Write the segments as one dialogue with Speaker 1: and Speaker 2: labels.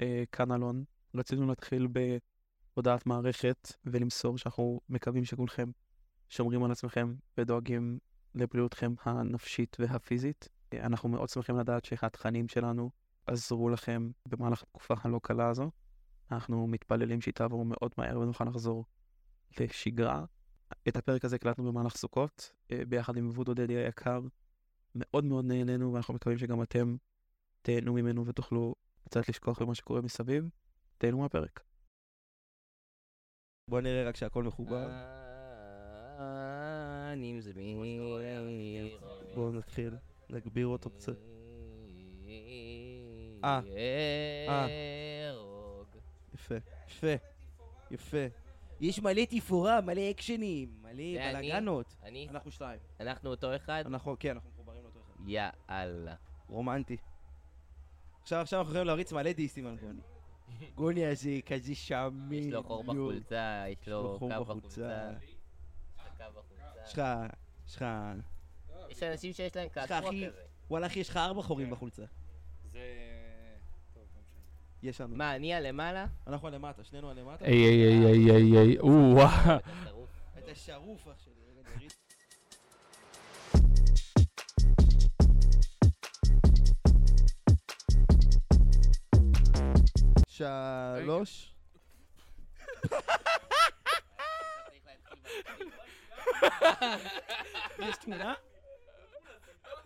Speaker 1: אה, כאן אלון. רצינו להתחיל בהודעת מערכת ולמסור שאנחנו מקווים שכולכם שומרים על עצמכם ודואגים לבריאותכם הנפשית והפיזית. אה, אנחנו מאוד שמחים לדעת שהתכנים שלנו עזרו לכם במהלך התקופה הלא קלה הזו. אנחנו מתפללים שהיא תעבור מאוד מהר ונוכל לחזור לשגרה. את הפרק הזה הקלטנו במהלך סוכות, אה, ביחד עם וודו דדי היקר. מאוד מאוד נהנינו, ואנחנו מקווים שגם אתם תהנו ממנו ותוכלו קצת לשכוח ממה שקורה מסביב. תהנו מהפרק.
Speaker 2: בוא נראה רק שהכל מחובר.
Speaker 3: אני מזמין.
Speaker 2: בואו נתחיל, נגביר אותו קצת. אה, אה. יפה, יפה, יפה. יש מלא תפאורה, מלא אקשנים, מלא
Speaker 3: זה אני?
Speaker 2: בלאגנות.
Speaker 3: אני?
Speaker 2: אנחנו שניים.
Speaker 3: אנחנו אותו אחד?
Speaker 2: אנחנו, כן, אנחנו מחוברים לאותו אחד.
Speaker 3: יאללה.
Speaker 2: רומנטי. עכשיו, עכשיו אנחנו יכולים להריץ מלא דיסים על גוני. גוני הזה כזה שמי.
Speaker 3: יש לו חור בחולצה, יש
Speaker 2: חור
Speaker 3: לו קו
Speaker 2: בחולצה.
Speaker 3: בחולצה. יש לו קו
Speaker 2: יש
Speaker 3: בחולצה.
Speaker 2: לך, יש לך,
Speaker 3: יש אנשים שיש להם
Speaker 2: לך,
Speaker 3: קעקוע
Speaker 2: אחי?
Speaker 3: כזה.
Speaker 2: וואלה אחי, יש לך ארבע
Speaker 3: כן.
Speaker 2: חורים בחולצה.
Speaker 4: זה... טוב, לא משנה.
Speaker 2: יש לנו.
Speaker 3: מה, אני הלמעלה?
Speaker 2: אנחנו על למטה, שנינו על למטה.
Speaker 5: איי איי איי איי איי איי, או וואו.
Speaker 2: אה.
Speaker 3: אתה שרוף.
Speaker 2: אתה שרוף אח שלי, רגע נוריד. שלוש. יש תמונה?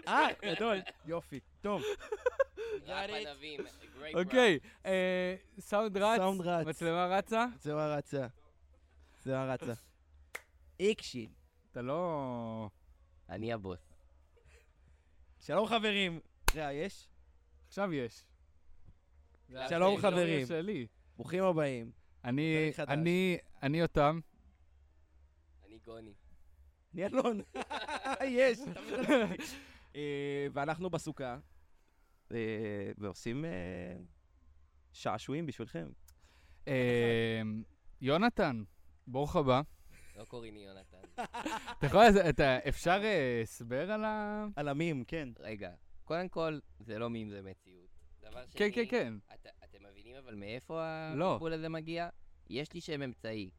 Speaker 2: אה, גדול. יופי, טוב.
Speaker 3: רק ענבים. Great
Speaker 5: אוקיי, אה, סאונד רץ,
Speaker 2: סאונד רץ.
Speaker 5: מצלמה רצה,
Speaker 2: זה מה רצה. זה מה רצה. אקשן.
Speaker 5: אתה לא...
Speaker 3: work. אני הבוס.
Speaker 2: שלום חברים. רע, יש?
Speaker 5: עכשיו יש.
Speaker 2: שלום,
Speaker 5: זה ההיסטוריה
Speaker 2: חברים.
Speaker 5: שלי.
Speaker 2: ברוכים הבאים.
Speaker 5: אני,
Speaker 2: פרק חדש.
Speaker 5: אני, אני אותם.
Speaker 3: אני גוני.
Speaker 2: אני אלון. יש. תמיד רציתי. אה, ואנחנו בסוכה, אה, ועושים אה, שעשועים בשבילכם.
Speaker 5: אה, יונתן, ברוך הבא.
Speaker 3: לא קוראים לי יונתן.
Speaker 5: אתה יכול, לזה- אתה- אפשר אה, הסבר על ה...
Speaker 2: על עמים, כן.
Speaker 3: רגע, קודם כל, זה לא מים, זה מציאות. דבר שני...
Speaker 5: כן, כן, כן.
Speaker 3: אתה, אתם מבינים אבל מאיפה
Speaker 5: לא.
Speaker 3: הבלבול הזה מגיע? יש לי שם אמצעי.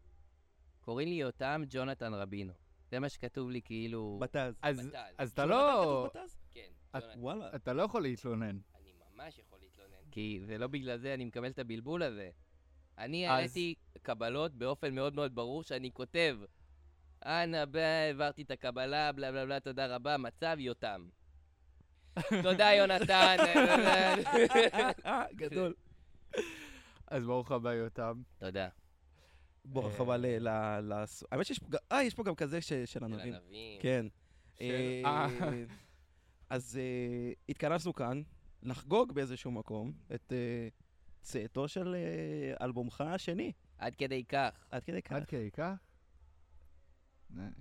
Speaker 3: קוראים לי יותם ג'ונתן רבינו. זה מה שכתוב לי כאילו...
Speaker 2: בתז.
Speaker 5: אז-
Speaker 3: בתז.
Speaker 5: אז אתה לא...
Speaker 3: כן,
Speaker 5: את-
Speaker 3: ג'ונתן.
Speaker 2: וואלה.
Speaker 5: אתה לא יכול להתלונן.
Speaker 3: אני ממש יכול להתלונן. כי זה לא בגלל זה אני מקבל את הבלבול הזה. אני
Speaker 5: אז-
Speaker 3: העליתי קבלות באופן מאוד מאוד ברור שאני כותב. אנא, ב- העברתי את הקבלה, בלה בלה בלה, תודה רבה, מצב יותם. תודה, יונתן.
Speaker 2: אה, גדול.
Speaker 5: אז ברוך הבא, יותם.
Speaker 3: תודה.
Speaker 5: אה.
Speaker 2: ברוך הבא אה, ל... ל- ל- האמת שיש פה גם... אה, יש פה גם כזה ש- של
Speaker 3: של
Speaker 2: ענבים.
Speaker 3: ענבים.
Speaker 2: כן.
Speaker 5: של-
Speaker 2: אה,
Speaker 5: אה.
Speaker 2: אז אה, התכנסנו כאן לחגוג באיזשהו מקום את אה, צאתו של אה, אלבומך השני.
Speaker 3: עד כדי כך.
Speaker 2: עד כדי כך.
Speaker 5: עד כדי כך?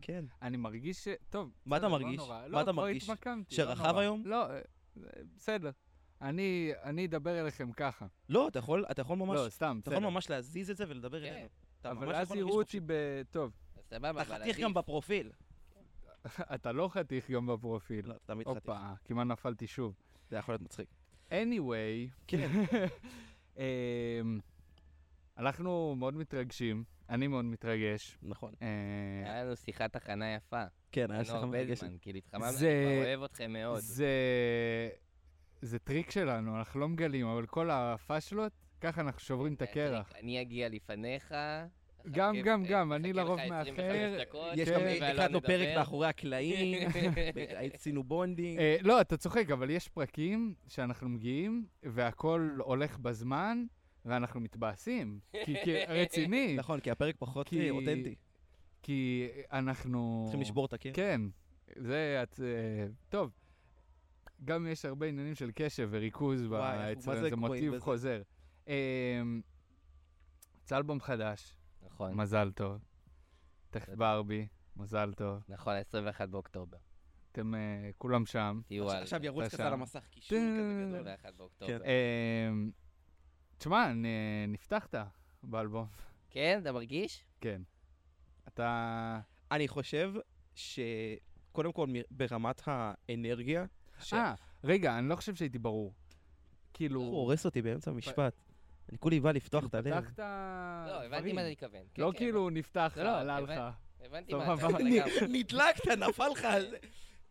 Speaker 2: כן.
Speaker 5: אני מרגיש ש... טוב,
Speaker 2: מה אתה
Speaker 5: בסדר, לא
Speaker 2: מרגיש?
Speaker 5: נורא.
Speaker 2: מה
Speaker 5: לא,
Speaker 2: אתה
Speaker 5: כבר
Speaker 2: מרגיש?
Speaker 5: התמקמתי, לא
Speaker 2: שרחב
Speaker 5: נורא.
Speaker 2: היום?
Speaker 5: לא, אה, בסדר. אני אני אדבר אליכם ככה.
Speaker 2: לא, אתה יכול, אתה יכול ממש,
Speaker 5: לא, סתם,
Speaker 2: אתה יכול
Speaker 5: בסדר.
Speaker 2: ממש להזיז את זה ולדבר
Speaker 3: כן.
Speaker 2: אלינו. אתה ממש
Speaker 5: אבל
Speaker 2: יכול
Speaker 5: אז
Speaker 2: להרגיש
Speaker 5: יראו אותי
Speaker 2: חופשי.
Speaker 5: ב... טוב,
Speaker 3: אז סבבה,
Speaker 2: אתה
Speaker 3: אבל
Speaker 2: חתיך גם
Speaker 3: עדיף.
Speaker 2: בפרופיל.
Speaker 5: אתה לא חתיך גם בפרופיל.
Speaker 2: לא, אתה תמיד חתיך.
Speaker 5: הופה, כמעט נפלתי שוב.
Speaker 2: זה יכול להיות מצחיק.
Speaker 5: anyway,
Speaker 2: כן.
Speaker 5: אמ, אנחנו מאוד מתרגשים, אני מאוד מתרגש.
Speaker 2: נכון.
Speaker 5: אה,
Speaker 3: היה לנו שיחת הכנה יפה.
Speaker 2: כן, היה
Speaker 3: היה לנו
Speaker 2: שיחה
Speaker 3: הרבה
Speaker 2: מרגשת.
Speaker 3: זמן, כאילו התחממנו, אני
Speaker 5: זה-
Speaker 3: כבר אוהב אתכם מאוד.
Speaker 5: זה... זה טריק שלנו, אנחנו לא מגלים, אבל כל הפאשלות, ככה אנחנו שוברים
Speaker 2: אה,
Speaker 5: את הקרח.
Speaker 3: אני אגיע לפניך.
Speaker 5: גם,
Speaker 3: חכה-
Speaker 5: גם, גם,
Speaker 3: אה,
Speaker 5: אני
Speaker 3: חכה
Speaker 5: לרוב
Speaker 3: לך 25
Speaker 5: מאחר.
Speaker 3: דקות,
Speaker 2: יש
Speaker 5: כן.
Speaker 2: גם, אה,
Speaker 3: ואלון
Speaker 2: הקלטנו
Speaker 3: מדבר.
Speaker 2: פרק מאחורי הקלעים, עשינו בונדינג.
Speaker 5: אה, לא, אתה צוחק, אבל יש פרקים שאנחנו מגיעים, והכל הולך בזמן, ואנחנו מתבאסים. כי, כי רציני,
Speaker 2: נכון, כי הפרק פחות
Speaker 5: כי-
Speaker 2: אה, אותנטי.
Speaker 5: כי אנחנו...
Speaker 2: צריכים לשבור את הקיר.
Speaker 5: כן, זה... את- אה, טוב, גם יש הרבה עניינים של קשב וריכוז ב-
Speaker 2: וואי, אנחנו מה
Speaker 5: אצלנו,
Speaker 2: זה
Speaker 5: זה
Speaker 2: גרועים
Speaker 5: מוטיב
Speaker 2: בזה.
Speaker 5: חוזר. אמ, יצא אלבום חדש,
Speaker 3: נכון,
Speaker 5: מזל טוב. תכף
Speaker 3: בסדר.
Speaker 5: ברבי, מזל טוב.
Speaker 3: נכון, 21 באוקטובר.
Speaker 5: אתם אה, כולם שם.
Speaker 3: תהיו על...
Speaker 2: עכשיו ירוץ
Speaker 5: אתה
Speaker 2: כזה על
Speaker 5: שם.
Speaker 2: המסך, קישור כזה גדול.
Speaker 3: 21 באוקטובר.
Speaker 2: כן.
Speaker 5: אמ, תשמע, נ- נפתחת באלבום.
Speaker 3: כן, אתה מרגיש?
Speaker 5: כן. אתה...
Speaker 2: אני חושב שקודם כל מ- ברמת האנרגיה, ש-
Speaker 5: אה, רגע, אני לא חושב שהייתי ברור.
Speaker 2: הוא
Speaker 5: כאילו...
Speaker 2: הורס אותי באמצע המשפט. אני כולי בא לפתוח את הלב.
Speaker 5: פתחת
Speaker 3: לא, הבנתי מה אתה מתכוון. כן,
Speaker 5: לא
Speaker 3: כן,
Speaker 5: כאילו נפתח לך,
Speaker 3: לא, לא,
Speaker 5: עלה
Speaker 3: הבנ-
Speaker 5: לך.
Speaker 2: אה,
Speaker 3: הבנתי מה אתה
Speaker 5: סבבה.
Speaker 3: מתכוון לגמרי.
Speaker 2: נדלקת, נפל לך. על זה.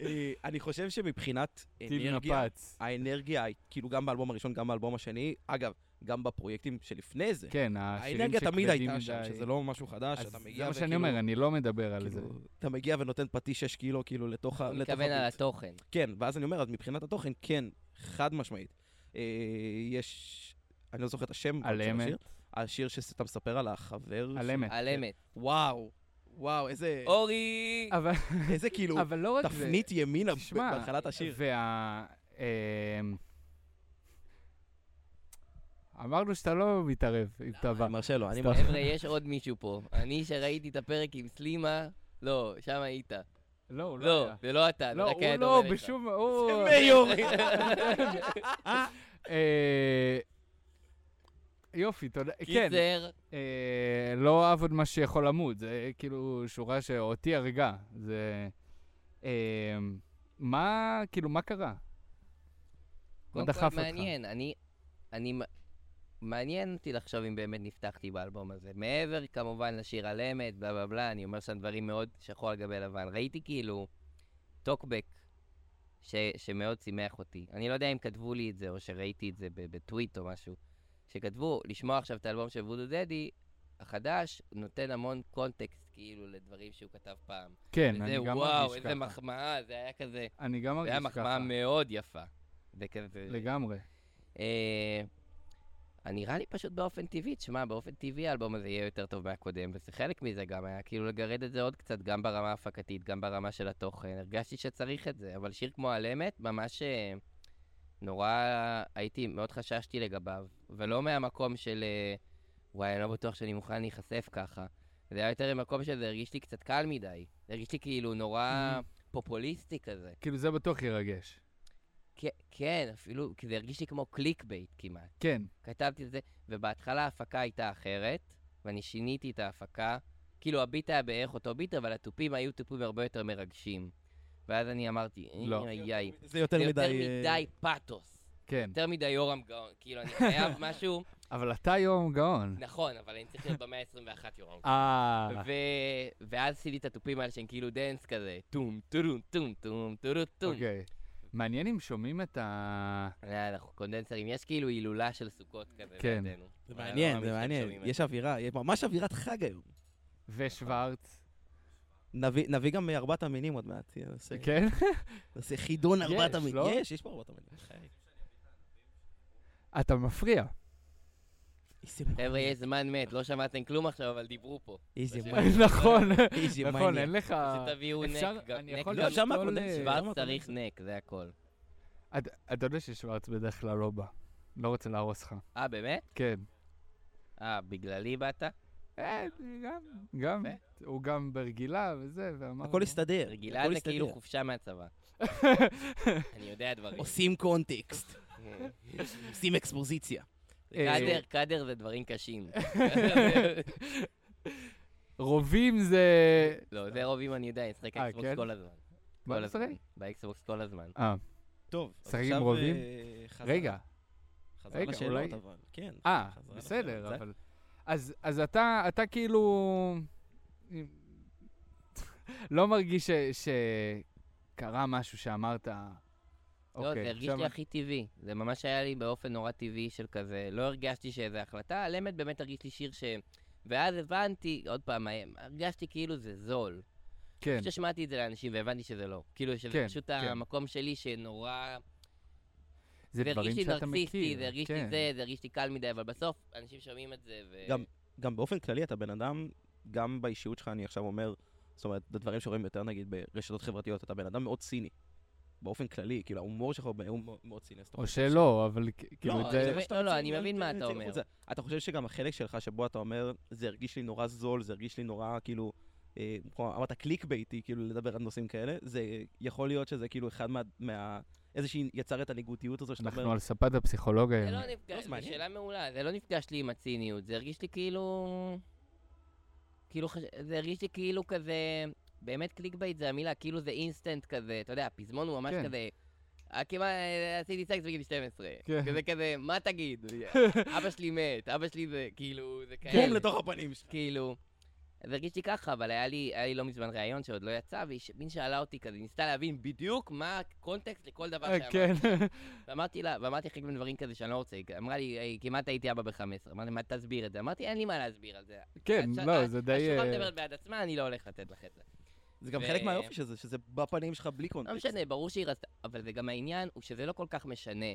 Speaker 2: אה, אני חושב שמבחינת
Speaker 5: טיל
Speaker 2: אנרגיה, אה,
Speaker 5: נפץ.
Speaker 2: האנרגיה, היא- כאילו גם באלבום הראשון, גם באלבום השני, אגב, גם בפרויקטים שלפני זה,
Speaker 5: כן, השירים
Speaker 2: האנרגיה תמיד
Speaker 5: שכבדים
Speaker 2: הייתה שם,
Speaker 5: מדי.
Speaker 2: שזה לא משהו חדש,
Speaker 5: אז
Speaker 2: אתה מגיע
Speaker 5: זה מה שאני
Speaker 2: וכאילו-
Speaker 5: אומר, אני לא מדבר על זה.
Speaker 2: כאילו, אתה מגיע ונותן פטיש 6 קילו, כאילו, לתוך ה...
Speaker 3: הוא
Speaker 2: לתוך
Speaker 3: מתכוון על
Speaker 2: הביט.
Speaker 3: התוכן.
Speaker 2: כן, ואז אני אומר, אז מבחינת התוכן, כן, חד משמעית. אה, יש... אני לא זוכר את השם.
Speaker 5: על
Speaker 2: של
Speaker 5: אמת.
Speaker 2: השיר. השיר שאתה מספר על החבר.
Speaker 5: על
Speaker 2: ש-
Speaker 5: אמת.
Speaker 3: על אמת.
Speaker 2: וואו, וואו,
Speaker 5: אה,
Speaker 2: איזה...
Speaker 3: אורי!
Speaker 5: אבל-
Speaker 2: איזה כאילו
Speaker 5: אבל לא רק זה.
Speaker 2: תפנית ימינה
Speaker 5: תשמע,
Speaker 2: בהתחלת השיר.
Speaker 5: וה... אמ, אמרנו שאתה לא מתערב עם טבע.
Speaker 2: אני מרשה לו, אני
Speaker 5: סתם.
Speaker 2: מרשה.
Speaker 3: חבר'ה, יש עוד מישהו פה. אני שראיתי את הפרק עם סלימה, לא, שם היית.
Speaker 5: לא, הוא לא
Speaker 3: לא,
Speaker 5: היה.
Speaker 3: זה לא אתה, זה
Speaker 5: לא,
Speaker 3: רק
Speaker 5: הוא
Speaker 3: היה
Speaker 5: לא,
Speaker 3: דומה לך.
Speaker 5: בשום... הוא...
Speaker 2: יורי.
Speaker 5: אה, יופי, תודה. כן,
Speaker 3: קיצר,
Speaker 5: אה, לא אהב עוד מה שיכול למות, זה כאילו שורה שאותי הרגה. זה... אה, מה, כאילו, מה קרה? מה
Speaker 3: קודם
Speaker 5: דחף
Speaker 3: כל
Speaker 5: אותך?
Speaker 3: מעניין, אני... אני... מ- מעניין אותי לחשוב אם באמת נפתחתי באלבום הזה. מעבר כמובן לשיר על אמת, בלה בלה בלה, אני אומר שם דברים מאוד שחור על גבי לבן. ראיתי כאילו טוקבק ש... שמאוד שימח אותי. אני לא יודע אם כתבו לי את זה או שראיתי את זה ב- בטוויט או משהו. שכתבו, לשמוע עכשיו את האלבום של וודו דדי החדש, נותן המון קונטקסט כאילו לדברים שהוא כתב פעם.
Speaker 5: כן, אני
Speaker 3: וזה
Speaker 5: גם מרגיש ככה.
Speaker 3: וואו, איזה מחמאה, זה היה כזה...
Speaker 5: אני גם
Speaker 3: זה היה
Speaker 5: מרגיש
Speaker 3: מחמאה
Speaker 5: ככה.
Speaker 3: מאוד יפה. זה כזה...
Speaker 5: לגמרי.
Speaker 3: אה, אני נראה לי פשוט באופן טבעי, תשמע, באופן טבעי האלבום הזה יהיה יותר טוב מהקודם, וזה חלק מזה גם היה, כאילו לגרד את זה עוד קצת, גם ברמה ההפקתית, גם ברמה של התוכן, הרגשתי שצריך את זה, אבל שיר כמו על אמת, ממש אה, נורא הייתי, מאוד חששתי לגביו, ולא מהמקום של, אה, וואי, אני לא בטוח שאני מוכן להיחשף ככה. זה היה יותר ממקום שזה הרגיש לי קצת קל מדי, זה הרגיש לי כאילו נורא פופוליסטי כזה.
Speaker 5: כאילו, זה בטוח ירגש.
Speaker 3: כן- כן, אפילו, כי זה הרגיש לי כמו קליק בייט כמעט.
Speaker 5: כן.
Speaker 3: כתבתי את זה, ובהתחלה ההפקה הייתה אחרת, ואני שיניתי את ההפקה. כאילו, הביט היה בערך אותו ביט, אבל התופים היו תופים הרבה יותר מרגשים. ואז אני אמרתי, "איי,
Speaker 5: לא.
Speaker 3: איי, איי,
Speaker 2: זה יותר
Speaker 3: זה
Speaker 2: מדי...
Speaker 3: יותר
Speaker 2: אה,
Speaker 3: מדי פאתוס,
Speaker 5: כן,
Speaker 3: יותר מדי יורם גאון. כאילו, אני חייב משהו,
Speaker 5: אבל אתה יורם גאון.
Speaker 3: נכון, אבל אני צריך להיות במאה ה-21 יורם גאון.
Speaker 5: אה,
Speaker 3: ו- ואז עשיתי את התופים האלה שהם כאילו דנס כזה, טום, טורום, טום, טום, טורום, טום.
Speaker 5: אוקיי. מעניין אם שומעים את ה...
Speaker 3: אה, אנחנו קונדנסרים, יש כאילו הילולה של סוכות כזה
Speaker 5: כן.
Speaker 3: לידינו.
Speaker 2: זה
Speaker 3: וואי, לא
Speaker 2: מעניין,
Speaker 3: מאמין
Speaker 2: זה
Speaker 3: שאתם
Speaker 2: מעניין.
Speaker 3: שומעים את
Speaker 2: יש אווירה, יש ממש אווירת חג היום.
Speaker 5: ושוורץ.
Speaker 2: נביא נביא גם ארבעת המינים עוד מעט. יהיה, נעשה-
Speaker 5: כן?
Speaker 2: נעשה חידון
Speaker 5: יש,
Speaker 2: ארבעת המינים.
Speaker 5: לא?
Speaker 2: יש, יש פה ארבעת המינים. בחיי.
Speaker 5: אתה מפריע.
Speaker 2: איזה
Speaker 3: חבר'ה,
Speaker 2: מעניין.
Speaker 3: יש זמן מת, לא שמעתם כלום עכשיו, אבל דיברו פה.
Speaker 2: איזה
Speaker 3: פשוט-
Speaker 2: מעניין.
Speaker 5: נכון,
Speaker 2: איזה
Speaker 5: נכון,
Speaker 2: מעניין.
Speaker 5: אין לך...
Speaker 3: שתביאו נק,
Speaker 5: אפשר-
Speaker 3: גם
Speaker 5: אני
Speaker 3: נק
Speaker 5: יכול
Speaker 3: גם
Speaker 2: לא, שם
Speaker 5: לשאול,
Speaker 2: הקודם
Speaker 5: אה,
Speaker 2: שלי.
Speaker 3: שוורץ צריך נק, זה הכל.
Speaker 5: אתה- אתה יודע ששוורץ בדרך כלל לא בא. לא רוצה להרוס לך.
Speaker 3: אה, באמת?
Speaker 5: כן.
Speaker 3: אה, בגללי באת?
Speaker 5: אה, גם, גם, הוא גם ברגילה וזה, ואמר...
Speaker 2: הכל הסתדר.
Speaker 3: רגילה
Speaker 2: הכל
Speaker 3: זה כאילו
Speaker 2: הסתדר.
Speaker 3: חופשה מהצבא. אני יודע דברים.
Speaker 2: עושים קונטקסט, עושים אקספוזיציה.
Speaker 3: קאדר, קאדר זה דברים קשים.
Speaker 5: רובים זה...
Speaker 3: לא, זה רובים אני יודע, אני אשחק
Speaker 5: אה,
Speaker 3: אקסבוקס
Speaker 5: כן?
Speaker 3: כל הזמן.
Speaker 5: מה
Speaker 3: כל
Speaker 5: אתה
Speaker 3: הזמן.
Speaker 5: משחק?
Speaker 3: באקסבוקס כל הזמן.
Speaker 5: אה,
Speaker 2: טוב, אז
Speaker 5: משחקים
Speaker 2: עכשיו,
Speaker 5: רובים?
Speaker 2: אה, חזרה-
Speaker 5: רגע.
Speaker 2: חזרה
Speaker 5: רגע,
Speaker 2: לשאלות,
Speaker 5: אולי-
Speaker 2: אבל. כן.
Speaker 5: אה,
Speaker 2: חזרה לשאלות.
Speaker 5: בסדר,
Speaker 2: זה-
Speaker 5: אבל... אז, אז אתה, אתה כאילו... לא מרגיש ש, שקרה משהו שאמרת...
Speaker 3: לא,
Speaker 5: אוקיי,
Speaker 3: זה הרגיש
Speaker 5: שם-
Speaker 3: לי הכי טבעי. זה ממש היה לי באופן נורא טבעי של כזה, לא הרגשתי שזו החלטה, על אמת באמת הרגיש לי שיר ש... ואז הבנתי, עוד פעם, הרגשתי כאילו זה זול.
Speaker 5: כן,
Speaker 3: פשוט שמעתי את זה לאנשים והבנתי שזה לא. כאילו, שזה
Speaker 5: כן,
Speaker 3: פשוט
Speaker 5: כן.
Speaker 3: המקום שלי שנורא...
Speaker 5: זה דברים
Speaker 3: הרגיש לי
Speaker 5: שאתה
Speaker 3: נרקסיסטי,
Speaker 5: מכיר.
Speaker 3: זה הרגיש לי
Speaker 5: כן.
Speaker 3: זה, זה הרגיש לי קל מדי, אבל בסוף אנשים שומעים את זה ו...
Speaker 2: גם- גם באופן כללי אתה בן אדם, גם באישיות שלך אני עכשיו אומר, זאת אומרת, הדברים שרואים יותר נגיד ברשתות חברתיות, אתה בן אדם מאוד ציני. באופן כללי, כאילו ההומור שלך הוא מאוד- מאוד ציני. אז אתה
Speaker 5: או
Speaker 2: חושב ש-
Speaker 5: שלא, אבל כ- כאילו,
Speaker 2: לא,
Speaker 5: זה-
Speaker 2: זה מה שאתה
Speaker 3: לא, לא,
Speaker 2: מציג,
Speaker 3: אני מבין מה
Speaker 2: זה
Speaker 3: אתה
Speaker 2: מציג
Speaker 3: אומר.
Speaker 2: החוצה. אתה חושב שגם החלק שלך שבו אתה אומר, זה הרגיש לי נורא זול, זה הרגיש לי נורא כאילו, אה, כמו אמרת קליק ביתי, כאילו לדבר על נושאים כאלה, זה יכול להיות שזה כאילו אחד מה... מה איזושהי יצר את הניגודיות הזו שאתה
Speaker 5: אנחנו
Speaker 2: אומר,
Speaker 5: על ספת הפסיכולוג
Speaker 3: זה
Speaker 5: היום.
Speaker 3: לא נפגש,
Speaker 2: לא, זה
Speaker 3: זו
Speaker 2: מעניין.
Speaker 3: שאלה מעולה, זה לא נפגש לי עם הציניות, זה הרגיש לי כאילו... כאילו, חש... זה הרגיש לי כאילו כזה... באמת קליק בייט זה המילה, כאילו זה אינסטנט כזה, אתה יודע, הפזמון הוא ממש
Speaker 5: כן.
Speaker 3: כזה... אה, כמעט אה, עשיתי סקס בגיל 12.
Speaker 5: כן.
Speaker 3: כזה כזה, מה תגיד? אבא שלי מת, אבא שלי זה, כאילו, זה
Speaker 5: כן.
Speaker 3: כאלה.
Speaker 2: בום לתוך הפנים שלך.
Speaker 3: כאילו, אז הרגישתי ככה, אבל היה לי, היה לי לא מזמן ראיון שעוד לא יצא, והיא ש- מין שאלה אותי כזה, ניסתה להבין בדיוק מה הקונטקסט לכל לא דבר
Speaker 5: אה,
Speaker 3: שאמרתי.
Speaker 5: כן.
Speaker 3: ואמרתי לה, ואמרתי חלק מדברים כזה שאני לא רוצה, היא אמרה לי, "היי, כמעט הייתי אבא בחמש עשרה, אמרתי, מה תסביר את זה? אמרתי, אין לי מה להסביר על זה.
Speaker 5: כן,
Speaker 3: הש-
Speaker 5: לא,
Speaker 3: ה-
Speaker 5: זה די...
Speaker 3: השורה
Speaker 5: אה,
Speaker 3: מדברת בעד עצמה, אני לא הולך לתת לך את זה.
Speaker 2: זה גם
Speaker 3: ו-
Speaker 2: חלק מהיופי של זה, שזה בפנים שלך בלי
Speaker 5: אוקיי.
Speaker 3: לא
Speaker 2: קונטקסט.
Speaker 3: משנה, ברור שהיא רצתה, אבל זה גם העניין, הוא שזה לא כל כך משנה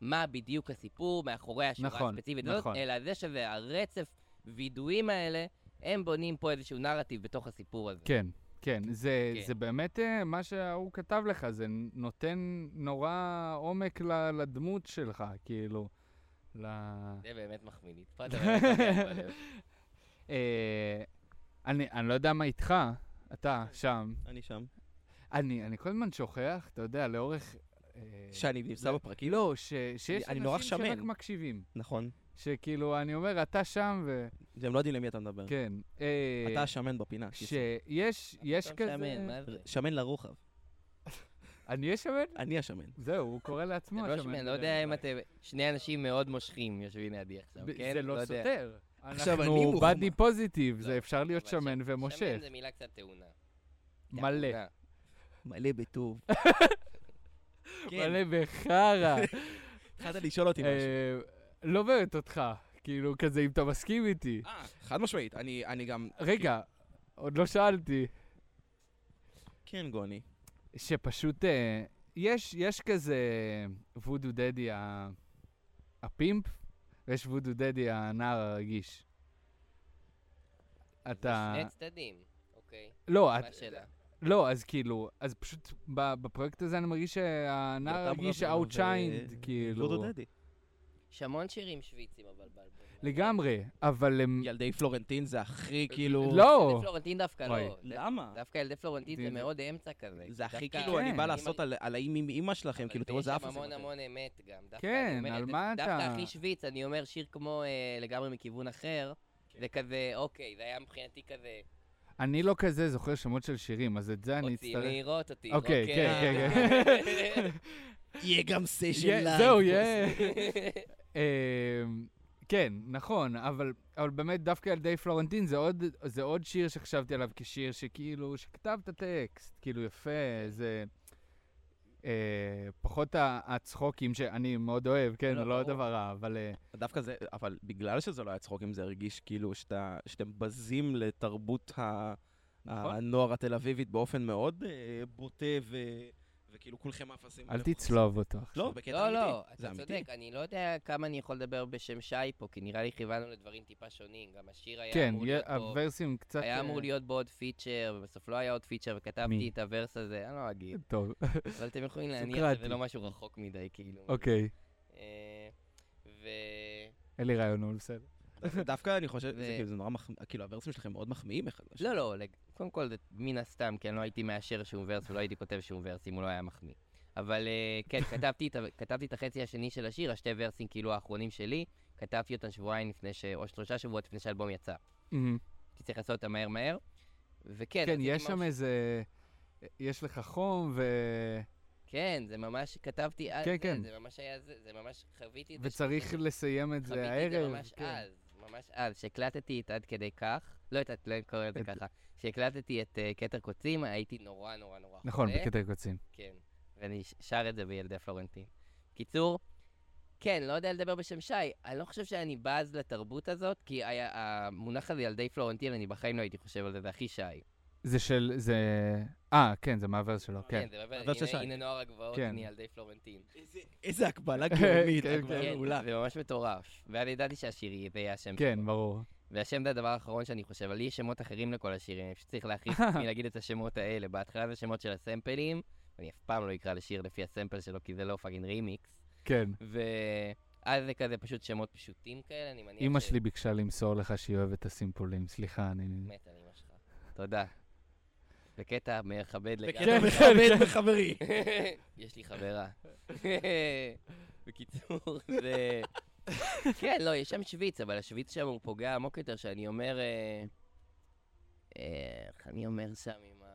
Speaker 3: מה בדיוק הסיפור מאחורי השורה
Speaker 5: נכון,
Speaker 3: הספציפית הזאת,
Speaker 5: נכון.
Speaker 3: אלא זה שזה הרצף וידועים האלה, הם בונים פה איזשהו נרטיב בתוך הסיפור הזה.
Speaker 5: כן, כן. זה,
Speaker 3: כן.
Speaker 5: זה באמת אה, מה שההוא כתב לך, זה נותן נורא עומק ל, לדמות שלך, כאילו. ל...
Speaker 3: זה באמת מחמיא לי. פה אתה באמת נוגע לי בלב.
Speaker 5: אה, אני, אני לא יודע מה איתך, אתה שם.
Speaker 2: אני שם.
Speaker 5: אני, אני כל הזמן שוכח, אתה יודע, לאורך... אה,
Speaker 2: שאני נמצא
Speaker 5: זה-
Speaker 2: בפרקים?
Speaker 5: לא, ש, שיש
Speaker 2: אני נורא
Speaker 5: אנשים שרק
Speaker 2: שמן.
Speaker 5: מקשיבים.
Speaker 2: נכון.
Speaker 5: שכאילו, אני אומר, אתה שם, ו...
Speaker 2: הם לא יודעים למי אתה מדבר.
Speaker 5: כן. אה,
Speaker 2: אתה השמן בפינה. כיסא.
Speaker 5: שיש יש
Speaker 3: אתה משעמם,
Speaker 5: כזה...
Speaker 3: מה זה?
Speaker 2: שמן לרוחב.
Speaker 5: אני אהיה שמן?
Speaker 2: אני השמן.
Speaker 5: זהו, הוא קורא
Speaker 3: זה
Speaker 5: לעצמו
Speaker 3: לא
Speaker 5: השמן.
Speaker 3: שמן, לא יודע אם אתם... שני אנשים מאוד מושכים יושבים לידי עכשיו,
Speaker 5: ב-
Speaker 3: כן?
Speaker 5: זה לא
Speaker 3: יודע.
Speaker 5: סותר.
Speaker 2: עכשיו, אני
Speaker 5: אנחנו
Speaker 2: מוחמד.
Speaker 5: באדי פוזיטיב,
Speaker 3: לא,
Speaker 5: זה אפשר להיות
Speaker 3: אבל
Speaker 5: שמן
Speaker 3: ש-
Speaker 5: ומושך.
Speaker 3: שמן זה מילה קצת טעונה.
Speaker 5: מלא.
Speaker 3: טעונה.
Speaker 2: מלא בטוב. כן,
Speaker 5: מלא בחרא.
Speaker 2: התחלת לשאול אותי משהו.
Speaker 5: אה, לא באמת אותך, כאילו, כזה אם אתה מסכים איתי.
Speaker 2: אה, חד משמעית. אני אני גם...
Speaker 5: רגע, עוד לא שאלתי.
Speaker 2: כן, גוני.
Speaker 5: שפשוט, אה, יש יש כזה וודו דדי ה- הפימפ, ויש וודו דדי הנער הרגיש. אתה...
Speaker 3: זה שני צדדים, אוקיי.
Speaker 5: לא,
Speaker 3: מה
Speaker 5: את-
Speaker 3: השאלה?
Speaker 5: לא, אז כאילו, אז פשוט ב- בפרויקט הזה אני מרגיש שהנער
Speaker 2: יותם
Speaker 5: הרגיש
Speaker 2: רבינו
Speaker 5: אאוטשיינד,
Speaker 2: ו-
Speaker 5: כאילו,
Speaker 2: דודו דדי.
Speaker 3: יש המון שירים שוויצים, אבל באלבום.
Speaker 5: לגמרי, אבל אמ, הם...
Speaker 2: ילדי פלורנטין זה הכי כאילו...
Speaker 3: ילדי
Speaker 5: לא,
Speaker 3: פלורנטין דווקא
Speaker 5: וואי.
Speaker 3: לא.
Speaker 2: למה?
Speaker 3: דווקא ילדי פלורנטין
Speaker 5: זה-
Speaker 3: זה מאוד אמצע כזה.
Speaker 2: זה הכי
Speaker 3: דווקא-
Speaker 2: כאילו, אני
Speaker 5: כן.
Speaker 2: בא לעשות על- על האם עם אימא שלכם, כאילו, תראו איזה
Speaker 3: אבל
Speaker 2: אף
Speaker 3: יש שם
Speaker 2: הזה.
Speaker 3: המון המון אמת גם. דווקא
Speaker 5: כן,
Speaker 3: אני אומר,
Speaker 5: על
Speaker 3: דו-
Speaker 5: מה
Speaker 3: דווקא
Speaker 5: אתה-
Speaker 3: הכי שוויץ, אני אומר שיר כמו אה, לגמרי מכיוון אחר,
Speaker 2: כן.
Speaker 3: זה כזה, אוקיי, זה היה מבחינתי כזה,
Speaker 5: אני לא כזה זוכר שמות של שירים, אז את זה אני
Speaker 3: אותי
Speaker 5: אצטרך...
Speaker 3: לראות אותי.
Speaker 5: אוקיי,
Speaker 3: רוקר.
Speaker 5: כן, כן,
Speaker 2: יהיה גם סשן
Speaker 5: יהיה-
Speaker 2: לייב.
Speaker 5: זהו, יהיה... כן. אמ, כן, נכון, אבל, אבל באמת דווקא ילדי פלורנטין זה עוד, זה עוד שיר שחשבתי עליו כשיר שכאילו, שכתבת טקסט, כאילו יפה, זה... אה, פחות ה- הצחוקים שאני מאוד אוהב, כן,
Speaker 3: לא,
Speaker 5: לא
Speaker 3: ברור.
Speaker 5: דבר רע, אבל... אה,
Speaker 2: דווקא זה, אבל בגלל שזה לא היה צחוקים, זה הרגיש כאילו שאתה, שאתם בזים לתרבות ה,
Speaker 5: נכון.
Speaker 2: הנוער התל אביבית באופן מאוד אה, בוטה, ו, וכאילו כולכם אפסים.
Speaker 5: אל תצלוב אותו.
Speaker 2: לא, בקטע
Speaker 3: לא,
Speaker 2: אמיתי.
Speaker 3: לא,
Speaker 2: זה
Speaker 3: אתה
Speaker 2: אמיתי.
Speaker 3: צודק, אני לא יודע כמה אני יכול לדבר בשם שי פה, כי נראה לי כיוונו לדברים טיפה שונים. גם השיר היה
Speaker 5: כן,
Speaker 3: אמור
Speaker 5: יה-
Speaker 3: להיות פה...
Speaker 5: הוורסים קצת...
Speaker 3: היה אמור
Speaker 5: אה,
Speaker 3: להיות בו עוד פיצ'ר, ובסוף לא היה עוד פיצ'ר,
Speaker 5: מי?
Speaker 3: וכתבתי את הוורס הזה, אני לא אגיד.
Speaker 5: טוב,
Speaker 3: אבל אתם יכולים להניח
Speaker 5: סוקרטי.
Speaker 3: שזה לא משהו רחוק מדי, כאילו.
Speaker 5: אוקיי.
Speaker 3: אה, ו...
Speaker 5: אין לי רעיון, אבל בסדר.
Speaker 2: דו- דווקא אני חושב,
Speaker 3: ו-
Speaker 2: זה כאילו, זה נורא מחמיא, כאילו הוורסים שלכם מאוד מחמיאים אחד לשני.
Speaker 3: לא, לא, לג- קודם כל זה מן הסתם, כי אני לא הייתי מאשר שום ורס ולא הייתי כותב שום ורס אם הוא לא היה מחמיא. אבל אה, כן, כתבתי את ה- כתבתי את החצי השני של השיר, השתי ורסים כאילו האחרונים שלי, כתבתי אותם שבועיים לפני ש... או שלושה שבועות לפני שהאלבום יצא.
Speaker 5: מהמם.
Speaker 3: הייתי צריך לעשות אותם מהר מהר, וכן.
Speaker 5: כן,
Speaker 3: רציתי
Speaker 5: יש
Speaker 3: משהו-
Speaker 5: שם איזה... יש לך חום ו...
Speaker 3: כן, זה ממש, כתבתי אז,
Speaker 5: כן,
Speaker 3: זה,
Speaker 5: כן.
Speaker 3: זה ממש היה זה, זה ממש חוויתי את זה.
Speaker 5: וצריך לסיים את זה
Speaker 3: חוויתי את זה
Speaker 5: הערב.
Speaker 3: ממש
Speaker 5: כן.
Speaker 3: אז, ממש אז, שהקלטתי את עד כדי כך, לא יודעת, לא קורא לזה
Speaker 5: את-
Speaker 3: ככה, שהקלטתי את אה, כתר קוצים, הייתי נורא נורא נורא חולה.
Speaker 5: נכון, בקטע קוצים.
Speaker 3: כן, ואני ש- שר את זה בילדי פלורנטין. קיצור, כן, לא יודע לדבר בשם שי, אני לא חושב שאני בז לתרבות הזאת, כי היה, המונח הזה ילדי פלורנטין, אני בחיים לא הייתי חושב על זה, זה הכי שי.
Speaker 5: כן. זה של... זה... אה, כן, זה מהוורס שלו, כן.
Speaker 3: זה באמת,
Speaker 2: אבל של שי.
Speaker 3: הנה, הנה נוער הגבעות,
Speaker 5: כן.
Speaker 3: הנה ילדי פלורנטין.
Speaker 2: איזה- איזה הקבלה גאונית,
Speaker 5: כן,
Speaker 2: הקבלה
Speaker 3: כן,
Speaker 2: מעולה.
Speaker 3: זה ממש מטורף. ואני ידעתי שהשיר יהיה- זה יהיה השם שלו.
Speaker 5: כן, ברור.
Speaker 3: והשם זה הדבר האחרון שאני חושב, אבל לי יש שמות אחרים לכל השירים, אני פשוט צריך להכריח את עצמי להגיד את השמות האלה. בהתחלה זה שמות של הסמפלים, אני אף פעם לא אקרא לשיר לפי הסמפל שלו, כי זה לא פאגינג רימיקס.
Speaker 5: כן.
Speaker 3: ואז זה כזה פשוט שמות פשוטים כאלה, אני מניח
Speaker 5: אימא שלי ביקשה למסור לך שהיא אוהבת את הסימפולים, סליחה, אני...
Speaker 3: מת על אמא שלך. תודה. בקטע מכבד
Speaker 5: כן,
Speaker 2: בקטע
Speaker 3: לגמרי.
Speaker 2: מכבד וחברי.
Speaker 3: יש לי חברה. בקיצור, זה... כן, לא, יש שם שוויץ, אבל השוויץ שם הוא פוגע עמוק יותר, שאני אומר... אה, אה, איך אני אומר שם עם ה...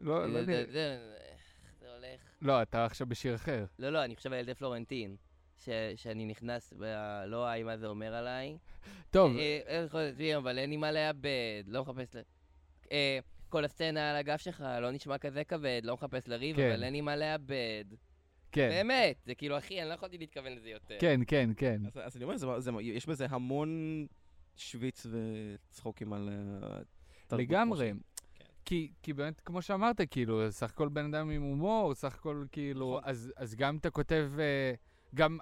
Speaker 5: לא, לא
Speaker 3: זה-
Speaker 5: יודע.
Speaker 3: זה- זה- איך זה הולך? הולך...
Speaker 5: לא, אתה עכשיו בשיר אחר.
Speaker 3: לא, לא, אני חושב על ילדי פלורנטין. ש... שאני נכנס, ב... לא היי מה זה אומר עליי.
Speaker 5: טוב,
Speaker 3: אה, אה, יכול להיות, אה, אבל אין לי מה לאבד, לא מחפש ל... אה, כל הסצנה על הגב שלך לא נשמע כזה כבד, לא מחפש לריב,
Speaker 5: כן.
Speaker 3: אבל אין לי מה לאבד.
Speaker 5: כן,
Speaker 3: באמת, זה כאילו, אחי, אני לא יכולתי להתכוון לזה יותר.
Speaker 5: כן, כן, כן.
Speaker 2: אז, אז אני אומר, זה, זה, יש בזה המון שוויץ וצחוקים על... אה, תרבות
Speaker 5: לגמרי.
Speaker 2: כן.
Speaker 5: כי, כי באמת, כמו שאמרת, כאילו, סך הכל בן אדם עם הומור, סך הכל כאילו,
Speaker 2: נכון.
Speaker 5: אז, אז גם אתה כותב, אה, גם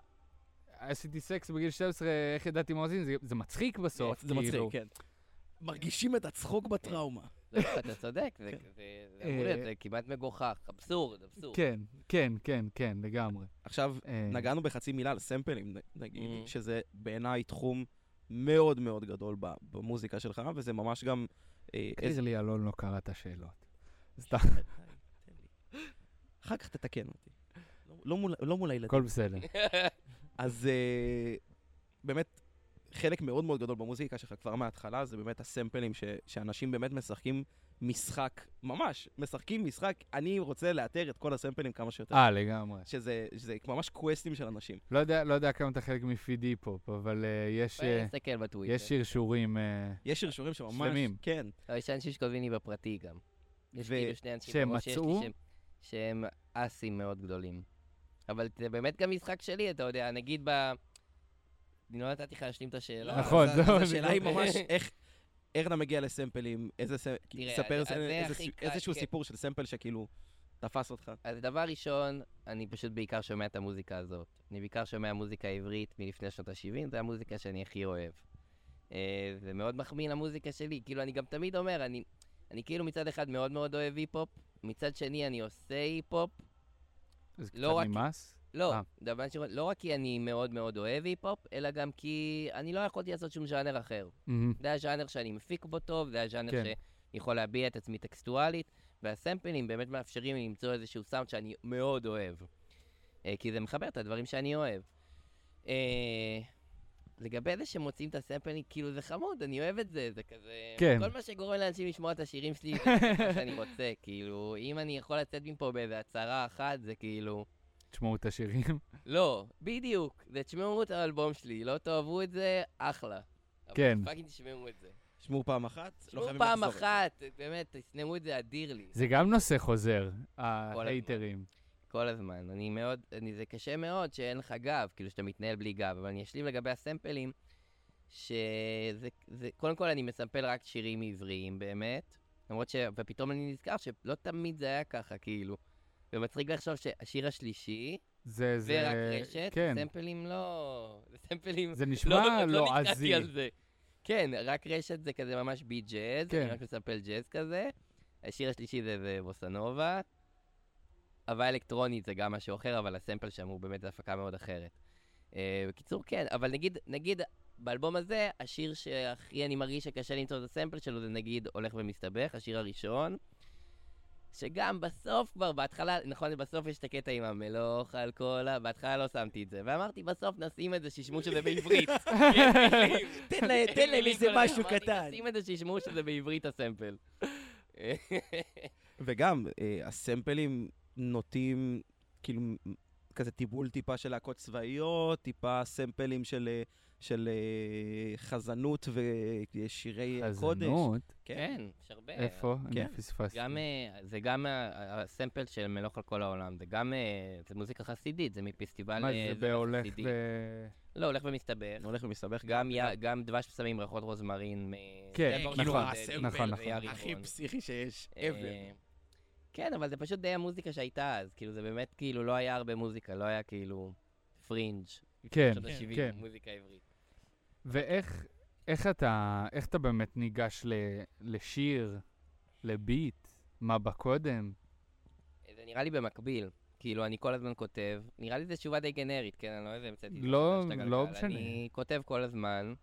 Speaker 5: עשיתי סקס בגיל 12, איך ידעתי מה עושים? זה, זה מצחיק
Speaker 2: כמו
Speaker 5: בסוף,
Speaker 2: ש- זה מצחיק,
Speaker 5: כאילו.
Speaker 2: כן. מרגישים את הצחוק בטראומה.
Speaker 3: לא, אתה צודק, זה- זה זה אמור להיות
Speaker 5: כן. אה,
Speaker 3: זה כמעט מגוחך, אבסורד, אבסורד.
Speaker 5: כן, כן, כן, כן, לגמרי.
Speaker 2: עכשיו,
Speaker 5: אה,
Speaker 2: נגענו בחצי מילה על סמפלים, נ- נגיד,
Speaker 3: Mm.
Speaker 2: שזה בעיניי תחום מאוד מאוד גדול ב- במוזיקה שלך, וזה ממש גם... אה, איזה-
Speaker 5: קריר לי אלון לא קרא את השאלות. סתם,
Speaker 2: אחר כך תתקן אותי. לא- לא מול- לא מול הילדים.
Speaker 5: הכל בסדר.
Speaker 2: אז אה, באמת, חלק מאוד מאוד גדול במוזיקה שלך כבר מההתחלה, זה באמת הסמפלים ש, שאנשים באמת משחקים משחק, ממש, משחקים משחק, אני רוצה לאתר את כל הסמפלים כמה שיותר.
Speaker 5: אה, לגמרי.
Speaker 2: שזה, שזה ממש קווסטים של אנשים.
Speaker 5: לא יודע, לא יודע כמה אתה חלק מפידי פופ, אבל אה, יש, אה,
Speaker 3: תסתכל בטוויטר.
Speaker 5: יש שיר שירים, אה,
Speaker 2: יש שרשורים שממש...
Speaker 5: שלמים.
Speaker 2: כן.
Speaker 3: לא, יש אנשים שכותבים לי בפרטי גם. יש
Speaker 2: ו-
Speaker 3: כאילו שני אנשים
Speaker 5: שהם
Speaker 3: בראש שיש לי
Speaker 5: מצאו?
Speaker 3: שהם- שהם אסים מאוד גדולים. אבל זה באמת גם משחק שלי, אתה יודע, נגיד ב... אני לא נתתי לך להשלים את השאלה.
Speaker 5: נכון,
Speaker 2: אז-
Speaker 5: זהו,
Speaker 2: אז
Speaker 5: אני
Speaker 2: השאלה
Speaker 5: לא-
Speaker 2: היא ממש איך... איך אתה מגיע לסמפלים, איזה סמפל,
Speaker 3: תראה,
Speaker 2: ספר
Speaker 3: אז- אז זה
Speaker 2: איזה-
Speaker 3: הכי
Speaker 2: איזה-
Speaker 3: קל,
Speaker 2: איזשהו
Speaker 3: כן.
Speaker 2: סיפור של סמפל שכאילו תפס אותך.
Speaker 3: אז דבר ראשון, אני פשוט בעיקר שומע את המוזיקה הזאת. אני בעיקר שומע מוזיקה עברית מלפני שנות ה-70, זו המוזיקה שאני הכי אוהב. אה, זה מאוד מחמיא למוזיקה שלי, כאילו, אני גם תמיד אומר, אני, אני כאילו מצד אחד מאוד מאוד אוהב היפ-הופ, מצד שני אני עושה היפ-הופ,
Speaker 5: זה קצת
Speaker 3: לא רק-
Speaker 5: נמאס.
Speaker 3: לא,
Speaker 5: אה.
Speaker 3: דבר ש... לא רק כי אני מאוד מאוד אוהב היפ-הופ, אלא גם כי אני לא יכולתי לעשות שום ז'אנר אחר.
Speaker 5: מהמם.
Speaker 3: זה הז'אנר שאני מפיק בו טוב, זה הז'אנר
Speaker 5: כן.
Speaker 3: כן. שאני יכול להביע את עצמי טקסטואלית, והסמפלים באמת מאפשרים לי למצוא איזשהו סאונד שאני מאוד אוהב. אה, כי זה מחבר את הדברים שאני אוהב. אה, לגבי זה שמוצאים את הסמפלים, כאילו זה חמוד, אני אוהב את זה, זה כזה...
Speaker 5: כן.
Speaker 3: כל מה שגורם לאנשים לשמוע את השירים שלי, זה מה שאני רוצה, כאילו, אם אני יכול לצאת מפה באיזה הצהרה אחת, זה כאילו...
Speaker 5: תשמעו את השירים.
Speaker 3: לא, בדיוק. זה תשמעו את האלבום שלי, לא תאהבו את זה, אחלה. אבל
Speaker 5: כן.
Speaker 3: פאקינג תשמעו את זה.
Speaker 2: שמעו פעם אחת, לא
Speaker 3: תשמעו
Speaker 2: חייבים
Speaker 3: פעם
Speaker 2: לחזור.
Speaker 3: אחת, באמת, תשנאו את זה, אדיר לי.
Speaker 5: זה גם נושא חוזר, ההייטרים.
Speaker 3: כל הזמן. אני מאוד, אני, זה קשה מאוד שאין לך גב, כאילו שאתה מתנהל בלי גב, אבל אני אשלים לגבי הסמפלים, שזה, זה, קודם כל אני מסמפל רק שירים עבריים באמת, למרות ש... ופתאום אני נזכר שלא תמיד זה היה ככה, כאילו. ומצחיק לחשוב שהשיר השלישי,
Speaker 5: זה, זה...
Speaker 3: זה רק רשת,
Speaker 5: כן.
Speaker 3: סמפלים לא... זה סמפלים...
Speaker 5: זה נשמע
Speaker 3: לא
Speaker 5: לא
Speaker 3: נתקעתי
Speaker 5: עזי.
Speaker 3: על זה. כן, רק רשת זה כזה ממש ביט ג'אז,
Speaker 5: כן.
Speaker 3: אני רק מספל ג'אז כזה. השיר השלישי זה, זה בוסנובה. אבל אלקטרונית זה גם משהו אחר, אבל הסמפל שם הוא באמת הפקה מאוד אחרת. אה, בקיצור, כן, אבל נגיד, נגיד, באלבום הזה, השיר שהכי אני מרגיש שקשה למצוא את הסמפל שלו זה נגיד הולך ומסתבך, השיר הראשון. שגם בסוף כבר, בהתחלה, נכון, בסוף יש את הקטע עם המלוך על כל ה... בהתחלה לא שמתי את זה. ואמרתי, בסוף נשים את זה, שישמעו שזה בעברית. כן,
Speaker 2: תן לה- תן להם איזה משהו קטן.
Speaker 3: נשים את זה, שישמעו שזה בעברית הסמפל.
Speaker 2: וגם, אה, הסמפלים נוטים, כאילו, כזה טיבול טיפה של להקות צבאיות, טיפה סמפלים של, אה, של אה, חזנות ושירי הקודש.
Speaker 5: חזנות?
Speaker 3: כן, יש הרבה.
Speaker 5: איפה? אני
Speaker 2: כן.
Speaker 5: פספסתי.
Speaker 3: גם, אה, זה גם ה- ה- הסמפל של מלוך על כל העולם, זה גם, אה, זה מוזיקה חסידית, זה מפסטיבל...
Speaker 5: מה
Speaker 3: אה,
Speaker 5: זה בהולך
Speaker 3: חסידי.
Speaker 5: ב...
Speaker 3: לא, הולך ומסתבך.
Speaker 2: הולך ומסתבך
Speaker 3: גם י- גם דבש בשמים, ריחות רוזמרין. מ-
Speaker 5: כן,
Speaker 3: זה
Speaker 5: כאילו,
Speaker 3: ברור, זה-
Speaker 2: הסמפל
Speaker 3: זה
Speaker 5: נכון,
Speaker 3: יהיה
Speaker 5: נכון.
Speaker 3: הרימון.
Speaker 2: פסיכי שיש,
Speaker 3: אה, כן, אבל זה פשוט די המוזיקה שהייתה אז, כאילו, זה באמת, כאילו, לא היה הרבה מוזיקה, לא היה כאילו פרינג'.
Speaker 5: כן,
Speaker 3: שנות ה-שבעים,
Speaker 5: כן.
Speaker 3: מוזיקה עברית.
Speaker 5: ואיך איך אתה, איך אתה באמת ניגש ל, לשיר, לביט, מה בא קודם?
Speaker 3: אה, זה נראה לי במקביל. כאילו, אני כל הזמן כותב, נראה לי זו תשובה די גנרית, כן? אני לא איזה המצאתי. את זה
Speaker 5: לא-
Speaker 3: מחדש את
Speaker 5: לא
Speaker 3: הגלגל.
Speaker 5: משנה.
Speaker 3: אני כותב כל הזמן,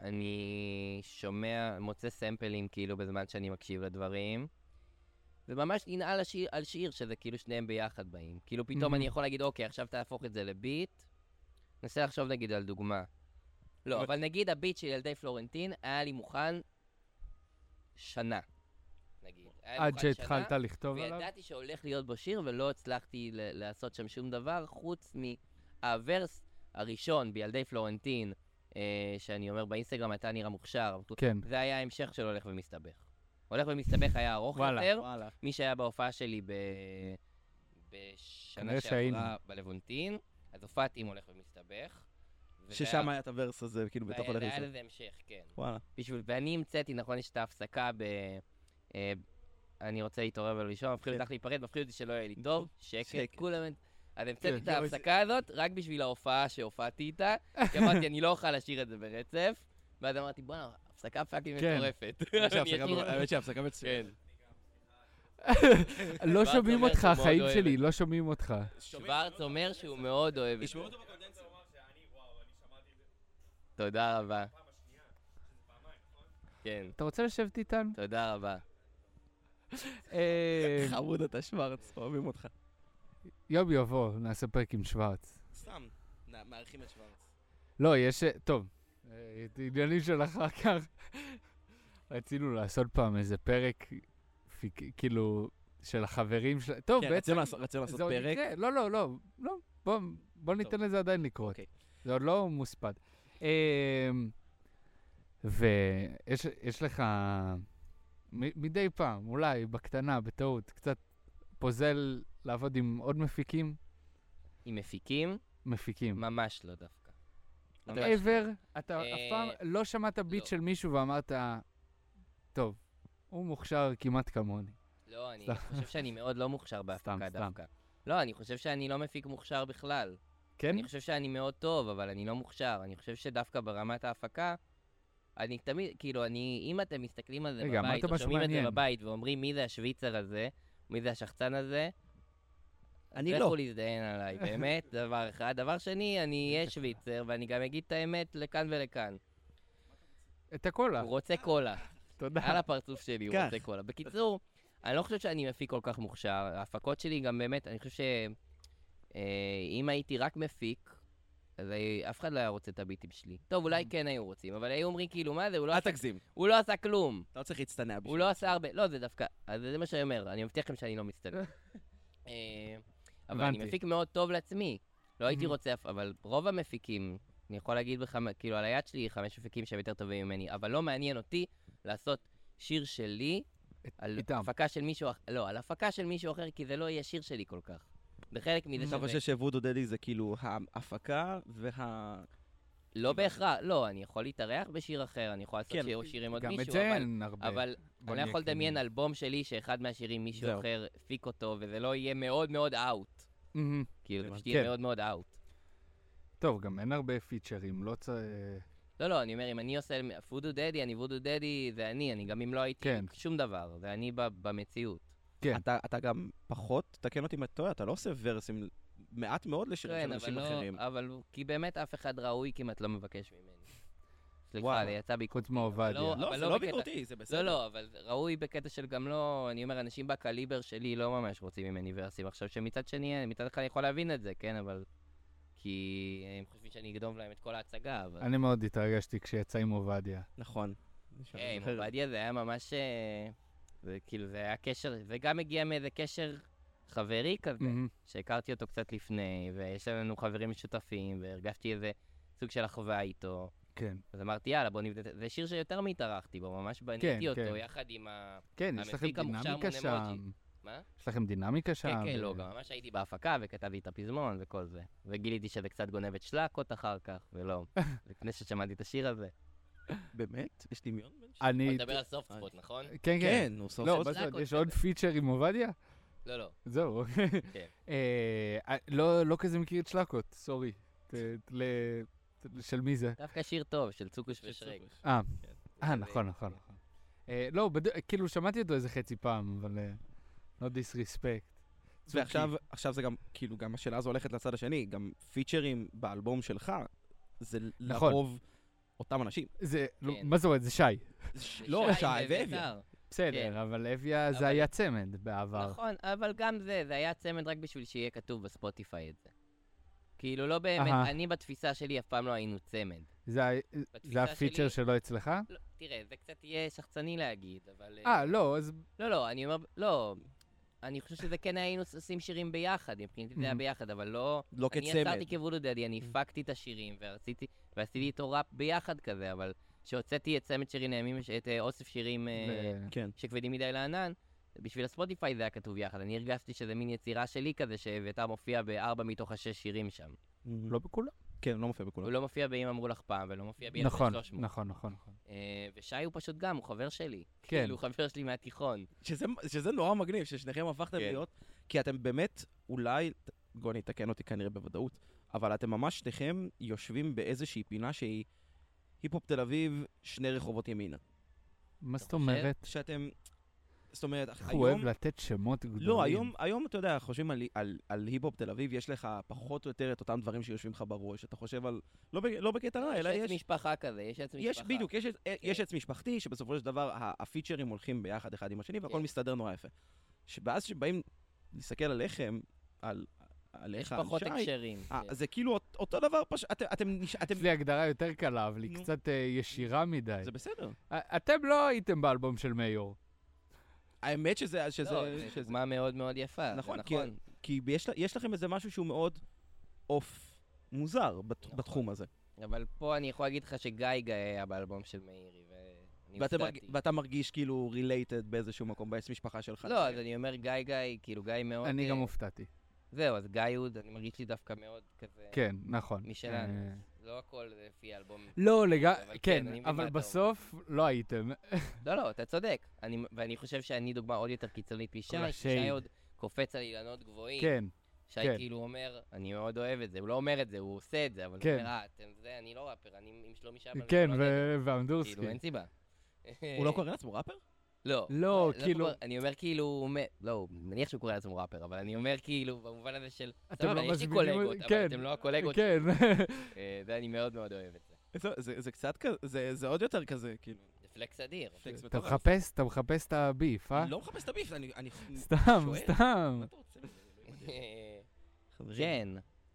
Speaker 3: אני שומע, מוצא סמפלים, כאילו, בזמן שאני מקשיב לדברים. וממש ננעל השיר, על שיר שזה כאילו שניהם ביחד באים. כאילו פתאום
Speaker 5: Mhm.
Speaker 3: אני יכול להגיד, אוקיי, עכשיו תהפוך את זה לביט. ננסה לחשוב נגיד על דוגמה. לא,
Speaker 2: אבל-
Speaker 3: אבל נגיד הביט של ילדי פלורנטין היה לי מוכן שנה. נגיד. היה
Speaker 5: עד
Speaker 3: מוכן
Speaker 5: שהתחלת
Speaker 3: אה, שנה,
Speaker 5: לכתוב עליו?
Speaker 3: וידעתי שהולך להיות בו שיר, ולא הצלחתי ל- לעשות שם שום דבר, חוץ מהוורס הראשון בילדי פלורנטין, אה, שאני אומר באינסטגרם, אתה נראה מוכשר, אבל
Speaker 5: כן.
Speaker 3: זה היה ההמשך של הולך ומסתבך. הולך ומסתבך היה ארוך
Speaker 5: וואלה.
Speaker 3: אוקיי, יותר.
Speaker 2: וואלה.
Speaker 3: מי שהיה בהופעה שלי ב...
Speaker 5: כנראה
Speaker 3: בשנה
Speaker 5: שהיינו.
Speaker 3: שעברה בלוונטין, אז הופעתי עם הולך ומסתבך. וזה
Speaker 2: ששם
Speaker 3: היה-
Speaker 2: היה את הוורס הזה, כאילו, בתוך
Speaker 3: והיה-
Speaker 2: הולך
Speaker 3: והיה
Speaker 2: לזה.
Speaker 3: לזה המשך, כן.
Speaker 2: וואלה.
Speaker 3: בשביל, ואני המצאתי, נכון, יש את ההפסקה ב... אה, אני רוצה להתעורר ולישון, מפחיד
Speaker 2: כן.
Speaker 3: אותך להיפרד, מפחיד אותי שלא יהיה לי טוב,
Speaker 2: שקט.
Speaker 3: שקט, כולם... אז
Speaker 5: כן,
Speaker 3: המצאתי את
Speaker 5: יואו, זה-
Speaker 3: ההפסקה הזאת רק בשביל ההופעה שהופעתי איתה, כי אמרתי, אני לא אוכל לשיר את זה ברצף, ואז אמרתי, בואנה, הפסקה פאקינג
Speaker 5: כן.
Speaker 3: מטורפת. אני כן. אשיר-
Speaker 2: האמת שההפסקה מצוינת.
Speaker 5: לא
Speaker 3: ואז
Speaker 5: שומעים
Speaker 3: אומר
Speaker 5: אותך,
Speaker 3: שהוא מאוד
Speaker 5: החיים
Speaker 3: אוהב
Speaker 5: שלי,
Speaker 3: את
Speaker 5: לא שומעים אותך.
Speaker 3: שוורץ אומר שהוא מאוד אוהב את זה.
Speaker 2: ישמעו אותו נכון?"
Speaker 3: תודה רבה. כן,
Speaker 5: אתה רוצה לשבת איתנו?
Speaker 3: תודה רבה.
Speaker 5: אה,
Speaker 2: חמוד אתה שוורץ, אוהבים אותך.
Speaker 5: יום יבוא, נעשה פרק עם שוורץ.
Speaker 2: סתם, מארחים את שוורץ.
Speaker 5: לא, יש... אה, טוב, אה, את העניינים של אחר כך. רצינו לעשות פעם איזה פרק, פיק- כאילו, של החברים של... טוב,
Speaker 2: כן,
Speaker 5: בעצם...
Speaker 2: רצינו לעשות- רצינו לעשות
Speaker 5: זה עוד
Speaker 2: פרק.
Speaker 5: יקרה. לא, לא, לא, לא. בוא- בוא ניתן לזה עדיין לקרות.
Speaker 2: אוקיי.
Speaker 5: זה עוד לא מוספד. אמ, ויש יש לך מ- מדי פעם, אולי בקטנה, בטעות, קצת פוזל לעבוד עם עוד מפיקים?
Speaker 3: עם מפיקים?
Speaker 5: מפיקים.
Speaker 3: ממש לא דווקא. ממש לא.
Speaker 5: ever, אתה
Speaker 3: אה,
Speaker 5: אף פעם לא שמעת ביט
Speaker 3: לא.
Speaker 5: של מישהו ואמרת, טוב, הוא מוכשר כמעט כמוני.
Speaker 3: לא, אני
Speaker 5: סתם.
Speaker 3: חושב שאני מאוד לא מוכשר בהפקה
Speaker 5: סתם.
Speaker 3: דווקא. לא, אני חושב שאני לא מפיק מוכשר בכלל.
Speaker 5: כן?
Speaker 3: אני חושב שאני מאוד טוב, אבל אני לא מוכשר. אני חושב שדווקא ברמת ההפקה, אני תמיד, כאילו, אני, אם אתם מסתכלים על זה
Speaker 5: רגע,
Speaker 3: בבית,
Speaker 5: אמרת
Speaker 3: או
Speaker 5: משהו
Speaker 3: שומעים את זה
Speaker 5: מעניין.
Speaker 3: בבית, ואומרים מי זה השוויצר הזה, מי זה השחצן הזה,
Speaker 2: אני לא.
Speaker 3: לכו להזדיין עליי, באמת, דבר אחד. דבר שני, אני אהיה שוויצר, ואני גם אגיד את האמת לכאן ולכאן.
Speaker 5: את הכל,
Speaker 3: הוא רוצה קולה.
Speaker 5: תודה.
Speaker 3: על הפרצוף שלי, הוא
Speaker 2: כך.
Speaker 3: רוצה קולה. בקיצור, אני לא חושב שאני מפיק כל כך מוכשר. ההפקות שלי גם באמת, אני חושב שאם הייתי רק מפיק, אז הי- אף אחד לא היה רוצה את הביטים שלי. טוב, אולי כן היו רוצים, אבל היו אומרים כאילו, מה זה, הוא לא
Speaker 2: אל
Speaker 3: עשה-
Speaker 2: תגזים.
Speaker 3: הוא לא עשה כלום.
Speaker 2: אתה לא צריך להצטנע בשביל
Speaker 3: הוא לא עשה הרבה, לא, זה דווקא, אז זה מה שאני אומר, אני מבטיח לכם שאני לא מצטלם. אה, אבל אני
Speaker 5: הבנתי.
Speaker 3: מפיק מאוד טוב לעצמי. לא הייתי
Speaker 5: Mhm.
Speaker 3: רוצה, אף- אבל רוב המפיקים, אני יכול להגיד לך, כאילו על היד שלי, חמש מפיקים שהם יותר טובים ממני, אבל לא מעניין אותי לעשות שיר שלי על
Speaker 5: איתם.
Speaker 3: הפקה של מישהו אחר, לא, על הפקה של מישהו אחר, כי זה לא יהיה שיר שלי כל כך. זה חלק מזה
Speaker 2: אתה
Speaker 3: שזה
Speaker 2: חושב שוודו דדי זה כאילו ההפקה וה...
Speaker 3: לא בהכרח, לא, אני יכול להתארח בשיר אחר, אני יכול לעשות
Speaker 2: כן.
Speaker 3: שיר- שיר עם עוד
Speaker 5: גם
Speaker 3: מישהו,
Speaker 5: את זה
Speaker 3: אבל-
Speaker 5: אין הרבה.
Speaker 3: אבל
Speaker 5: בוא
Speaker 3: אני לא
Speaker 5: נהיה
Speaker 3: יכול לדמיין
Speaker 5: כנים.
Speaker 3: אלבום שלי שאחד מהשירים מישהו
Speaker 2: זהו.
Speaker 3: אחר הפיק אותו, וזה לא יהיה מאוד מאוד אאוט.
Speaker 5: מהמם.
Speaker 3: כאילו, זה
Speaker 2: הבנתי.
Speaker 3: פשוט יהיה
Speaker 5: כן.
Speaker 3: מאוד מאוד אאוט.
Speaker 5: טוב, גם אין הרבה פיצ'רים, לא צריך...
Speaker 3: לא, לא, אני אומר, אם אני עושה וודו דדי, אני וודו דדי, זה אני, אני גם אם לא הייתי
Speaker 5: כן.
Speaker 3: שום דבר, זה אני ב- במציאות.
Speaker 5: כן.
Speaker 2: אתה אתה גם פחות, תקן אותי אם אתה טועה, אתה לא עושה ורסים מעט מאוד לשירים
Speaker 3: כן,
Speaker 2: של
Speaker 3: אבל
Speaker 2: אנשים
Speaker 3: לא,
Speaker 2: אחרים.
Speaker 3: אבל הוא- כי באמת אף אחד ראוי כמעט לא מבקש ממני. סליחה,
Speaker 2: וואו.
Speaker 3: זה יצא ביקור.
Speaker 5: חוץ מעובדיה.
Speaker 3: לא,
Speaker 2: לא,
Speaker 3: אבל
Speaker 2: זה
Speaker 3: לא
Speaker 2: לא
Speaker 3: בקטע-
Speaker 2: ביקורתי, זה בסדר.
Speaker 3: לא, לא, אבל ראוי בקטע של גם לא, אני אומר, אנשים בקליבר שלי לא ממש רוצים ממני ורסים. עכשיו, שמצד שני, מצד אחד אני יכול להבין את זה, כן, אבל... כי הם חושבים שאני אגנוב להם את כל ההצגה, אבל... אה,
Speaker 5: אני מאוד התרגשתי כשיצא עם עובדיה.
Speaker 3: אוקיי.
Speaker 2: נכון. שאני
Speaker 3: היי, עם
Speaker 2: זוכר.
Speaker 3: עובדיה זה היה ממש... אה, זה כאילו, זה היה קשר, זה גם הגיע מאיזה קשר חברי כזה,
Speaker 5: מהמם.
Speaker 3: שהכרתי אותו קצת לפני, ויש לנו חברים משותפים, והרגשתי איזה סוג של אחווה איתו.
Speaker 5: כן.
Speaker 3: אז אמרתי, יאללה, בוא נבדוק. זה שיר שיותר מהתארחתי בו, ממש בניתי אותו
Speaker 5: כן.
Speaker 3: יחד עם ה...
Speaker 5: כן, יש לכם
Speaker 3: המפיק המוכשר
Speaker 5: דינמיקה
Speaker 3: מונה
Speaker 5: שם.
Speaker 3: מוג'י. מה?
Speaker 5: יש לכם דינמיקה שם.
Speaker 3: כן, כן,
Speaker 5: ו-
Speaker 3: לא, גם ממש הייתי בהפקה וכתבתי את הפזמון וכל זה. וגיליתי שזה קצת גונב את שלקות אחר כך, ולא, לפני ששמעתי את השיר הזה.
Speaker 2: באמת? יש דמיון בין ש...
Speaker 5: אני...
Speaker 3: אתה מדבר על סופט ספוט, נכון?
Speaker 5: כן, כן.
Speaker 2: כן, הוא סוף
Speaker 5: לא,
Speaker 2: סוף.
Speaker 5: מה
Speaker 3: סלאק
Speaker 5: זאת אומרת,
Speaker 3: עוד
Speaker 5: יש עוד
Speaker 3: כזה.
Speaker 5: פיצ'ר עם עובדיה?
Speaker 3: לא, לא.
Speaker 5: זהו. אוקיי.
Speaker 3: כן.
Speaker 5: אה, אה, לא לא כזה מכיר את שלקות, סורי. ת- ל- ת- של מי זה?
Speaker 3: דווקא שיר טוב של צוקוש ושרק.
Speaker 5: אה,
Speaker 2: כן.
Speaker 5: אה, נכון, נכון, נכון. אה, לא, בד- כאילו, שמעתי אותו איזה חצי פעם, אבל... אה, לא דיסריספקט.
Speaker 2: ועכשיו עכשיו זה גם, כאילו, גם השאלה הזו הולכת לצד השני, גם פיצ'רים באלבום שלך, זה
Speaker 5: נכון.
Speaker 2: לרוב אותם אנשים.
Speaker 5: זה, לא,
Speaker 3: כן.
Speaker 5: מה זאת אומרת? זה שי.
Speaker 2: לא,
Speaker 3: ושי
Speaker 2: שי ואביה.
Speaker 3: ואביתר. כן.
Speaker 5: בסדר, אבל אביה
Speaker 3: אבל-
Speaker 5: זה היה צמד בעבר.
Speaker 3: נכון, אבל גם זה, זה היה צמד רק בשביל שיהיה כתוב בספוטיפיי את זה. כאילו, לא באמת,
Speaker 5: אהה.
Speaker 3: אני בתפיסה שלי אף פעם לא היינו צמד.
Speaker 5: זה ה- זה
Speaker 3: בתפיסה
Speaker 5: הפיצ'ר
Speaker 3: שלי-
Speaker 5: שלו אצלך?
Speaker 3: לא, תראה, זה קצת יהיה שחצני להגיד, אבל...
Speaker 5: אה, לא, אז...
Speaker 3: לא, לא, אני אומר, לא. אני חושב שזה כן היינו עושים שירים ביחד, מבחינתי זה היה
Speaker 5: Mhm.
Speaker 3: ביחד, אבל לא...
Speaker 2: לא
Speaker 3: אני
Speaker 2: כצמד.
Speaker 3: יצרתי כוודו דדי, אני הפקתי את השירים, ורציתי, ועשיתי איתו ראפ ביחד כזה, אבל כשהוצאתי את צמד שירים נעימים, את אה, אוסף שירים אה,
Speaker 5: ו-
Speaker 2: כן.
Speaker 3: שכבדים מדי לענן, בשביל הספוטיפיי זה היה כתוב יחד. אני הרגשתי שזה מין יצירה שלי כזה, שאביתר מופיע בארבע מתוך השש שירים שם.
Speaker 5: לא בכולם.
Speaker 2: כן, לא מופיע בכולם.
Speaker 3: הוא לא מופיע ב"אם אמרו לך פעם", ולא מופיע ב-1300.
Speaker 5: נכון, נכון, נכון, נכון.
Speaker 3: אה, ושי הוא פשוט גם, הוא חבר שלי.
Speaker 5: כן.
Speaker 3: כאילו, הוא חבר שלי מהתיכון.
Speaker 2: שזה, שזה נורא מגניב, ששניכם הפכתם
Speaker 3: כן.
Speaker 2: להיות, כי אתם באמת, אולי, ת- גוני תקן אותי כנראה בוודאות, אבל אתם ממש שניכם יושבים באיזושהי פינה שהיא היפ-הופ תל אביב, שני רחובות ימינה.
Speaker 5: מה זאת
Speaker 3: חושב?
Speaker 5: אומרת?
Speaker 2: שאתם, זאת אומרת, אח-
Speaker 5: הוא אוהב
Speaker 2: היום...
Speaker 5: לתת שמות גדולים.
Speaker 2: לא, היום, היום אתה יודע, חושבים על, על, על היפ-הופ תל אביב, יש לך פחות או יותר את אותם דברים שיושבים לך בראש, אתה חושב על... לא, בג- לא בקטע רע, אלא
Speaker 3: יש עץ
Speaker 2: יש...
Speaker 3: משפחה כזה, יש עץ משפחה.
Speaker 2: יש, בדיוק, יש, כן. יש עץ משפחתי, שבסופו של דבר ה- הפיצ'רים הולכים ביחד אחד עם השני, והכל
Speaker 3: כן.
Speaker 2: מסתדר נורא יפה. ש- ואז שבאים להסתכל עליכם, על, עליך,
Speaker 3: יש
Speaker 2: על
Speaker 3: פחות
Speaker 2: שי,
Speaker 3: הקשרים.
Speaker 2: אה,
Speaker 3: כן.
Speaker 2: זה כאילו אות- אותו דבר, פשוט, אתם, אתם, נש- אתם,
Speaker 5: יש לי הגדרה יותר קלה, אבל היא
Speaker 2: נו.
Speaker 5: קצת אה, ישירה מדי.
Speaker 2: זה בסדר.
Speaker 5: א- אתם לא הייתם באלבום של מאיור.
Speaker 2: האמת שזה, שזה,
Speaker 3: לא, זו
Speaker 2: שזה
Speaker 3: דוגמה מאוד מאוד יפה. זה
Speaker 2: נכון, כי-
Speaker 3: נכון.
Speaker 2: כי יש, לה- יש לכם איזה משהו שהוא מאוד עוף מוזר בת,
Speaker 3: נכון.
Speaker 2: בתחום הזה.
Speaker 3: אבל פה אני יכול להגיד לך שגיא גיא היה באלבום של מאירי, ואני
Speaker 2: ואתם,
Speaker 3: הופתעתי.
Speaker 2: מרג- ואתה מרגיש כאילו רילייטד באיזשהו מקום, בעץ משפחה שלך.
Speaker 3: לא, אז אני אומר גיא גיא, כאילו גיא מאוד...
Speaker 5: אני
Speaker 3: אה,
Speaker 5: גם הופתעתי.
Speaker 3: זהו, אז גיא הוא, אני מרגיש לי דווקא מאוד כזה...
Speaker 5: כן, נכון.
Speaker 3: משלנו.
Speaker 5: אה,
Speaker 3: לא הכל זה לפי האלבום.
Speaker 5: לא,
Speaker 3: אבל
Speaker 5: לגמרי,
Speaker 3: כן, אני
Speaker 5: כן,
Speaker 3: מבין מה
Speaker 5: אבל
Speaker 3: אתה
Speaker 5: בסוף לא הייתם.
Speaker 3: לא, לא, אתה צודק. אני- ואני חושב שאני דוגמה עוד יותר קיצונית משי, כי שי
Speaker 5: השייד.
Speaker 3: עוד קופץ על אילנות גבוהים.
Speaker 5: כן,
Speaker 3: שי
Speaker 5: כן.
Speaker 3: כאילו אומר, אני מאוד אוהב את זה, הוא לא אומר את זה, הוא עושה את זה, אבל הוא
Speaker 5: כן.
Speaker 3: אומר, אה, אתם זה, אני לא ראפר, אני עם שלומי שבן.
Speaker 5: כן,
Speaker 3: אני לא ראפר."
Speaker 5: ו- והאמדורסקי.
Speaker 3: כאילו, אין סיבה.
Speaker 2: הוא
Speaker 3: אה,
Speaker 2: לא קורא לעצמו ראפר?
Speaker 3: לא.
Speaker 5: לא, כאילו-
Speaker 3: קורא- אני אומר כאילו, הוא אומר- לא, הוא- נניח שהוא קורא לעצמו ראפר, אבל אני אומר כאילו, במובן הזה של,
Speaker 5: אתם
Speaker 3: סבבה,
Speaker 5: לא
Speaker 3: יש לי
Speaker 5: מזמינים
Speaker 3: קולגות,
Speaker 5: אותי-
Speaker 3: אבל
Speaker 5: כן.
Speaker 3: אתם לא הקולגות שלי.
Speaker 5: כן,
Speaker 3: אה, זה אני מאוד מאוד אוהב את זה.
Speaker 2: זה, זה, זה קצת כזה, זה, זה עוד יותר כזה, כאילו.
Speaker 3: זה פלקס אדיר.
Speaker 2: פלקס
Speaker 5: אתה
Speaker 2: מטורף.
Speaker 5: מחפש, אתה מחפש את הביף, אה?
Speaker 2: אני לא מחפש את הביף, אני... אני
Speaker 5: סתם,
Speaker 2: שואל.
Speaker 5: סתם.
Speaker 2: מה אתה רוצה מזה? אלוהים אדירים? חברים.
Speaker 3: כן,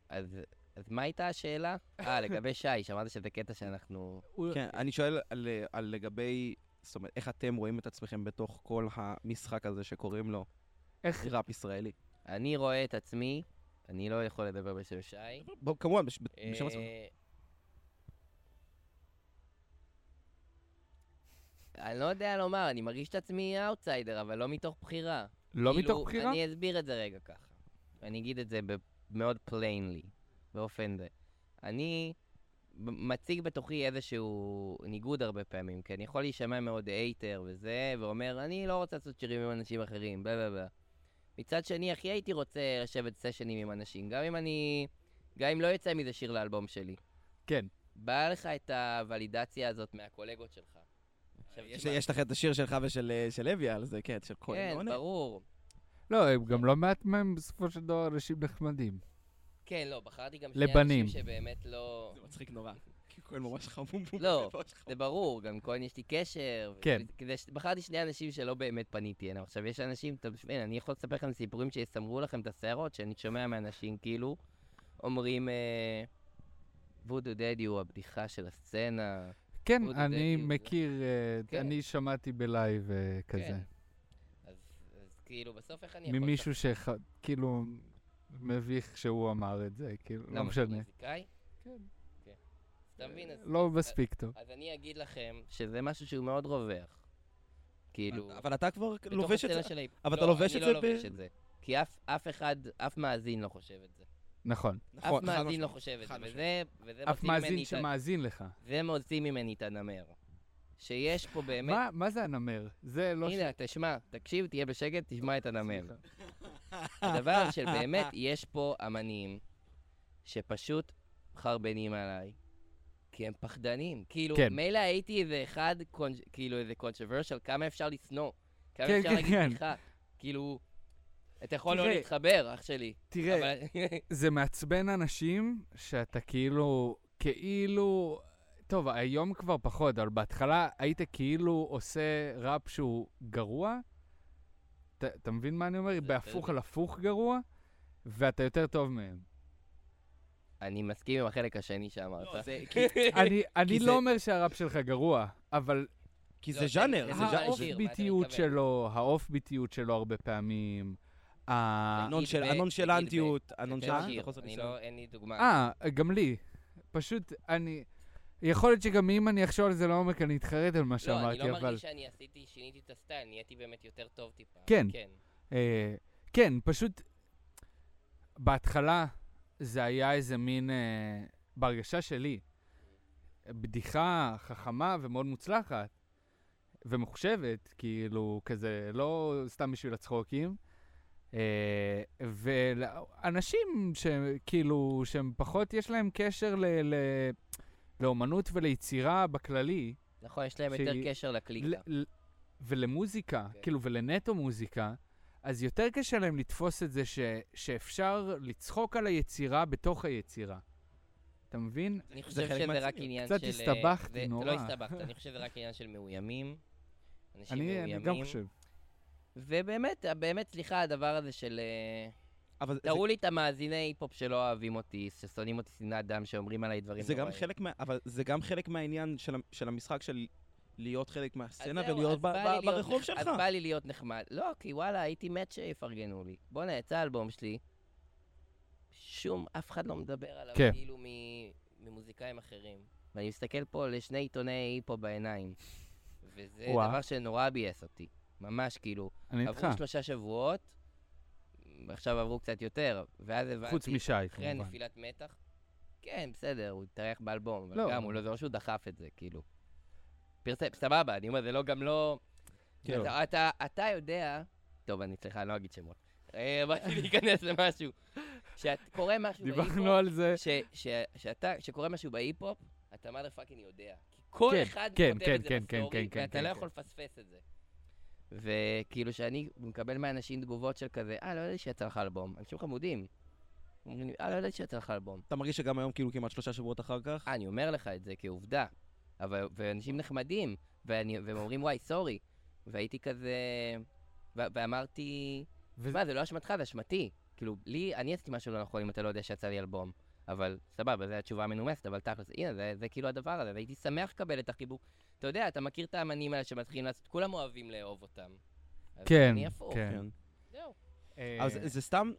Speaker 3: אז אז מה הייתה השאלה? אה, לגבי שי, שמעת שזה קטע שאנחנו...
Speaker 5: הוא-
Speaker 2: כן, אני שואל על, על לגבי, זאת אומרת, איך אתם רואים את עצמכם בתוך כל המשחק הזה שקוראים לו
Speaker 5: איך-
Speaker 2: ראפ ישראלי?
Speaker 3: אני רואה את עצמי, אני לא יכול לדבר בשם שי.
Speaker 2: בוא, כמובן, בש, בשם עצמך.
Speaker 3: אה, אני לא יודע לומר, אני מרגיש את עצמי אאוטסיידר, אבל לא מתוך בחירה.
Speaker 5: לא
Speaker 3: כאילו,
Speaker 5: מתוך בחירה?
Speaker 3: אני אסביר את זה רגע ככה. אני אגיד את זה ב- מאוד פליינלי, באופן זה. אני ב- מציג בתוכי איזשהו ניגוד הרבה פעמים, כי אני יכול להישמע מאוד אייטר וזה, ואומר, אני לא רוצה לעשות שירים עם אנשים אחרים, בלה בלה בלה. מצד שני, הכי הייתי רוצה לשבת סשנים עם אנשים, גם אם אני... גם אם לא יצא מזה שיר לאלבום שלי.
Speaker 5: כן.
Speaker 3: באה לך את הוולידציה הזאת מהקולגות שלך. עכשיו,
Speaker 2: יש,
Speaker 3: תשמע,
Speaker 2: יש לך את השיר שלך ושל אה, של לוי על זה, כן, של כל
Speaker 3: כן,
Speaker 2: עונה.
Speaker 3: ברור.
Speaker 5: לא, הם גם לא מעט מהם בסופו של דבר אנשים נחמדים.
Speaker 3: כן, לא, בחרתי גם
Speaker 5: לבנים.
Speaker 3: אנשים שבאמת לא...
Speaker 2: זה מצחיק נורא. כי כהן ממש חמום. הוא
Speaker 3: לא.
Speaker 2: ממש חמום.
Speaker 3: זה ברור, גם כהן יש לי קשר. ו-
Speaker 5: כן.
Speaker 3: כדי ש- בחרתי שני אנשים שלא באמת פניתי אליהם. עכשיו, יש אנשים, אתה מבין, אני יכול לספר לכם סיפורים שיסמרו לכם את השערות, שאני שומע מאנשים כאילו, אומרים, אה, וודו דדי הוא הבדיחה של הסצנה.
Speaker 5: כן,
Speaker 3: הוא
Speaker 5: אני
Speaker 3: דודאי, הוא זה.
Speaker 5: מכיר, אה,
Speaker 3: כן.
Speaker 5: אני שמעתי בלייב אה, כזה.
Speaker 3: כן. אז אז כאילו, בסוף איך אני יכול...
Speaker 5: ממישהו שכאילו מביך שהוא אמר את זה, כאילו, לא
Speaker 3: למה, אתה
Speaker 5: משנה.
Speaker 3: מוזיקאי?
Speaker 5: כן.
Speaker 3: כן. אז אתה מבין, אז-
Speaker 5: לא
Speaker 3: אז-
Speaker 5: מספיק טוב.
Speaker 3: אז אני אגיד לכם שזה משהו שהוא מאוד רווח. כאילו...
Speaker 2: אבל אתה כבר
Speaker 3: בתוך
Speaker 2: לובש את
Speaker 3: הסצנה
Speaker 2: זה.
Speaker 3: של ההיפ-
Speaker 2: אבל
Speaker 3: לא,
Speaker 2: אתה לובש את
Speaker 3: אני
Speaker 2: זה
Speaker 3: לא
Speaker 2: ב-
Speaker 3: לובש את זה. כי אף- אף אחד, אף מאזין לא חושב את זה.
Speaker 5: נכון.
Speaker 3: אף
Speaker 2: נכון, חד
Speaker 3: מאזין
Speaker 2: משמעית.
Speaker 3: לא חושב את זה,
Speaker 2: חד משמעית.
Speaker 3: וזה וזה
Speaker 5: אף
Speaker 3: מוציא
Speaker 5: מאזין
Speaker 3: ממני את ה-
Speaker 5: שמאזין לך.
Speaker 3: זה מוציא ממני את הנמר. שיש פה באמת...
Speaker 5: מה- מה זה הנמר? זה לא... ש-
Speaker 3: הנה, תשמע, תקשיב, תהיה בשקט, תשמע את הנמר.
Speaker 5: סליחה.
Speaker 3: הדבר שבאמת, יש פה אמנים שפשוט חרבנים עליי, כי הם פחדנים. כאילו,
Speaker 5: כן.
Speaker 3: מילא הייתי איזה אחד, קונ- כאילו איזה קונטרוברשל, כמה אפשר לשנוא? כמה
Speaker 5: כן,
Speaker 3: אפשר
Speaker 5: כן,
Speaker 3: להגיד
Speaker 5: כן.
Speaker 3: סליחה? כאילו, אתה יכול לא
Speaker 5: תראה,
Speaker 3: להתחבר, אח שלי.
Speaker 5: תראה,
Speaker 3: אבל...
Speaker 5: זה מעצבן אנשים שאתה כאילו, כאילו... טוב, היום כבר פחות, אבל בהתחלה היית כאילו עושה ראפ שהוא גרוע. ת- אתה מבין מה אני אומר? בהפוך על הפוך גרוע, ואתה יותר טוב מהם.
Speaker 3: אני מסכים עם החלק השני שאמרת.
Speaker 2: לא, זה- כי-
Speaker 5: אני, אני
Speaker 2: זה-
Speaker 5: לא אומר שהראפ שלך גרוע, אבל
Speaker 2: כי
Speaker 3: לא,
Speaker 2: זה
Speaker 3: זה-
Speaker 2: ז'אנר,
Speaker 3: זה
Speaker 2: זה ז'אנר.
Speaker 3: האופי. מה אתה
Speaker 5: האוף-ביטיות
Speaker 3: מתכוון?
Speaker 5: שלו, האוף-ביטיות שלו הרבה פעמים. ה-
Speaker 2: הנון של-
Speaker 3: נגיד ב-
Speaker 2: הנונשלנטיות, הנונשלנטיות,
Speaker 3: תקשיב,
Speaker 2: החוסר
Speaker 3: אני
Speaker 2: ניסיון.
Speaker 3: לא, אין לי דוגמה.
Speaker 5: אה, גם לי. פשוט, אני... יכול להיות שגם אם אני אחשוב על זה לעומק, אני אתחרט על מה
Speaker 3: לא, אני
Speaker 5: שאמרתי,
Speaker 3: לא
Speaker 5: אבל...
Speaker 3: מרגיש שאני עשיתי, שיניתי את הסטייל, נהייתי באמת יותר טוב טיפה.
Speaker 5: כן.
Speaker 3: כן.
Speaker 5: אה, כן, פשוט... בהתחלה זה היה איזה מין... אה, בהרגשה שלי, בדיחה חכמה ומאוד מוצלחת ומחושבת, כאילו, כזה, לא סתם בשביל הצחוקים. אה, ואנשים שכאילו, שהם פחות, יש להם קשר ל... ל... לאומנות וליצירה בכללי,
Speaker 3: נכון, יש להם
Speaker 5: שהיא-
Speaker 3: יותר קשר לקליקה.
Speaker 5: ל- ל- ולמוזיקה,
Speaker 3: כן.
Speaker 5: כאילו, ולנטו מוזיקה, אז יותר קשה להם לתפוס את זה ש, שאפשר לצחוק על היצירה בתוך היצירה. אתה מבין?
Speaker 3: אני
Speaker 2: חלק
Speaker 3: חושב שזה רק
Speaker 2: מהצביעות.
Speaker 3: עניין של...
Speaker 5: קצת הסתבכתי,
Speaker 3: זה-
Speaker 5: נורא.
Speaker 3: לא הסתבכת, אני חושב שזה רק עניין של מאוימים. אנשים
Speaker 5: אני, אני גם
Speaker 3: מאוימים.
Speaker 5: חושב.
Speaker 3: ובאמת, באמת, סליחה, הדבר הזה של... אה,
Speaker 2: אבל זה-
Speaker 3: תראו לי את המאזיני היפ-הופ שלא אוהבים אותי, ששונאים אותי שנאת דם, שאומרים עליי דברים
Speaker 2: זה גם
Speaker 3: נוראים.
Speaker 2: חלק מה... אבל זה גם חלק מהעניין של ה- של המשחק של להיות חלק
Speaker 3: אז
Speaker 2: מהסצנה
Speaker 3: זהו,
Speaker 2: ולהיות
Speaker 3: אז
Speaker 2: ב-
Speaker 3: בא לי
Speaker 2: ב-
Speaker 3: להיות
Speaker 2: ברחוב
Speaker 3: נח-
Speaker 2: שלך.
Speaker 3: אז בא לי להיות נחמד. לא, כי וואלה, הייתי מת שיפרגנו לי. בואנה, יצא האלבום שלי, שום, אף אחד לא מדבר עליו,
Speaker 5: כן.
Speaker 3: כאילו מ- ממוזיקאים אחרים. ואני מסתכל פה לשני עיתונאי היפו בעיניים. וזה
Speaker 5: וואו.
Speaker 3: דבר שנורא ביאס אותי. ממש, כאילו,
Speaker 5: אני איתך.
Speaker 3: עברו שלושה שבועות, עכשיו עברו קצת יותר, ואז הבנתי...
Speaker 5: חוץ משי,
Speaker 3: אחרי
Speaker 5: כמובן.
Speaker 3: נפילת מתח. כן, בסדר, הוא התארח באלבום, אבל
Speaker 5: לא.
Speaker 3: גם הוא לא, זה לא שהוא דחף את זה, כאילו. פרסם, סבבה, אני אומר, זה לא גם לא...
Speaker 5: כן.
Speaker 3: אתה, אתה, אתה יודע... טוב, אני סליחה, אני לא אגיד שמות. אה, באתי להיכנס למשהו. כשאת- קורה משהו
Speaker 5: דיברנו על זה.
Speaker 3: ש, ש, שאתה, כשקורה משהו בהיפ-הופ, אתה מה פאקינג יודע. כי כל
Speaker 5: כן,
Speaker 3: אחד
Speaker 5: כן,
Speaker 3: כותב
Speaker 5: כן,
Speaker 3: את זה
Speaker 5: כן, כן,
Speaker 3: מסתורי,
Speaker 5: כן, כן,
Speaker 3: ואתה
Speaker 5: כן,
Speaker 3: לא
Speaker 5: כן.
Speaker 3: יכול לפספס את זה. וכאילו שאני מקבל מאנשים תגובות של כזה, אה, לא ידעתי שיצא לך אלבום. אנשים חמודים. אומרים לי, אה, לא ידעתי שיצא לך אלבום.
Speaker 2: אתה מרגיש שגם היום, כאילו, כמעט שלושה שבועות אחר כך?
Speaker 3: אה, אני אומר לך את זה כעובדה. אבל, ואנשים נחמדים, ואני, והם אומרים, וואי, סורי. והייתי כזה... ו- ואמרתי,
Speaker 5: וזה-
Speaker 3: מה, זה לא אשמתך, זה אשמתי. כאילו, לי, אני עשיתי משהו לא נכון אם אתה לא יודע שיצא לי אלבום. אבל, סבבה, זו התשובה המנומסת, אבל תכלס, הנה, זה, זה כאילו הדבר הזה, והייתי שמח לקבל את החיבוק. אתה יודע, אתה מכיר את האמנים האלה שמתחילים לעשות, כולם אוהבים לאהוב אותם. אז
Speaker 5: כן,
Speaker 3: אני הפוך.
Speaker 5: כן.
Speaker 2: כן.
Speaker 3: זהו. כן.
Speaker 5: אה,
Speaker 2: אבל זה- זה סתם,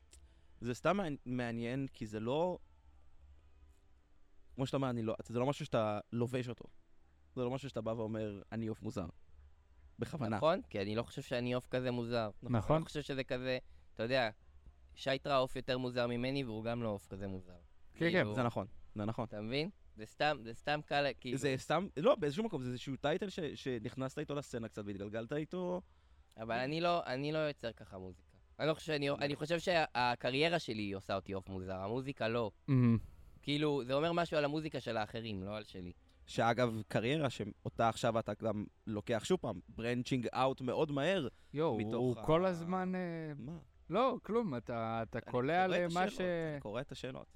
Speaker 2: זה סתם מעני- מעניין, כי זה לא... כמו שאתה אומר, אני לא... זה לא משהו שאתה לובש אותו. זה לא משהו שאתה בא ואומר, אני עוף מוזר. בכוונה.
Speaker 3: נכון? כי אני לא חושב שאני עוף כזה מוזר. אני
Speaker 5: נכון.
Speaker 3: לא חושב שזה כזה, אתה יודע, שייטרה עוף יותר מוזר ממני, והוא גם לא עוף כזה מוזר.
Speaker 5: כן,
Speaker 3: כאילו,
Speaker 2: זה נכון, זה נכון.
Speaker 3: אתה מבין? זה סתם, זה סתם קל, כאילו.
Speaker 2: זה סתם, לא, באיזשהו מקום, זה איזשהו טייטל ש- שנכנסת איתו לסצנה קצת והתגלגלת איתו.
Speaker 3: אבל אני לא, אני לא יוצר ככה מוזיקה. אני לא חושב שאני, אני חושב שהקריירה שלי עושה אותי עוף מוזר, המוזיקה לא.
Speaker 5: מהמם.
Speaker 3: כאילו, זה אומר משהו על המוזיקה של האחרים, לא על שלי.
Speaker 2: שאגב, קריירה שאותה עכשיו אתה גם לוקח שוב פעם, ברנצ'ינג אאוט מאוד מהר.
Speaker 5: יואו,
Speaker 2: מתוך
Speaker 5: הוא
Speaker 2: ה-
Speaker 5: כל הזמן... אה,
Speaker 2: מה?
Speaker 5: לא, כלום, אתה אתה
Speaker 2: אני
Speaker 5: קולע
Speaker 2: קורא את
Speaker 5: למה
Speaker 2: השאלות,
Speaker 5: ש...
Speaker 2: אני קורא את השאלות.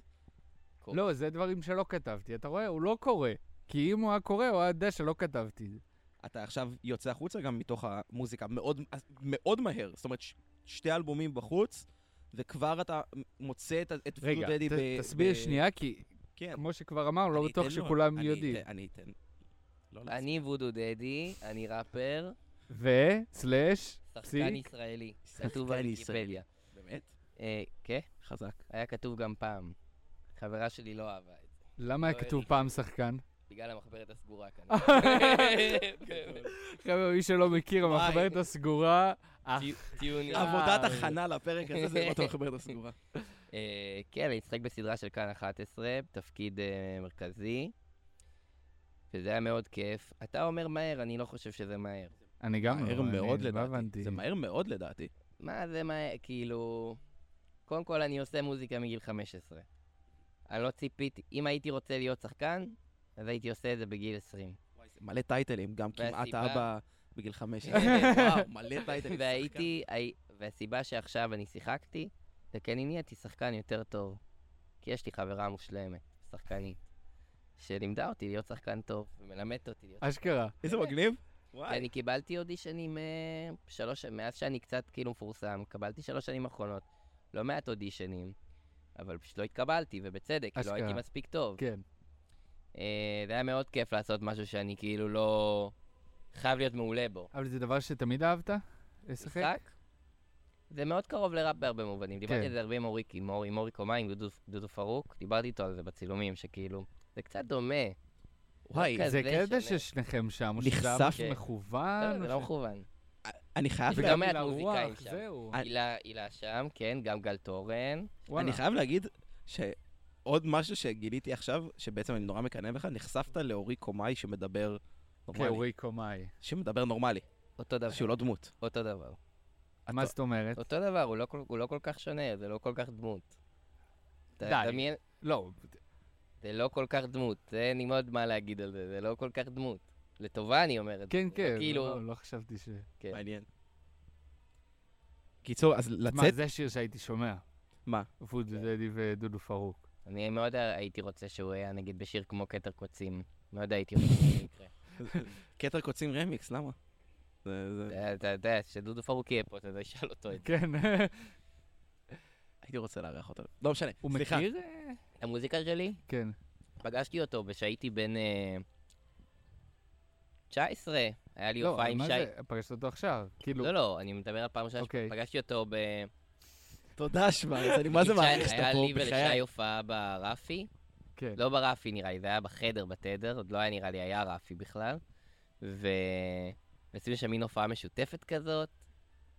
Speaker 5: לא, זה דברים שלא כתבתי. אתה רואה? הוא לא קורא. כי אם הוא היה קורא, הוא היה יודע שלא כתבתי.
Speaker 2: אתה עכשיו יוצא החוצה גם מתוך המוזיקה, מאוד, מאוד מהר. זאת אומרת, ש- שתי אלבומים בחוץ, וכבר אתה מוצא את, ה- את
Speaker 5: רגע,
Speaker 2: פלו דדי
Speaker 5: ת-
Speaker 2: ב-
Speaker 5: תסביר
Speaker 2: אה, ב-
Speaker 5: שנייה, כי
Speaker 2: כן.
Speaker 5: כמו שכבר אמרנו,
Speaker 2: אני
Speaker 5: לא בטוח
Speaker 2: אתן לו,
Speaker 5: שכולם
Speaker 2: אני
Speaker 5: יודעים.
Speaker 2: אתן- אני אתן. לא לעצור.
Speaker 3: אני וודו דדי, אני ראפר,
Speaker 5: ו... סלאש,
Speaker 3: שחקן
Speaker 5: פסיק,
Speaker 3: ישראלי.
Speaker 2: שחקן
Speaker 3: כתוב
Speaker 2: ישראלי.
Speaker 3: בוויקיפדיה.
Speaker 2: באמת?
Speaker 3: אה, כן?
Speaker 2: חזק.
Speaker 3: היה כתוב גם פעם. חברה שלי לא אהבה את זה.
Speaker 5: למה היה
Speaker 3: לא
Speaker 5: כתוב
Speaker 3: אלה.
Speaker 5: פעם שחקן?
Speaker 3: בגלל המחברת הסגורה כן. כנראה.
Speaker 5: חבר'ה, מי שלא מכיר,
Speaker 3: וואי.
Speaker 5: המחברת הסגורה, אה,
Speaker 3: טיו- טיונים.
Speaker 2: עבודת הכנה לפרק הזה זה אותו חברת הסגורה.
Speaker 3: אה, כן, אני אשחק בסדרה של כאן 11, תפקיד אה, מרכזי, וזה היה מאוד כיף. אתה אומר מהר, אני לא חושב שזה מהר.
Speaker 5: אני גם לא,
Speaker 2: מהר
Speaker 5: אני
Speaker 2: מאוד
Speaker 5: לא
Speaker 2: לדעתי.
Speaker 5: הבנתי.
Speaker 2: זה מהר מאוד לדעתי.
Speaker 3: מה זה מהר? כאילו... קודם כל, אני עושה מוזיקה מגיל 15. אני לא ציפיתי, אם הייתי רוצה להיות שחקן, אז הייתי עושה את זה בגיל 20.
Speaker 2: וואי, זה מלא טייטלים, גם כמעט
Speaker 3: והסיבה-
Speaker 2: אבא בגיל חמש.
Speaker 3: וואו.
Speaker 2: מלא טייטלים.
Speaker 3: והייתי, הי- והסיבה שעכשיו אני שיחקתי, זה כי אני נהייתי שחקן יותר טוב. כי יש לי חברה מושלמת, שחקנית, שלימדה אותי להיות שחקן טוב, ומלמדת אותי להיות...
Speaker 5: אשכרה.
Speaker 2: איזה מגניב.
Speaker 3: כי
Speaker 2: וואי.
Speaker 3: אני קיבלתי אודישנים אה, שלוש, מאז שאני קצת כאילו מפורסם, קיבלתי שלוש שנים האחרונות, לא מעט אודישנים, אבל פשוט לא התקבלתי, ובצדק, כי לא
Speaker 5: אשכרה.
Speaker 3: הייתי מספיק טוב.
Speaker 5: כן.
Speaker 3: אה, זה היה מאוד כיף לעשות משהו שאני כאילו לא... חייב להיות מעולה בו.
Speaker 5: אבל זה דבר שתמיד אהבת? לשחק?
Speaker 3: משחק? זה מאוד קרוב לראפ בהרבה מובנים. דיברתי
Speaker 5: כן.
Speaker 3: על זה הרבה עם אורי, עם אורי, עם אורי קומה, עם דודו- דודו פרוק, דיברתי איתו על זה בצילומים, שכאילו, זה קצת דומה.
Speaker 5: אה,
Speaker 2: וואי,
Speaker 3: כזה
Speaker 5: זה קטע
Speaker 3: שונה.
Speaker 5: ששניכם שם, או שזה היה
Speaker 2: נחשף?
Speaker 5: משהו
Speaker 3: כן.
Speaker 5: מכוון?
Speaker 3: לא, זה
Speaker 5: או
Speaker 3: לא
Speaker 5: ש-
Speaker 3: מכוון.
Speaker 2: אני חייב
Speaker 3: זה
Speaker 5: וגם
Speaker 3: גם
Speaker 2: להגיד,
Speaker 3: מעט
Speaker 5: לרוח,
Speaker 3: מוזיקאים שם.
Speaker 5: זהו.
Speaker 2: אני-
Speaker 3: הילה הילה שם, כן, גם גל תורן.
Speaker 5: וואלה.
Speaker 2: אני חייב להגיד שעוד משהו שגיליתי עכשיו, שבעצם אני נורא מקנא בך, נחשפת לאורי קומאי שמדבר נורמלי.
Speaker 5: כאורי אוקיי, קומאי.
Speaker 2: שמדבר נורמלי,
Speaker 3: אותו דבר.
Speaker 2: שהוא לא דמות.
Speaker 3: אותו דבר.
Speaker 5: מה
Speaker 2: אתה-
Speaker 5: זאת אומרת?
Speaker 3: אותו דבר, הוא לא כל- הוא לא כל כך שונה, זה לא כל כך דמות. אתה
Speaker 5: די.
Speaker 3: דמיין-
Speaker 5: לא,
Speaker 3: זה לא כל כך דמות, אין לי מאוד מה להגיד על זה, זה לא כל כך דמות. לטובה אני אומר את זה.
Speaker 5: כן,
Speaker 3: זה
Speaker 5: כן,
Speaker 3: כאילו,
Speaker 5: לא- לא חשבתי ש...
Speaker 3: כן.
Speaker 2: מעניין. קיצור, אז
Speaker 5: מה,
Speaker 2: לצאת...
Speaker 5: זה שיר שהייתי שומע.
Speaker 2: מה?
Speaker 5: וודו דדי ודודו פרוק.
Speaker 3: אני מאוד אה, הייתי רוצה שהוא היה נגיד בשיר כמו כתר קוצים. מאוד הייתי רוצה שזה יקרה.
Speaker 2: כתר קוצים רמיקס, למה? זה- זה-
Speaker 3: אתה- אתה יודע, שדודו פרוק יהיה פה, אתה יודע, שאל אותו את זה.
Speaker 5: כן.
Speaker 2: הייתי רוצה לארח אותו. לא משנה,
Speaker 5: הוא
Speaker 2: סליחה.
Speaker 5: מכיר? אה,
Speaker 3: את המוזיקה שלי,
Speaker 5: כן.
Speaker 3: פגשתי אותו כשהייתי בן אה, 19, היה לי
Speaker 5: לא,
Speaker 3: הופעה
Speaker 5: אבל
Speaker 3: עם
Speaker 5: מה
Speaker 3: שי.
Speaker 5: זה? פגשת אותו עכשיו. כאילו,
Speaker 3: לא, לא, אני מדבר על פעם ראשונה,
Speaker 5: אוקיי.
Speaker 3: פגשתי אותו ב...
Speaker 2: תודה, שוורץ, אני מה זה
Speaker 3: שי-
Speaker 2: מעריך שאתה
Speaker 3: היה
Speaker 2: פה,
Speaker 3: לי ולשי
Speaker 2: בחיי.
Speaker 3: הופעה ברפי,
Speaker 5: כן.
Speaker 3: לא ברפי נראה לי, זה היה בחדר, בתדר, עוד לא היה נראה לי, היה רפי בכלל. ו... ועשינו שם מין הופעה משותפת כזאת.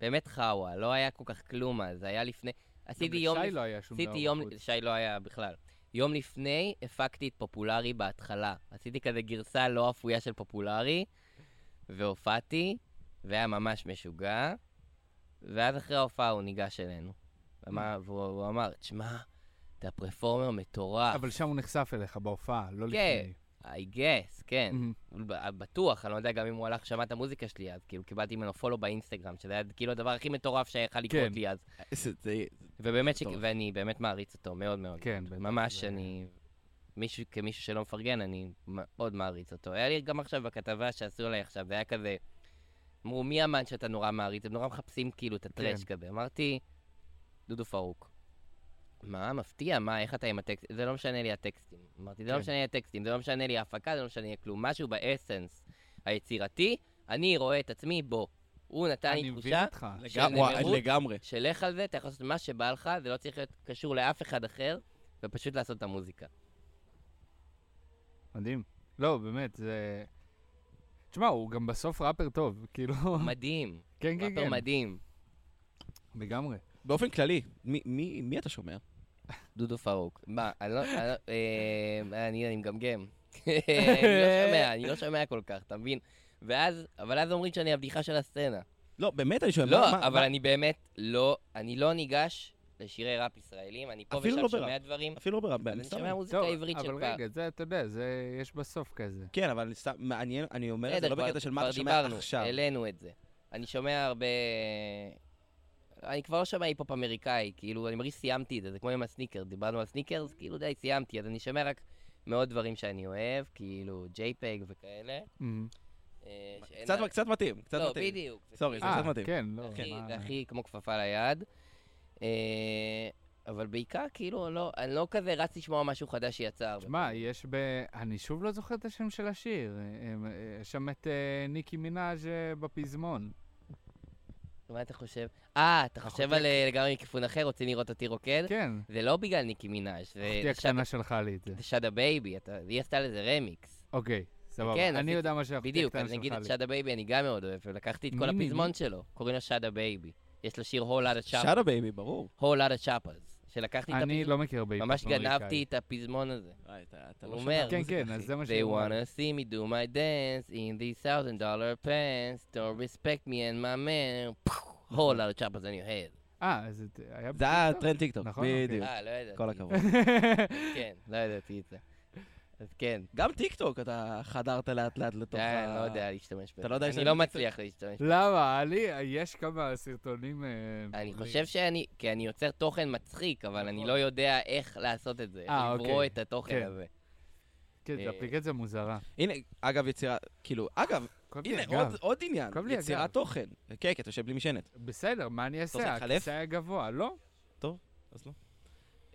Speaker 3: באמת חאווה, לא היה כל כך כלום אז, זה היה לפני...
Speaker 5: גם
Speaker 3: עשיתי יום...
Speaker 5: לשי לא היה שום דבר
Speaker 3: עשיתי יום,
Speaker 5: בחוץ.
Speaker 3: שי לא היה בכלל. יום לפני הפקתי את פופולרי בהתחלה. עשיתי כזה גרסה לא אפויה של פופולרי, והופעתי, והיה ממש משוגע, ואז אחרי ההופעה הוא ניגש אלינו.
Speaker 5: Mm.
Speaker 3: אמר, והוא והוא אמר, תשמע, אתה פרפורמר מטורף.
Speaker 5: אבל שם הוא נחשף אליך בהופעה, לא
Speaker 3: כן.
Speaker 5: לפני.
Speaker 3: I guess, כן.
Speaker 5: מהמם.
Speaker 3: הוא ב- בטוח, אני לא יודע גם אם הוא הלך, שמע את המוזיקה שלי אז, כאילו קיבלתי ממנו פולו באינסטגרם, שזה היה כאילו הדבר הכי מטורף שיכול לקרות
Speaker 5: כן.
Speaker 3: לי אז.
Speaker 2: זה- זה-
Speaker 3: ובאמת, ש...
Speaker 2: טוב.
Speaker 3: ואני באמת מעריץ אותו מאוד מאוד.
Speaker 5: כן, בטח.
Speaker 3: ממש,
Speaker 5: זה-
Speaker 3: אני... מישהו, כמישהו שלא מפרגן, אני מאוד מעריץ אותו. היה לי גם עכשיו בכתבה שעשו עליי עכשיו, זה היה כזה... אמרו, מי האמן שאתה נורא מעריץ? הם נורא מחפשים כאילו את הטרש
Speaker 5: כן.
Speaker 3: כזה. אמרתי, דודו פרוק. מה, מפתיע, מה, איך אתה עם הטקסט? זה לא משנה לי הטקסטים. אמרתי, זה לא
Speaker 5: כן.
Speaker 3: משנה לי הטקסטים, זה לא משנה לי ההפקה, זה לא משנה לי כלום. משהו באסנס היצירתי, אני רואה את עצמי בו. הוא נתן
Speaker 5: אני
Speaker 3: לי
Speaker 5: מבין
Speaker 3: תחושה
Speaker 5: אותך.
Speaker 3: של
Speaker 2: לגמרי,
Speaker 3: נאמרות,
Speaker 2: לגמרי.
Speaker 3: שלך על זה, אתה יכול לעשות מה שבא לך, זה לא צריך להיות קשור לאף אחד אחר, ופשוט לעשות את המוזיקה.
Speaker 5: מדהים. לא, באמת, זה... תשמע, הוא גם בסוף ראפר טוב, כאילו...
Speaker 3: מדהים,
Speaker 5: כן, כן,
Speaker 3: ראפר
Speaker 5: כן.
Speaker 3: מדהים.
Speaker 5: לגמרי.
Speaker 2: באופן כללי, מי- מי מי אתה שומע?
Speaker 3: דודו פרוק. מה, אני לא, אני לא- אה, אני אני מגמגם. אני לא שומע, אני לא שומע כל כך, אתה מבין? ואז, אבל אז אומרים שאני הבדיחה של הסצנה.
Speaker 2: לא, באמת אני שואל. מה-
Speaker 3: לא,
Speaker 2: מה-
Speaker 3: אבל
Speaker 2: מה-
Speaker 3: אני באמת לא, אני לא ניגש לשירי ראפ ישראלים, אני פה
Speaker 2: אפילו
Speaker 3: ושם
Speaker 2: לא
Speaker 3: שומע
Speaker 2: בראפ.
Speaker 3: דברים,
Speaker 2: אפילו לא ברמב"ם.
Speaker 3: אני שומע מוזיקה עברית של
Speaker 5: אבל
Speaker 3: פעם.
Speaker 5: רגע, זה, אתה יודע, זה... יש בסוף כזה.
Speaker 2: כן, אבל סתם, מעניין, אני אומר את זה
Speaker 3: בסדר,
Speaker 2: לא
Speaker 3: כבר-
Speaker 2: בקטע של מה
Speaker 3: כבר
Speaker 2: אתה שומע
Speaker 3: דיברנו,
Speaker 2: עכשיו.
Speaker 3: העלינו את זה. אני שומע הרבה... אני כבר לא שומע היפ-הופ אמריקאי, כאילו, אני מרגיש שסיימתי את זה, זה כמו עם הסניקרס, דיברנו על סניקרס, כאילו, די, סיימתי, אז אני שומע רק מאוד דברים שאני אוהב, כאילו, JPEG וכאלה.
Speaker 5: מהמם.
Speaker 3: אה, שאין
Speaker 2: קצת
Speaker 3: לה-
Speaker 2: קצת מתאים, קצת
Speaker 3: לא,
Speaker 2: מתאים.
Speaker 3: בדיוק. זה
Speaker 2: סורי,
Speaker 3: כאילו-
Speaker 5: אה,
Speaker 2: קצת מתאים.
Speaker 5: כן, לא.
Speaker 3: זה הכי-
Speaker 5: מה-
Speaker 3: זה הכי כמו כפפה ליד. אה, אבל בעיקר, כאילו, לא, אני לא כזה רץ לשמוע משהו חדש שיצא הרבה.
Speaker 5: תשמע, יש ב... אני שוב לא זוכר את השם של השיר. הם- אה, יש שם את אה, ניקי מנאז' אה, בפזמון.
Speaker 3: מה אתה חושב? אה, אתה חושב
Speaker 5: אחותי-
Speaker 3: על אה, לגמרי מכיוון אחר, רוצים לראות אותי רוקד?
Speaker 5: כן.
Speaker 3: זה לא בגלל ניקי מנאז', זה
Speaker 5: אחותי
Speaker 3: שד-
Speaker 5: הקטנה שלחה לי את זה.
Speaker 3: זה שדה בייבי, אתה- היא עשתה לזה רמיקס.
Speaker 5: אוקיי, סבבה.
Speaker 3: כן,
Speaker 5: אני
Speaker 3: עשיתי-
Speaker 5: יודע מה שאחותי
Speaker 3: בדיוק,
Speaker 5: הקטנה
Speaker 3: אז נגיד
Speaker 5: שלחה
Speaker 3: את
Speaker 5: לי.
Speaker 3: שדה בייבי אני גם מאוד אוהב, ולקחתי את כל
Speaker 5: מי, מי,
Speaker 3: הפזמון
Speaker 5: מי?
Speaker 3: שלו, קוראים לו שדה בייבי. יש לו שיר Whole Lotta Chappers,
Speaker 2: שאלה בייבי, ברור.
Speaker 3: Whole Lotta Chappers, שלקחתי את
Speaker 5: אני
Speaker 3: הפזמון,
Speaker 5: לא מכיר בהיפ-הופ
Speaker 3: ממש
Speaker 5: אמריקאי.
Speaker 3: גנבתי את הפזמון הזה.
Speaker 2: אה, אתה אתה
Speaker 3: הוא
Speaker 2: לא
Speaker 3: אומר,
Speaker 2: שומע
Speaker 5: כן,
Speaker 2: מוזיקה,
Speaker 5: כן,
Speaker 2: אחי.
Speaker 5: אז זה מה
Speaker 3: They
Speaker 5: שהוא אמר.
Speaker 3: wanna see me do my dance in these thousand dollar pants, don't respect me and my man, Whole Lotta Chappers on your head.
Speaker 5: אה, אז את- היה...
Speaker 2: זה היה טרנד טיקטוק,
Speaker 5: נכון, אוקיי.
Speaker 2: בדיוק.
Speaker 3: אה, לא ידעתי.
Speaker 2: כל הכבוד.
Speaker 3: כן, לא ידעתי את זה. אז כן,
Speaker 2: גם טיקטוק, אתה חדרת לאט לאט לתוך
Speaker 3: אה, אני לא יודע להשתמש בזה.
Speaker 2: אתה לא יודע
Speaker 3: אני
Speaker 2: להשתמש
Speaker 3: לא
Speaker 2: בזה?
Speaker 3: מצליח להשתמש
Speaker 5: למה? אני... יש כמה סרטונים... אה,
Speaker 3: אני
Speaker 5: מעולים.
Speaker 3: חושב שאני, כי אני יוצר תוכן מצחיק, אבל אני לא יודע איך לעשות את זה, איך
Speaker 5: נכון. אה,
Speaker 3: לברוא
Speaker 5: אוקיי.
Speaker 3: את התוכן
Speaker 5: כן.
Speaker 3: הזה.
Speaker 5: כן,
Speaker 3: אה,
Speaker 5: זו אפליקציה מוזרה.
Speaker 2: הנה, אגב, יצירה, כאילו, אגב,
Speaker 5: כואב לי
Speaker 2: הנה,
Speaker 5: הגב.
Speaker 2: עוד- עוד עניין,
Speaker 5: כואב לי הגב.
Speaker 2: יצירת תוכן. כן, כי אתה יושב בלי משענת.
Speaker 5: בסדר, מה אני
Speaker 2: רוצה
Speaker 5: אעשה?
Speaker 2: להתחלף?
Speaker 5: הכיסא היה גבוה, לא?
Speaker 2: אז לא.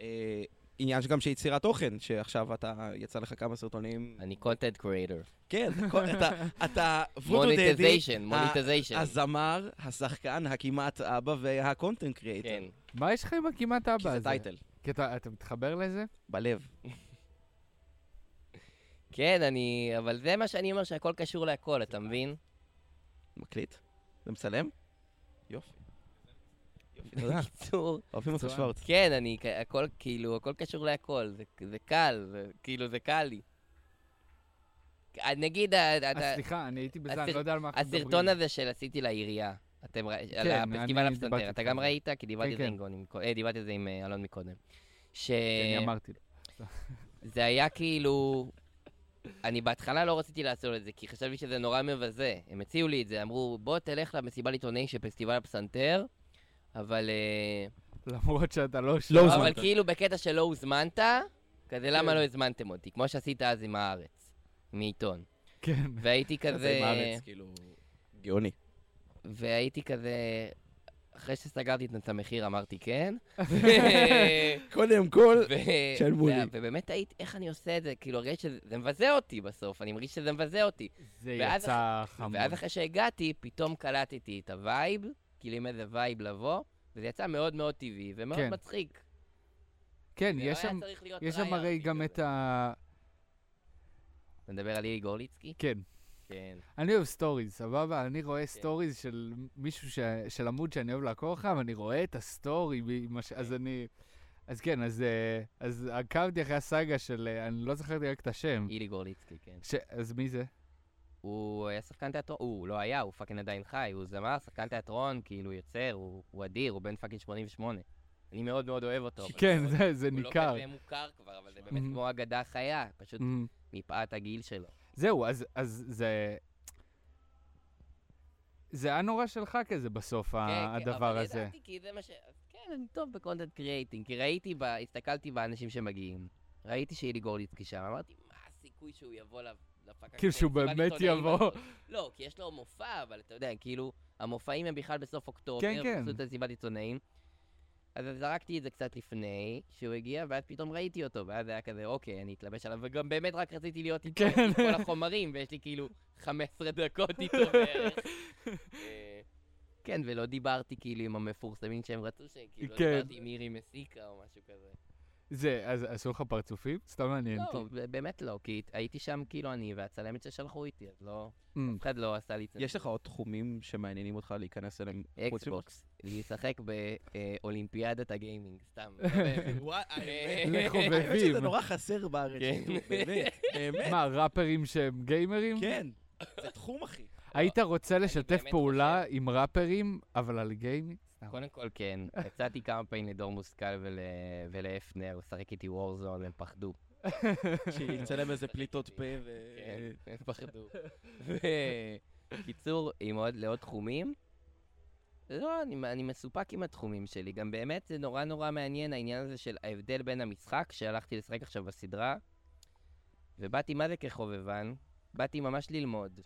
Speaker 2: אה, עניין שגם של יצירת תוכן, שעכשיו אתה, יצא לך כמה סרטונים.
Speaker 3: אני קונטנט קרייטר.
Speaker 2: כן, כל- אתה, אתה וודו דדי,
Speaker 3: מוניטיזיישן, מוניטיזיישן.
Speaker 2: הזמר, השחקן, הכמעט אבא והקונטנט קריאייטר.
Speaker 3: כן.
Speaker 5: מה יש לך עם הכמעט
Speaker 2: כי
Speaker 5: אבא
Speaker 2: זה
Speaker 5: הזה?
Speaker 2: טייטל,
Speaker 5: כי אתה אתה מתחבר לזה?
Speaker 2: בלב.
Speaker 3: כן, אני... אבל זה מה שאני אומר, שהכל קשור להכל, אתה מבין?
Speaker 2: מקליט? אתה מצלם? יופי. יופי, תודה.
Speaker 3: בקיצור,
Speaker 2: אוהבים אותך
Speaker 5: מצוין.
Speaker 2: שוורץ.
Speaker 3: כן, אני... כ- הכל, כאילו, הכל קשור להכל. זה- זה קל, זה- כאילו, זה קל לי. אה, נגיד, ה-
Speaker 5: אז
Speaker 3: אתה-
Speaker 5: סליחה, אני הייתי בזה, אני
Speaker 3: הסרט-
Speaker 5: לא יודע על מה אנחנו מדברים.
Speaker 3: הסרטון הזה שעשיתי לעירייה, אתם ראיתם, על
Speaker 5: כן,
Speaker 3: הפסטיבל
Speaker 5: אני
Speaker 3: הפסנתר,
Speaker 5: דיברתי
Speaker 3: אתה
Speaker 5: איתך על
Speaker 3: גם
Speaker 5: זה.
Speaker 3: ראית? כי דיברתי
Speaker 5: כן,
Speaker 3: על זה
Speaker 5: כן.
Speaker 3: עם גוני מקודם, אה, דיברתי על זה עם אה, אלון מקודם. ש...
Speaker 5: כן, אני אמרתי לו.
Speaker 3: זה היה כאילו... אני בהתחלה לא רציתי לעשות את זה, כי חשבתי שזה נורא מבזה. הם הציעו לי את זה, אמרו, בוא תלך למסיבת עיתונאים של פסטיבל הפסנתר, אבל... אה,
Speaker 5: למרות שאתה לא כן. שם.
Speaker 2: לא
Speaker 3: אבל
Speaker 2: הוזמנת.
Speaker 3: כאילו בקטע שלא הוזמנת, כזה למה לא הזמנתם אותי, כמו שעשית אז עם הארץ, מעיתון.
Speaker 5: כן.
Speaker 3: והייתי
Speaker 2: זה
Speaker 3: כזה...
Speaker 2: עם הארץ, כאילו... גאוני.
Speaker 3: והייתי כזה... אחרי שסגרתי את המחיר אמרתי כן.
Speaker 2: קודם כל,
Speaker 3: ו-
Speaker 2: שלמו
Speaker 3: ו-
Speaker 2: לי.
Speaker 3: ובאמת הייתי, איך אני עושה את זה? כאילו, הרגשתי שזה זה מבזה אותי בסוף, אני מרגיש שזה מבזה אותי.
Speaker 5: זה
Speaker 3: ואז
Speaker 5: יצא חמור.
Speaker 3: ואז אחרי שהגעתי, פתאום קלטתי את הווייב, כאילו עם איזה וייב לבוא, וזה יצא מאוד מאוד טבעי ומאוד
Speaker 5: כן.
Speaker 3: מצחיק.
Speaker 5: כן,
Speaker 3: זה לא
Speaker 5: יש
Speaker 3: היה
Speaker 5: שם-
Speaker 3: צריך להיות
Speaker 5: יש
Speaker 3: try-out
Speaker 5: שם הרי גם
Speaker 3: כזה.
Speaker 5: את ה...
Speaker 3: אתה מדבר על לילי גורליצקי?
Speaker 5: כן.
Speaker 3: כן.
Speaker 5: אני אוהב סטוריז, סבבה? אני רואה סטוריז של מישהו, ש... של עמוד שאני אוהב לעקור אחריו, ואני רואה את הסטורי, ב- מה ש-
Speaker 3: כן.
Speaker 5: אז אני... אז כן, אז, אה, אז עקבתי אחרי הסאגה של... אה, אני לא זכרתי רק את השם.
Speaker 3: אילי גורליצקי, כן.
Speaker 5: ש... אז מי זה?
Speaker 3: הוא היה שחקן תיאטרון, הוא לא היה, הוא פאקינג עדיין חי, הוא זמר, שחקן תיאטרון, כאילו יוצר, הוא, הוא אדיר, הוא בן פאקינג 88. אני מאוד מאוד אוהב אותו. אבל
Speaker 5: כן,
Speaker 3: הוא-
Speaker 5: זה, זה
Speaker 3: הוא
Speaker 5: ניכר.
Speaker 3: לא כזה מוכר כבר, אבל זה באמת
Speaker 5: Mhm.
Speaker 3: כמו אגדה חיה, פשוט
Speaker 5: אמ,
Speaker 3: מפאת הגיל שלו.
Speaker 5: זהו, אז, אז זה... זה היה נורא שלך כזה בסוף, ה-
Speaker 3: כן, כן,
Speaker 5: הדבר
Speaker 3: אבל
Speaker 5: הזה.
Speaker 3: ידעתי, כי זה מה ש... אז כן, אני טוב בקונטנט קריאייטינג, כי ראיתי, ב... הסתכלתי באנשים שמגיעים, ראיתי שאילי גורליצקי שם, אמרתי, מה הסיכוי שהוא יבוא ל- לפאקינג...
Speaker 5: כאילו שהוא
Speaker 3: פסטיבל
Speaker 5: באמת
Speaker 3: עיתונאים
Speaker 5: יבוא.
Speaker 3: הזאת? לא, כי יש לו מופע, אבל אתה יודע, כאילו, המופעים הם בכלל בסוף אוקטובר,
Speaker 5: כן, כן.
Speaker 3: פשוט מסיבת עיתונאים. אז זרקתי את זה קצת לפני שהוא הגיע, ואז פתאום ראיתי אותו, ואז היה כזה, אוקיי, אני אתלבש עליו, וגם באמת רק רציתי להיות איתו,
Speaker 5: כן.
Speaker 3: עם כל החומרים, ויש לי כאילו 15 דקות איתו בערך. אה, כן, ולא דיברתי כאילו עם המפורסמים שהם רצו, שכאילו לא
Speaker 5: כן.
Speaker 3: דיברתי עם מירי מסיקה או משהו כזה.
Speaker 5: זה, אז עשו לך פרצופים? סתם
Speaker 2: כן,
Speaker 5: מעניין אותי.
Speaker 3: לא, ב- באמת לא, כי הייתי שם כאילו אני והצלמת ששלחו איתי, אז לא,
Speaker 5: אמ,
Speaker 3: אף אחד לא עשה לי צנזורה.
Speaker 2: Hmm. יש לך עוד תחומים שמעניינים אותך להיכנס אליהם? חוץ מ-
Speaker 3: אקסבוקס, לשחק באולימפיאדת הגיימינג, סתם. לא באמת.
Speaker 2: וואי,
Speaker 5: לחובבים.
Speaker 2: האמת שזה נורא חסר בארץ,
Speaker 3: כן.
Speaker 2: כאילו, באמת,
Speaker 3: לא-
Speaker 2: באמת.
Speaker 5: מה, ראפרים שהם גיימרים?
Speaker 2: כן, זה תחום, אחי.
Speaker 5: היית רוצה לשתף
Speaker 3: באמת
Speaker 5: פעולה עם ראפרים, אבל על גיימינג?
Speaker 3: קודם כל כן, יצאתי כמה פעמים לדור מושכל ול- ולאפנר, הוא שחק איתי וורזון, הם פחדו.
Speaker 2: שיצלם איזה פליטות פה ו...
Speaker 3: כן, הם פחדו. קיצור, עם עוד, לעוד תחומים? לא, אני, אני מסופק עם התחומים שלי. גם באמת זה נורא נורא מעניין העניין הזה של ההבדל בין המשחק שהלכתי לשחק עכשיו בסדרה, ובאתי מה זה כחובבן? באתי ממש ללמוד,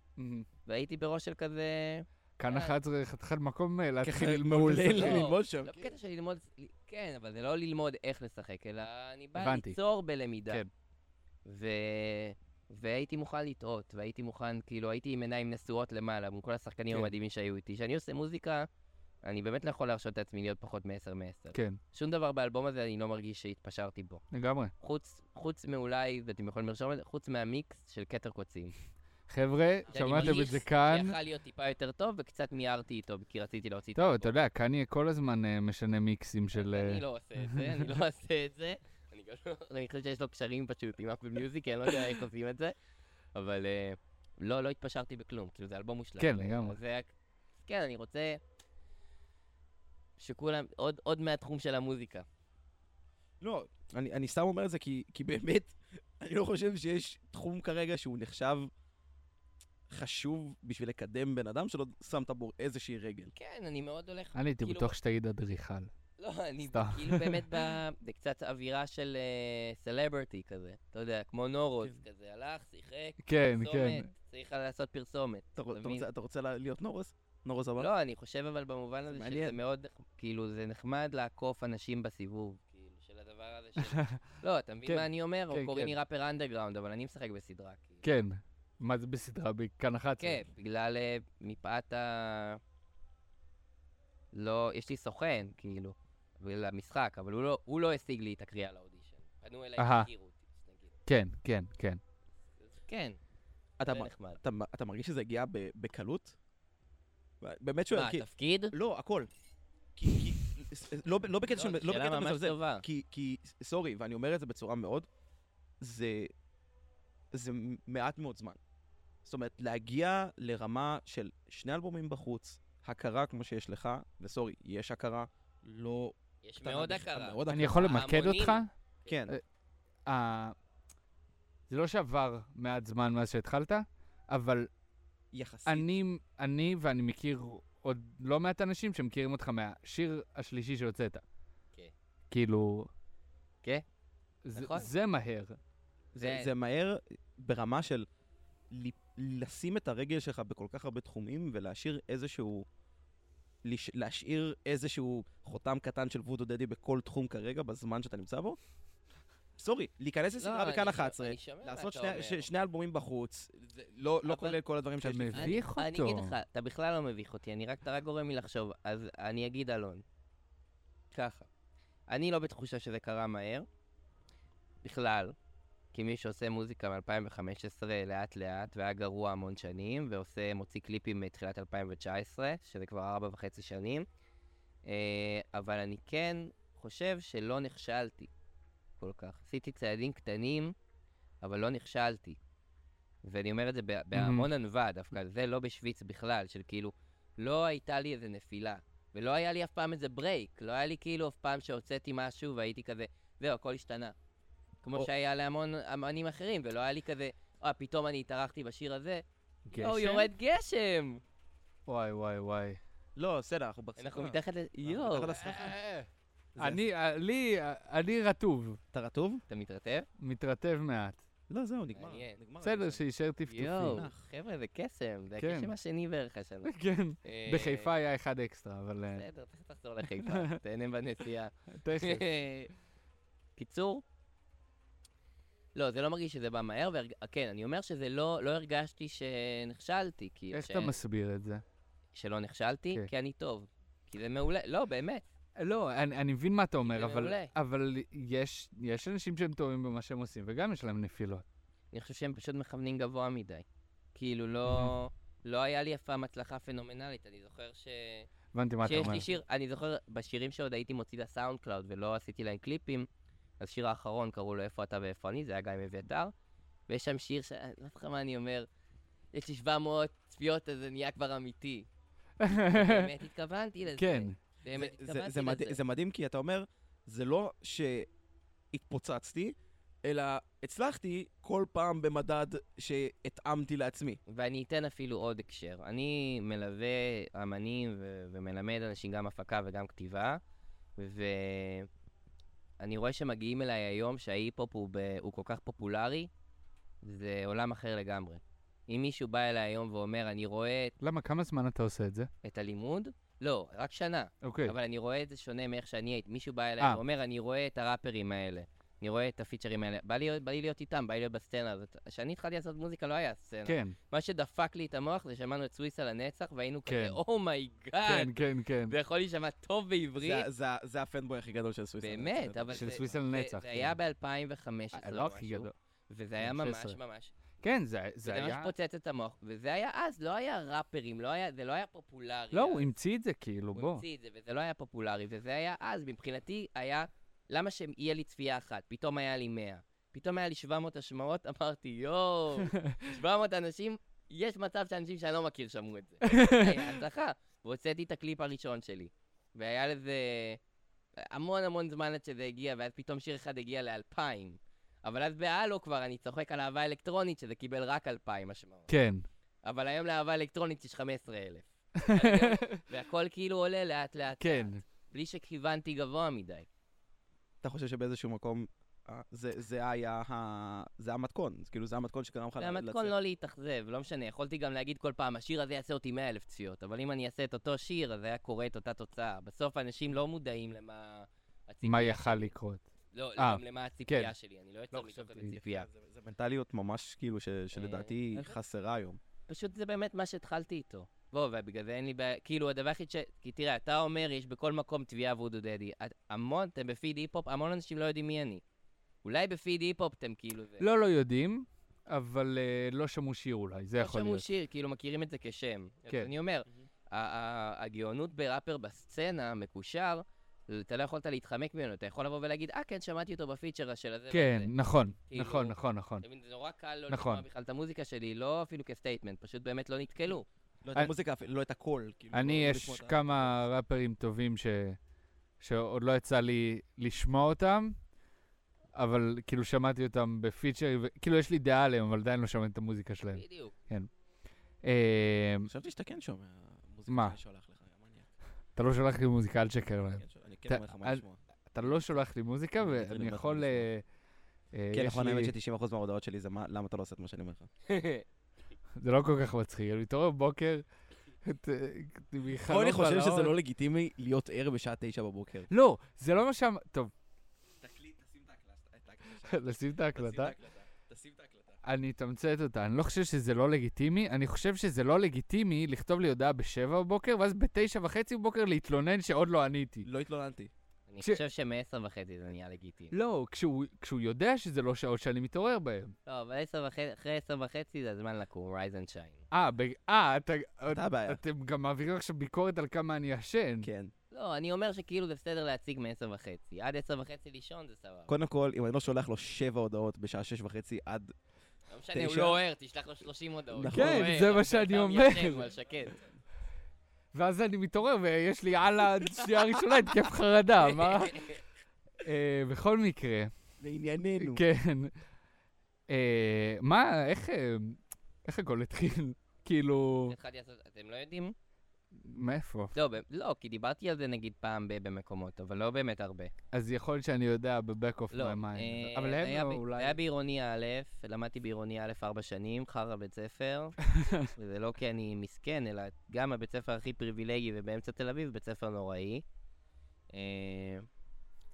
Speaker 3: והייתי בראש של כזה...
Speaker 5: כאן
Speaker 3: אה.
Speaker 5: 11 חתיכת מקום אה, להתחיל
Speaker 2: ככה
Speaker 5: ללמוד.
Speaker 2: מעולה
Speaker 5: לשחק.
Speaker 3: לא,
Speaker 2: ללמוד שם.
Speaker 3: לא בקטע של ללמוד, כן, אבל זה לא ללמוד איך לשחק, אלא אני בא
Speaker 5: הבנתי.
Speaker 3: ליצור בלמידה.
Speaker 5: כן.
Speaker 3: ו... והייתי מוכן לטעות, והייתי מוכן, כאילו, הייתי עם עיניים נשואות למעלה, מול כל השחקנים
Speaker 5: כן.
Speaker 3: המדהימים שהיו איתי. כשאני עושה מוזיקה, אני באמת לא יכול להרשות לעצמי להיות פחות מ-10 מ-10.
Speaker 5: כן,
Speaker 3: שום דבר באלבום הזה אני לא מרגיש שהתפשרתי בו.
Speaker 5: לגמרי.
Speaker 3: חוץ, חוץ מאולי, ואתם יכולים לרשום את זה, חוץ מהמיקס של כתר קוצים.
Speaker 5: חבר'ה,
Speaker 3: שאני
Speaker 5: שמעתם את
Speaker 3: מרגיש
Speaker 5: זה כאן.
Speaker 3: שיכל להיות טיפה יותר טוב, וקצת מיהרתי איתו, כי רציתי להוציא את
Speaker 5: טוב, אתה יודע, קניה כל הזמן אה, משנה מיקסים של...
Speaker 3: אני
Speaker 5: אה,
Speaker 3: לא עושה את זה, אני לא עושה את זה. אני גם לא... אני חושב שיש לו קשרים פשוט עם אפל מיוזיק, אני לא יודע איך עושים את זה. אבל אה, לא, לא התפשרתי בכלום, כאילו זה אלבום מושלם.
Speaker 5: כן,
Speaker 3: אה,
Speaker 5: לגמרי.
Speaker 3: זה היה... כן, אני רוצה שכולם, עוד, עוד מהתחום של המוזיקה.
Speaker 2: לא, אני אני סתם אומר את זה כי כי באמת, אני לא חושב שיש תחום כרגע שהוא נחשב חשוב בשביל לקדם בן אדם שלא שמת בו איזושהי רגל.
Speaker 3: כן, אני מאוד הולך...
Speaker 5: אני הייתי
Speaker 3: כאילו-
Speaker 5: בטוח שתגיד אדריכל.
Speaker 3: לא, אני
Speaker 5: סתם.
Speaker 3: כאילו באמת ב... זה קצת אווירה של סלברטי כזה. אתה יודע, כמו נורוז כזה, הלך, שיחק,
Speaker 5: כן, כן.
Speaker 3: פרסומת, צריך לעשות פרסומת.
Speaker 2: אתה רוצ- אתה
Speaker 3: מבין?
Speaker 2: רוצה- אתה רוצה לה- להיות נורס? נורס הבא?
Speaker 3: לא, אני חושב אבל במובן הזה שזה
Speaker 2: מעניין.
Speaker 3: מאוד, כאילו, זה נחמד לעקוף אנשים בסיבוב, כאילו, של הדבר הדבר הזה של... לא, אתה מבין
Speaker 5: כן,
Speaker 3: מה אני אומר? או
Speaker 5: כן,
Speaker 3: קוראים
Speaker 5: כן.
Speaker 3: לי ראפר אנדרגראונד, אבל אני משחק בסדרה. כאילו.
Speaker 5: כן. מה זה בסדרה? בכאן 11.
Speaker 3: כן, בגלל, אה, מפאת ה... לא, יש לי סוכן, כאילו, בגלל המשחק, אבל הוא לא- הוא לא השיג לי את הקריאה לאודישן. פנו אליי,
Speaker 5: אהה.
Speaker 3: הכירו אותי, נגיד.
Speaker 5: כן, כן, כן.
Speaker 3: אז כן,
Speaker 2: אתה
Speaker 3: זה
Speaker 2: מ-
Speaker 3: נחמד.
Speaker 2: אתה מ- אתה מרגיש שזה הגיע ב- בקלות? באמת שואל,
Speaker 3: מה,
Speaker 2: כי...
Speaker 3: התפקיד?
Speaker 2: לא, הכל. כי... כי- לא ב- לא בקטע של... לא
Speaker 3: שאלה
Speaker 2: בקטע
Speaker 3: ממש
Speaker 2: מזלזל.
Speaker 3: טובה.
Speaker 2: כי, כי, סורי, ואני אומר את זה בצורה מאוד, זה, זה מעט מאוד זמן. זאת אומרת, להגיע לרמה של שני אלבומים בחוץ, הכרה כמו שיש לך, וסורי, יש הכרה, לא...
Speaker 3: יש
Speaker 2: קטנה
Speaker 3: מאוד
Speaker 2: בכלל,
Speaker 3: הכרה.
Speaker 2: מאוד
Speaker 5: אני
Speaker 2: הכרה.
Speaker 5: יכול למקד
Speaker 3: ההמונים.
Speaker 5: אותך?
Speaker 2: כן,
Speaker 5: אה, ה- זה לא שעבר מעט זמן מאז שהתחלת, אבל
Speaker 2: יחסית.
Speaker 5: אני, אני ואני מכיר עוד לא מעט אנשים שמכירים אותך מהשיר השלישי שהוצאת.
Speaker 3: כן.
Speaker 5: כאילו...
Speaker 3: כן,
Speaker 5: זה-
Speaker 3: נכון.
Speaker 5: זה מהר.
Speaker 2: זה,
Speaker 3: זה-
Speaker 2: זה מהר ברמה של ל- לשים את הרגל שלך בכל כך הרבה תחומים ולהשאיר איזשהו... לש- להשאיר איזשהו חותם קטן של וודו דדי בכל תחום כרגע, בזמן שאתה נמצא בו. סורי, להיכנס לסדרה
Speaker 3: לא,
Speaker 2: בכאן
Speaker 3: אני-
Speaker 2: 11,
Speaker 3: אני שומע מה
Speaker 2: לעשות
Speaker 3: אתה
Speaker 2: שני-
Speaker 3: אומר.
Speaker 2: ש- שני אלבומים בחוץ, זה לא לא
Speaker 3: אבל-
Speaker 2: כולל כל הדברים
Speaker 5: אתה
Speaker 2: שיש לי.
Speaker 3: אני-
Speaker 5: מביך
Speaker 3: אני
Speaker 5: אותו.
Speaker 3: אגיד לך, אתה בכלל לא מביך אותי, אני רק, אתה רק גורם לי לחשוב. אז אני אגיד, אלון, ככה, אני לא בתחושה שזה קרה מהר, בכלל, כמי שעושה מוזיקה מ-2015 לאט-לאט, והיה גרוע המון שנים, ועושה, מוציא קליפים מתחילת 2019, שזה כבר ארבע וחצי שנים, אה, אבל אני כן חושב שלא נכשלתי כל כך. עשיתי צעדים קטנים, אבל לא נכשלתי. ואני אומר את זה בה- בהמון ענווה דווקא, זה לא בשוויץ בכלל, של כאילו, לא הייתה לי איזה נפילה, ולא היה לי אף פעם איזה ברייק, לא היה לי כאילו אף פעם שהוצאתי משהו והייתי כזה, זהו, הכל השתנה. כמו
Speaker 2: או-
Speaker 3: שהיה להמון אמנים אחרים, ולא היה לי כזה, אה, פתאום אני התארחתי בשיר הזה, או,
Speaker 5: גשם?
Speaker 3: יורד גשם!
Speaker 5: וואי, וואי,
Speaker 3: אה,
Speaker 5: וואי.
Speaker 2: לא, בסדר, אנחנו בסדר.
Speaker 3: אנחנו מתחת ל... יואו,
Speaker 2: מתחת לשמחה.
Speaker 3: אה,
Speaker 2: זה-
Speaker 5: אני, אה, לי, אה, אני רטוב,
Speaker 2: אתה רטוב?
Speaker 3: אתה מתרטב?
Speaker 5: מתרטב מעט.
Speaker 2: לא, זהו, נגמר.
Speaker 3: מעניין.
Speaker 2: נגמר
Speaker 5: בסדר,
Speaker 2: הגשם.
Speaker 5: שישאר טפטופים.
Speaker 3: Oh, יואו,
Speaker 2: נח.
Speaker 3: חבר'ה, זה קסם, זה
Speaker 5: כן.
Speaker 3: הקסם השני בערך השנה.
Speaker 5: כן.
Speaker 3: אה,
Speaker 5: בחיפה היה אחד אקסטרה, אבל... אה,
Speaker 3: בסדר, תכף תחזור לחיפה, תהנה בנסיעה.
Speaker 5: תכף.
Speaker 3: קיצור, לא, זה לא מרגיש שזה בא מהר, והרג- כן, אני אומר שזה לא, לא הרגשתי שנכשלתי, כאילו,
Speaker 5: איך
Speaker 3: ש-
Speaker 5: אתה מסביר את זה?
Speaker 3: שלא נכשלתי,
Speaker 5: כן.
Speaker 3: כי אני טוב. כי זה מעולה, לא, באמת.
Speaker 5: לא, אני, אני מבין מה אתה אומר,
Speaker 3: זה
Speaker 5: אבל,
Speaker 3: מעולה.
Speaker 5: אבל יש, יש אנשים שהם טובים במה שהם עושים, וגם יש להם נפילות.
Speaker 3: אני חושב שהם פשוט מכוונים גבוה מדי. כאילו, לא, לא היה לי אף פעם הצלחה פנומנלית, אני זוכר ש...
Speaker 5: הבנתי מה אתה
Speaker 3: שיש
Speaker 5: אומר.
Speaker 3: לי שיר, אני זוכר בשירים שעוד הייתי מוציא לסאונד קלאוד ולא עשיתי להם קליפים, אז שיר האחרון קראו לו איפה אתה ואיפה אני, זה היה גיא אביתר, ויש שם שיר ש... אני לא זוכר מה אני אומר, יש לי 700 צפיות, אז זה נהיה כבר אמיתי. באמת התכוונתי לזה.
Speaker 5: כן,
Speaker 3: באמת
Speaker 2: זה- זה-
Speaker 3: התכוונתי
Speaker 2: זה מדהים-
Speaker 3: לזה.
Speaker 2: זה מדהים כי אתה אומר, זה לא שהתפוצצתי, אלא הצלחתי כל פעם במדד שהתאמתי לעצמי.
Speaker 3: ואני אתן אפילו עוד הקשר. אני מלווה אמנים ו- ומלמד אנשים גם הפקה וגם כתיבה, ואני רואה שמגיעים אליי היום שההיפ-הופ הוא, ב- הוא כל כך פופולרי, זה עולם אחר לגמרי. אם מישהו בא אליי היום ואומר, אני רואה את,
Speaker 5: למה, כמה זמן אתה עושה את זה?
Speaker 3: את הלימוד, לא, רק שנה,
Speaker 5: אוקיי.
Speaker 3: אבל אני רואה את זה שונה מאיך שאני הייתי. מישהו בא
Speaker 5: אה.
Speaker 3: אליי ואומר, אני רואה את הראפרים האלה, אני רואה את הפיצ'רים האלה, בא לי, בא לי להיות איתם, בא לי להיות בסצנה הזאת. כשאני התחלתי לעשות מוזיקה לא היה סצנה.
Speaker 5: כן,
Speaker 3: מה שדפק לי את המוח זה שמענו את סוויסה לנצח, והיינו
Speaker 5: כן.
Speaker 3: כזה, אומייגאד,
Speaker 5: כן, כן, כן.
Speaker 3: אה, זה יכול להישמע טוב בעברית.
Speaker 2: זה- זה- זה הפנבוי הכי גדול של סוויסה.
Speaker 3: באמת, אבל
Speaker 5: של
Speaker 3: זה- זה-
Speaker 5: סוויסה לנצח,
Speaker 3: זה
Speaker 5: כן.
Speaker 3: היה ב-2015
Speaker 5: אה,
Speaker 3: או
Speaker 5: לא הכי
Speaker 3: משהו,
Speaker 5: גדול.
Speaker 3: וזה היה
Speaker 5: 2016.
Speaker 3: ממש ממש,
Speaker 5: כן, זה-
Speaker 3: זה
Speaker 5: זה
Speaker 3: ממש
Speaker 5: היה...
Speaker 3: פוצץ את המוח, וזה היה אז, לא היה ראפרים, לא היה- זה לא היה פופולרי.
Speaker 5: לא, הוא
Speaker 3: אז.
Speaker 5: המציא את זה, כאילו,
Speaker 3: הוא
Speaker 5: בוא.
Speaker 3: המציא את זה, וזה לא היה פופולרי, וזה היה אז, מבחינתי היה, למה שיהיה לי צפייה אחת? פתאום היה לי 100. פתאום היה לי 700 השמעות, אמרתי, יואו, 700 אנשים, יש מצב שאנשים שאני לא מכיר שמעו את זה. היה הצלחה. והוצאתי את הקליפ הראשון שלי. והיה לזה המון המון זמן עד שזה הגיע, ואז פתאום שיר אחד הגיע לאלפיים. אבל אז בהלו כבר אני צוחק על אהבה אלקטרונית, שזה קיבל רק אלפיים השמעות.
Speaker 5: כן,
Speaker 3: אבל היום לאהבה אלקטרונית יש 15,000. והכל כאילו עולה לאט לאט.
Speaker 5: כן.
Speaker 3: בלי שכיוונתי גבוה מדי.
Speaker 2: אתה חושב שבאיזשהו מקום, אה, זה זה היה ה- זה המתכון, זה כאילו זה המתכון שגרם לך...
Speaker 3: והמתכון לא להתאכזב, לא משנה, יכולתי גם להגיד כל פעם, השיר הזה יעשה אותי 100 אלף צפיות, אבל אם אני אעשה את אותו שיר, אז היה קורה את אותה תוצאה. בסוף אנשים לא מודעים למה... הציפייה
Speaker 5: מה
Speaker 3: שלי.
Speaker 5: יכל לקרות?
Speaker 3: לא,
Speaker 5: אה,
Speaker 3: גם למה הציפייה
Speaker 5: כן.
Speaker 3: שלי, אני לא יוצא מתוך
Speaker 5: חשבתי.
Speaker 3: איזה ציפייה.
Speaker 2: זה- זה מנטליות ממש כאילו ש- שלדעתי היא
Speaker 3: איך-
Speaker 2: חסרה היום.
Speaker 3: פשוט זה באמת מה שהתחלתי איתו. בוא, ובגלל זה אין לי בעיה, כאילו הדבר היחיד ש... כי תראה, אתה אומר, יש בכל מקום תביעה וודו דדי. את- המון, אתם בפיד היפ-הופ, המון אנשים לא יודעים מי אני. אולי בפיד היפ-הופ אתם כאילו זה.
Speaker 5: לא, לא יודעים, אבל אה, לא שמעו שיר אולי, זה
Speaker 3: לא
Speaker 5: יכול
Speaker 3: שמעו
Speaker 5: להיות.
Speaker 3: שיר, כאילו מכירים את זה כשם.
Speaker 5: כן.
Speaker 3: כן. אני אומר, ה- ה- הגאונות בראפר בסצנה, מקושר, אתה לא יכולת להתחמק ממנו, אתה יכול לבוא ולהגיד, אה, כן, שמעתי אותו בפיצ'ר של הזה.
Speaker 5: כן,
Speaker 3: והזה."
Speaker 5: נכון,
Speaker 3: לא כאילו-
Speaker 5: נכון, נכון, נכון.
Speaker 3: אתה מבין, זה נורא קל לא
Speaker 5: נכון.
Speaker 3: לשמוע בכלל את המוזיקה שלי, לא אפילו כסטייטמנט, פשוט באמת לא נתקלו.
Speaker 2: לא את
Speaker 5: אני-
Speaker 2: המוזיקה, אפילו, לא את הקול. כאילו,
Speaker 5: אני,
Speaker 2: לא
Speaker 5: יש
Speaker 2: לשמוע את ה-
Speaker 5: כמה ראפרים טובים ש... שעוד לא יצא לי לשמוע אותם, אבל כאילו שמעתי אותם בפיצ'רים, ו- כאילו יש לי דעה עליהם, אבל עדיין לא שמעתי את המוזיקה שלהם.
Speaker 3: בדיוק.
Speaker 5: אה,
Speaker 2: חשבתי שאתה כן שומע מוזיקה
Speaker 5: מה?
Speaker 2: שאני שולח לך, יא מניאק.
Speaker 5: אתה לא שולח לי מוזיקה, אל תשקר להם.
Speaker 2: כן, שולח- אני כן
Speaker 5: אתה-
Speaker 2: אומר לך מה
Speaker 5: אז-
Speaker 2: לשמוע.
Speaker 5: אתה לא שולח לי מוזיקה,
Speaker 2: אני מטריד
Speaker 5: ואני
Speaker 2: אותך
Speaker 5: יכול...
Speaker 2: מוזיקה.
Speaker 5: אה, אה,
Speaker 2: כן,
Speaker 5: יש
Speaker 2: נכון,
Speaker 5: לי-
Speaker 2: האמת ש-90% מההודעות שלי זה מה- למה אתה לא עושה את מה שאני אומר לך.
Speaker 5: זה לא כל כך מצחיק, אני מתעורר בבוקר, את- מחלום
Speaker 2: רוני חושב שזה
Speaker 5: בלהות.
Speaker 2: לא לגיטימי להיות ער בשעה תשע בבוקר.
Speaker 5: לא, זה לא מה שאמ... טוב,
Speaker 2: תקליט, תשים את ההקלטה.
Speaker 5: לשים את ההקלטה.
Speaker 2: תשים את ההקלטה.
Speaker 5: אני אתמצת אותה, אני לא חושב שזה לא לגיטימי, אני חושב שזה לא לגיטימי לכתוב לי הודעה בשבע בבוקר, ואז בתשע וחצי בבוקר להתלונן שעוד לא עניתי.
Speaker 2: לא התלוננתי.
Speaker 3: אני
Speaker 5: כש-
Speaker 3: חושב שמעשר וחצי זה נהיה לגיטימי.
Speaker 5: לא, כשהוא, כשהוא יודע שזה לא שעות שאני מתעורר בהן.
Speaker 3: לא, אבל עשר וחצי, אחרי עשר וחצי זה הזמן לקום, rise and shine.
Speaker 5: אה, ב... אה, אתה...
Speaker 2: אתה הבעיה.
Speaker 5: אתם גם מעבירים עכשיו ביקורת על כמה אני ישן.
Speaker 2: כן.
Speaker 3: לא, אני אומר שכאילו זה בסדר להציג מעשר וחצי. עד עשר וחצי לישון זה סבבה.
Speaker 2: קודם כל, אם אני לא שולח לו שבע הודעות בשעה שש וחצי עד...
Speaker 3: לא משנה, הוא
Speaker 2: תשע.
Speaker 3: לא עוהר, תשלח לו 30 הודעות.
Speaker 2: נכון.
Speaker 5: כן,
Speaker 3: הוא עוהר,
Speaker 5: זה מה
Speaker 3: אבל
Speaker 5: שאני
Speaker 3: אתה
Speaker 5: אומר.
Speaker 3: מיישב, אבל שקט.
Speaker 5: ואז אני מתעורר ויש לי על השנייה הראשונה התקף חרדה, מה? אה, בכל מקרה,
Speaker 2: לענייננו.
Speaker 5: כן. אה, מה, איך... אה, איך הכל התחיל? כאילו...
Speaker 3: התחלתי לעשות- אתם לא יודעים?
Speaker 5: מאיפה?
Speaker 3: לא, ב- לא, כי דיברתי על זה נגיד פעם ב- במקומות, אבל לא באמת הרבה.
Speaker 5: אז יכול להיות שאני יודע ב-back of
Speaker 3: לא,
Speaker 5: my mind.
Speaker 3: אה,
Speaker 5: אבל
Speaker 3: זה
Speaker 5: הם
Speaker 3: היה
Speaker 5: לא,
Speaker 3: ב- זה
Speaker 5: אולי...
Speaker 3: היה בעירוני א', למדתי בעירוני א' ארבע שנים, חרא בית ספר, וזה לא כי אני מסכן, אלא גם הבית ספר הכי פריבילגי ובאמצע תל אביב, בית ספר נוראי. אה,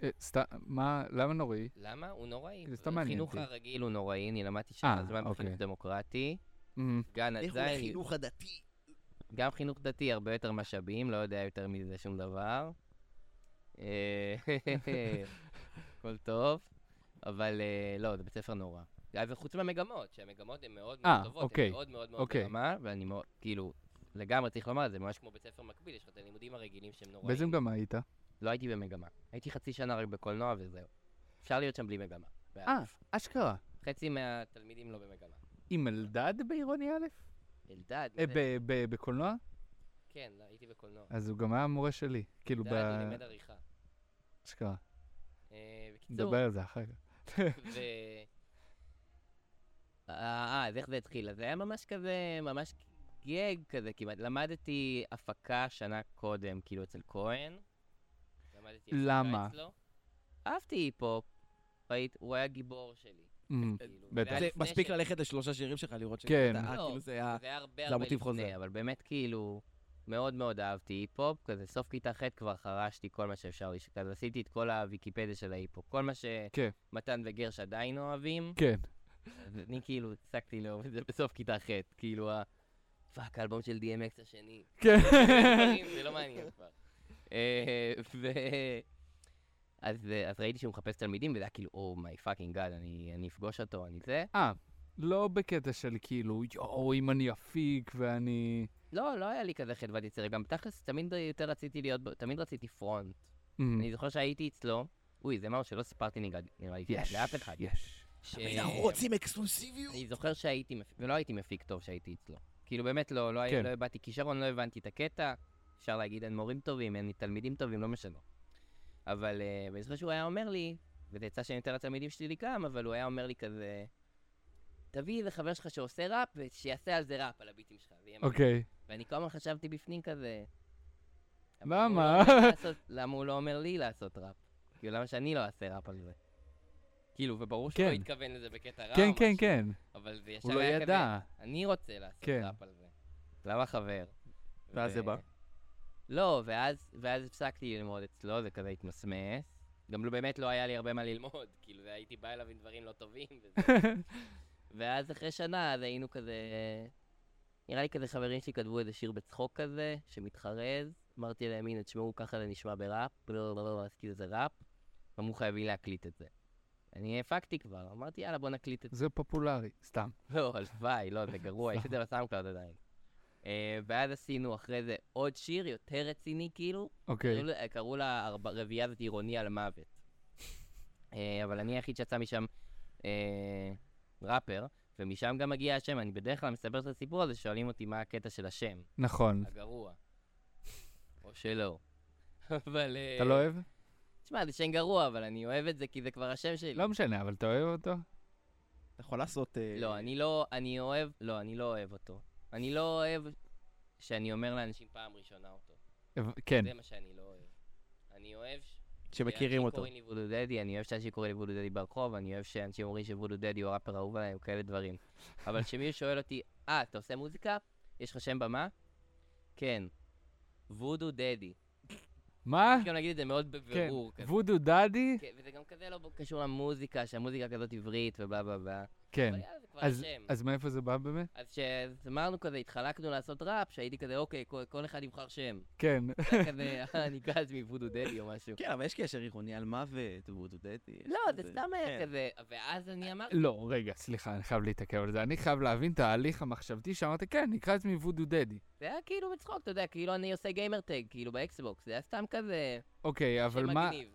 Speaker 5: אה, סתם, מה, למה נוראי?
Speaker 3: למה? הוא נוראי.
Speaker 5: זה סתם מעניין
Speaker 3: החינוך
Speaker 5: אותי.
Speaker 3: הרגיל הוא נוראי, אני למדתי
Speaker 5: אה,
Speaker 3: שם זמן
Speaker 5: אוקיי.
Speaker 3: בחינוך דמוקרטי.
Speaker 5: אמ,
Speaker 3: גן
Speaker 2: לכו
Speaker 3: עדיין,
Speaker 2: לחינוך הדתי.
Speaker 3: גם חינוך דתי, הרבה יותר משאבים, לא יודע יותר מזה שום דבר. אה, הכל טוב, אבל אה, לא, זה בית ספר נורא. אה, וחוץ מהמגמות, שהמגמות הן מאוד
Speaker 5: אה,
Speaker 3: מאוד טובות,
Speaker 5: אוקיי,
Speaker 3: הן מאוד מאוד מאוד
Speaker 5: אוקיי.
Speaker 3: ברמה, ואני מאוד, כאילו, לגמרי צריך לומר, זה ממש כמו בית ספר מקביל, יש לך את הלימודים הרגילים שהם נוראים.
Speaker 5: באיזה מגמה היית?
Speaker 3: לא הייתי במגמה. הייתי חצי שנה רק בקולנוע וזהו. אפשר להיות שם בלי מגמה.
Speaker 5: אה, אשכרה.
Speaker 3: חצי מהתלמידים לא במגמה.
Speaker 5: עם אלדד בעירוני א'?
Speaker 3: אלדד,
Speaker 5: אה,
Speaker 3: זה-
Speaker 5: ב- ב- בקולנוע?
Speaker 3: כן, לא, הייתי בקולנוע.
Speaker 5: אז הוא גם היה המורה שלי. כאילו,
Speaker 3: אלדד, הוא לימד עריכה.
Speaker 5: אשכרה.
Speaker 3: אה, בקיצור,
Speaker 5: נדבר על זה אחר כך.
Speaker 3: ו... אה, אה, אז איך זה התחיל? אז זה היה ממש כזה, ממש גג כזה כמעט. למדתי הפקה שנה קודם, כאילו אצל כהן. למדתי הפקה
Speaker 5: למה?
Speaker 3: אצלו. אהבתי היפ-הופ. ראית, הוא היה גיבור שלי.
Speaker 5: אמ,
Speaker 3: כאילו,
Speaker 5: בטח.
Speaker 3: היה
Speaker 2: זה
Speaker 3: לפני
Speaker 2: מספיק
Speaker 3: ש-
Speaker 2: ללכת לשלושה שירים שלך לראות
Speaker 5: כן.
Speaker 2: שאתה- אה,
Speaker 3: לא.
Speaker 2: כאילו זה היה...
Speaker 3: זה היה הרבה
Speaker 2: זה
Speaker 3: הרבה
Speaker 2: המוטיב
Speaker 3: לפני,
Speaker 2: חוזר.
Speaker 3: אבל באמת כאילו, מאוד מאוד אהבתי היפ-הופ, כזה סוף כיתה ח' כבר חרשתי כל מה שאפשר, לש- כזה עשיתי את כל הוויקיפדיה של ההיפ-הופ, כל מה
Speaker 5: כן.
Speaker 3: שמתן וגרש עדיין אוהבים,
Speaker 5: כן.
Speaker 3: אז אני כאילו הפסקתי לאהוב את זה בסוף כיתה ח', כאילו ה... פאק, האלבום של DMX השני.
Speaker 5: כן.
Speaker 3: דברים, זה לא מעניין כבר. אה, ו... אז, אה, אז ראיתי שהוא מחפש תלמידים, וזה היה כאילו, אומי פאקינג גאד, אני אפגוש אותו, אני זה.
Speaker 5: אה, לא בקטע של כאילו, יואו, אם אני אפיק ואני...
Speaker 3: לא, לא היה לי כזה חדוות יצירה. גם תכלס, תמיד יותר רציתי להיות, ב- תמיד רציתי פרונט.
Speaker 5: אמ,
Speaker 3: אני זוכר שהייתי אצלו, אוי, זה משהו שלא סיפרתי נגד- נראה לי
Speaker 5: יש,
Speaker 3: לאף אחד.
Speaker 5: יש.
Speaker 3: ש-
Speaker 2: אקסקלוסיביות.
Speaker 3: אה, אני זוכר שהייתי, מפ- ולא הייתי מפיק טוב שהייתי אצלו. כאילו באמת לא, לא,
Speaker 5: כן.
Speaker 3: כן. לא הבעתי כישרון, לא הבנתי את הקטע. אפשר להגיד אין מורים טובים, אין לי תלמידים טובים, לא משנה. אבל uh, אני זוכר שהוא היה אומר לי, וזה יצא שאני נותן לתלמידים שלי גם, אבל הוא היה אומר לי כזה, תביא איזה חבר שלך שעושה ראפ, ושיעשה על זה ראפ, על הביטים שלך. זה יהיה
Speaker 5: אוקיי.
Speaker 3: ואני כל הזמן חשבתי בפנים כזה...
Speaker 5: למה?
Speaker 3: הוא לא אומר לי לעשות- למה הוא לא אומר לי לעשות ראפ? כאילו, למה שאני לא אעשה ראפ על זה? כאילו, וברור שהוא לא
Speaker 5: כן.
Speaker 3: התכוון לזה בקטע רע או
Speaker 5: כן, כן,
Speaker 3: משהו,
Speaker 5: כן.
Speaker 3: אבל זה ישר
Speaker 5: הוא לא
Speaker 3: היה כזה,
Speaker 5: ידע.
Speaker 3: אני רוצה לעשות
Speaker 5: כן.
Speaker 3: ראפ על זה. למה חבר?
Speaker 2: ואז
Speaker 3: ו-
Speaker 2: זה בא?
Speaker 3: לא, ואז, ואז הפסקתי ללמוד אצלו, זה כזה התמסמס. גם לא- באמת לא היה לי הרבה מה ללמוד, כאילו, זה- הייתי בא אליו עם דברים לא טובים. וזה. ואז אחרי שנה, אז היינו כזה... נראה לי כזה חברים שלי כתבו איזה שיר בצחוק כזה, שמתחרז. אמרתי להם, הנה, תשמעו, ככה זה נשמע בראפ, לא, לא, לא, לא, אז כאילו זה ראפ. אמרו חייבים להקליט את זה. אני הפקתי כבר, אמרתי, יאללה, בוא נקליט את זה.
Speaker 5: זה פופולרי, סתם.
Speaker 3: לא, הלוואי, לא, זה גרוע, יש את זה בסאונדקלאוד עדיין. אה, ואז עשינו אחרי זה עוד שיר יותר רציני, כאילו,
Speaker 5: אוקיי.
Speaker 3: קראו לה- קראו לה הרב- הרביעייה הזאת עירוני על מוות. אה, אבל אני היחיד שיצא משם אה, ראפר, ומשם גם מגיע השם. אני בדרך כלל מספר את הסיפור הזה, שואלים אותי מה הקטע של השם,
Speaker 5: נכון.
Speaker 3: הגרוע. או שלא. אבל... אה,
Speaker 5: אתה לא אוהב?
Speaker 3: תשמע, זה שם גרוע, אבל אני אוהב את זה כי זה כבר השם שלי.
Speaker 5: לא משנה, אבל אתה אוהב אותו?
Speaker 2: אתה יכול לעשות... אה,
Speaker 3: לא, אני לא, אני אוהב, לא, אני לא אוהב אותו. אני לא אוהב שאני אומר לאנשים פעם ראשונה אותו.
Speaker 5: אב- כן.
Speaker 3: זה מה שאני לא אוהב. אני אוהב... ש-
Speaker 2: שמכירים אותו.
Speaker 3: שאנשים קוראים לי וודו דדי, אני אוהב שאנשים קוראים לי וודו דדי ברחוב, אני אוהב שאנשים אומרים שוודו דדי הוא הראפר האהוב עליי, או כאלה דברים. אבל כשמישהו שואל אותי, אה, אתה עושה מוזיקה? יש לך שם במה? כן. וודו דדי.
Speaker 5: מה?
Speaker 3: גם להגיד את זה מאוד בבירור.
Speaker 5: אה. כן.
Speaker 3: כזה.
Speaker 5: וודו דדי?
Speaker 3: כן, וזה גם כזה לא קשור למוזיקה, שהמוזיקה כזאת עברית ובלה בלה בלה.
Speaker 5: כן.
Speaker 3: אבל יאללה, זה כבר
Speaker 5: אז-
Speaker 3: השם.
Speaker 5: אז מאיפה זה בא באמת?
Speaker 3: אז כשאמרנו כזה, התחלקנו לעשות ראפ, שהייתי כזה, אוקיי, כל, כל אחד יבחר שם.
Speaker 5: כן.
Speaker 3: זה היה כזה, "אה, אני גז מוודו דדי או משהו.
Speaker 2: כן, אבל יש קשר עירוני על מוות, וודו דדי. יש
Speaker 3: לא, זה
Speaker 2: כזה-
Speaker 3: סתם היה
Speaker 2: כן.
Speaker 3: כזה, ואז אני אמרתי,
Speaker 5: לא, רגע, סליחה, אני חייב להתעכב על זה. אני חייב להבין את ההליך המחשבתי שאמרת, כן, נקרא לעצמי וודו דדי.
Speaker 3: זה היה כאילו בצחוק, אתה יודע, כאילו אני עושה גיימר טג, כאילו באקסבוקס, זה היה סתם כזה,
Speaker 5: אוקיי, אבל
Speaker 3: שם
Speaker 5: מה...
Speaker 3: מגניב.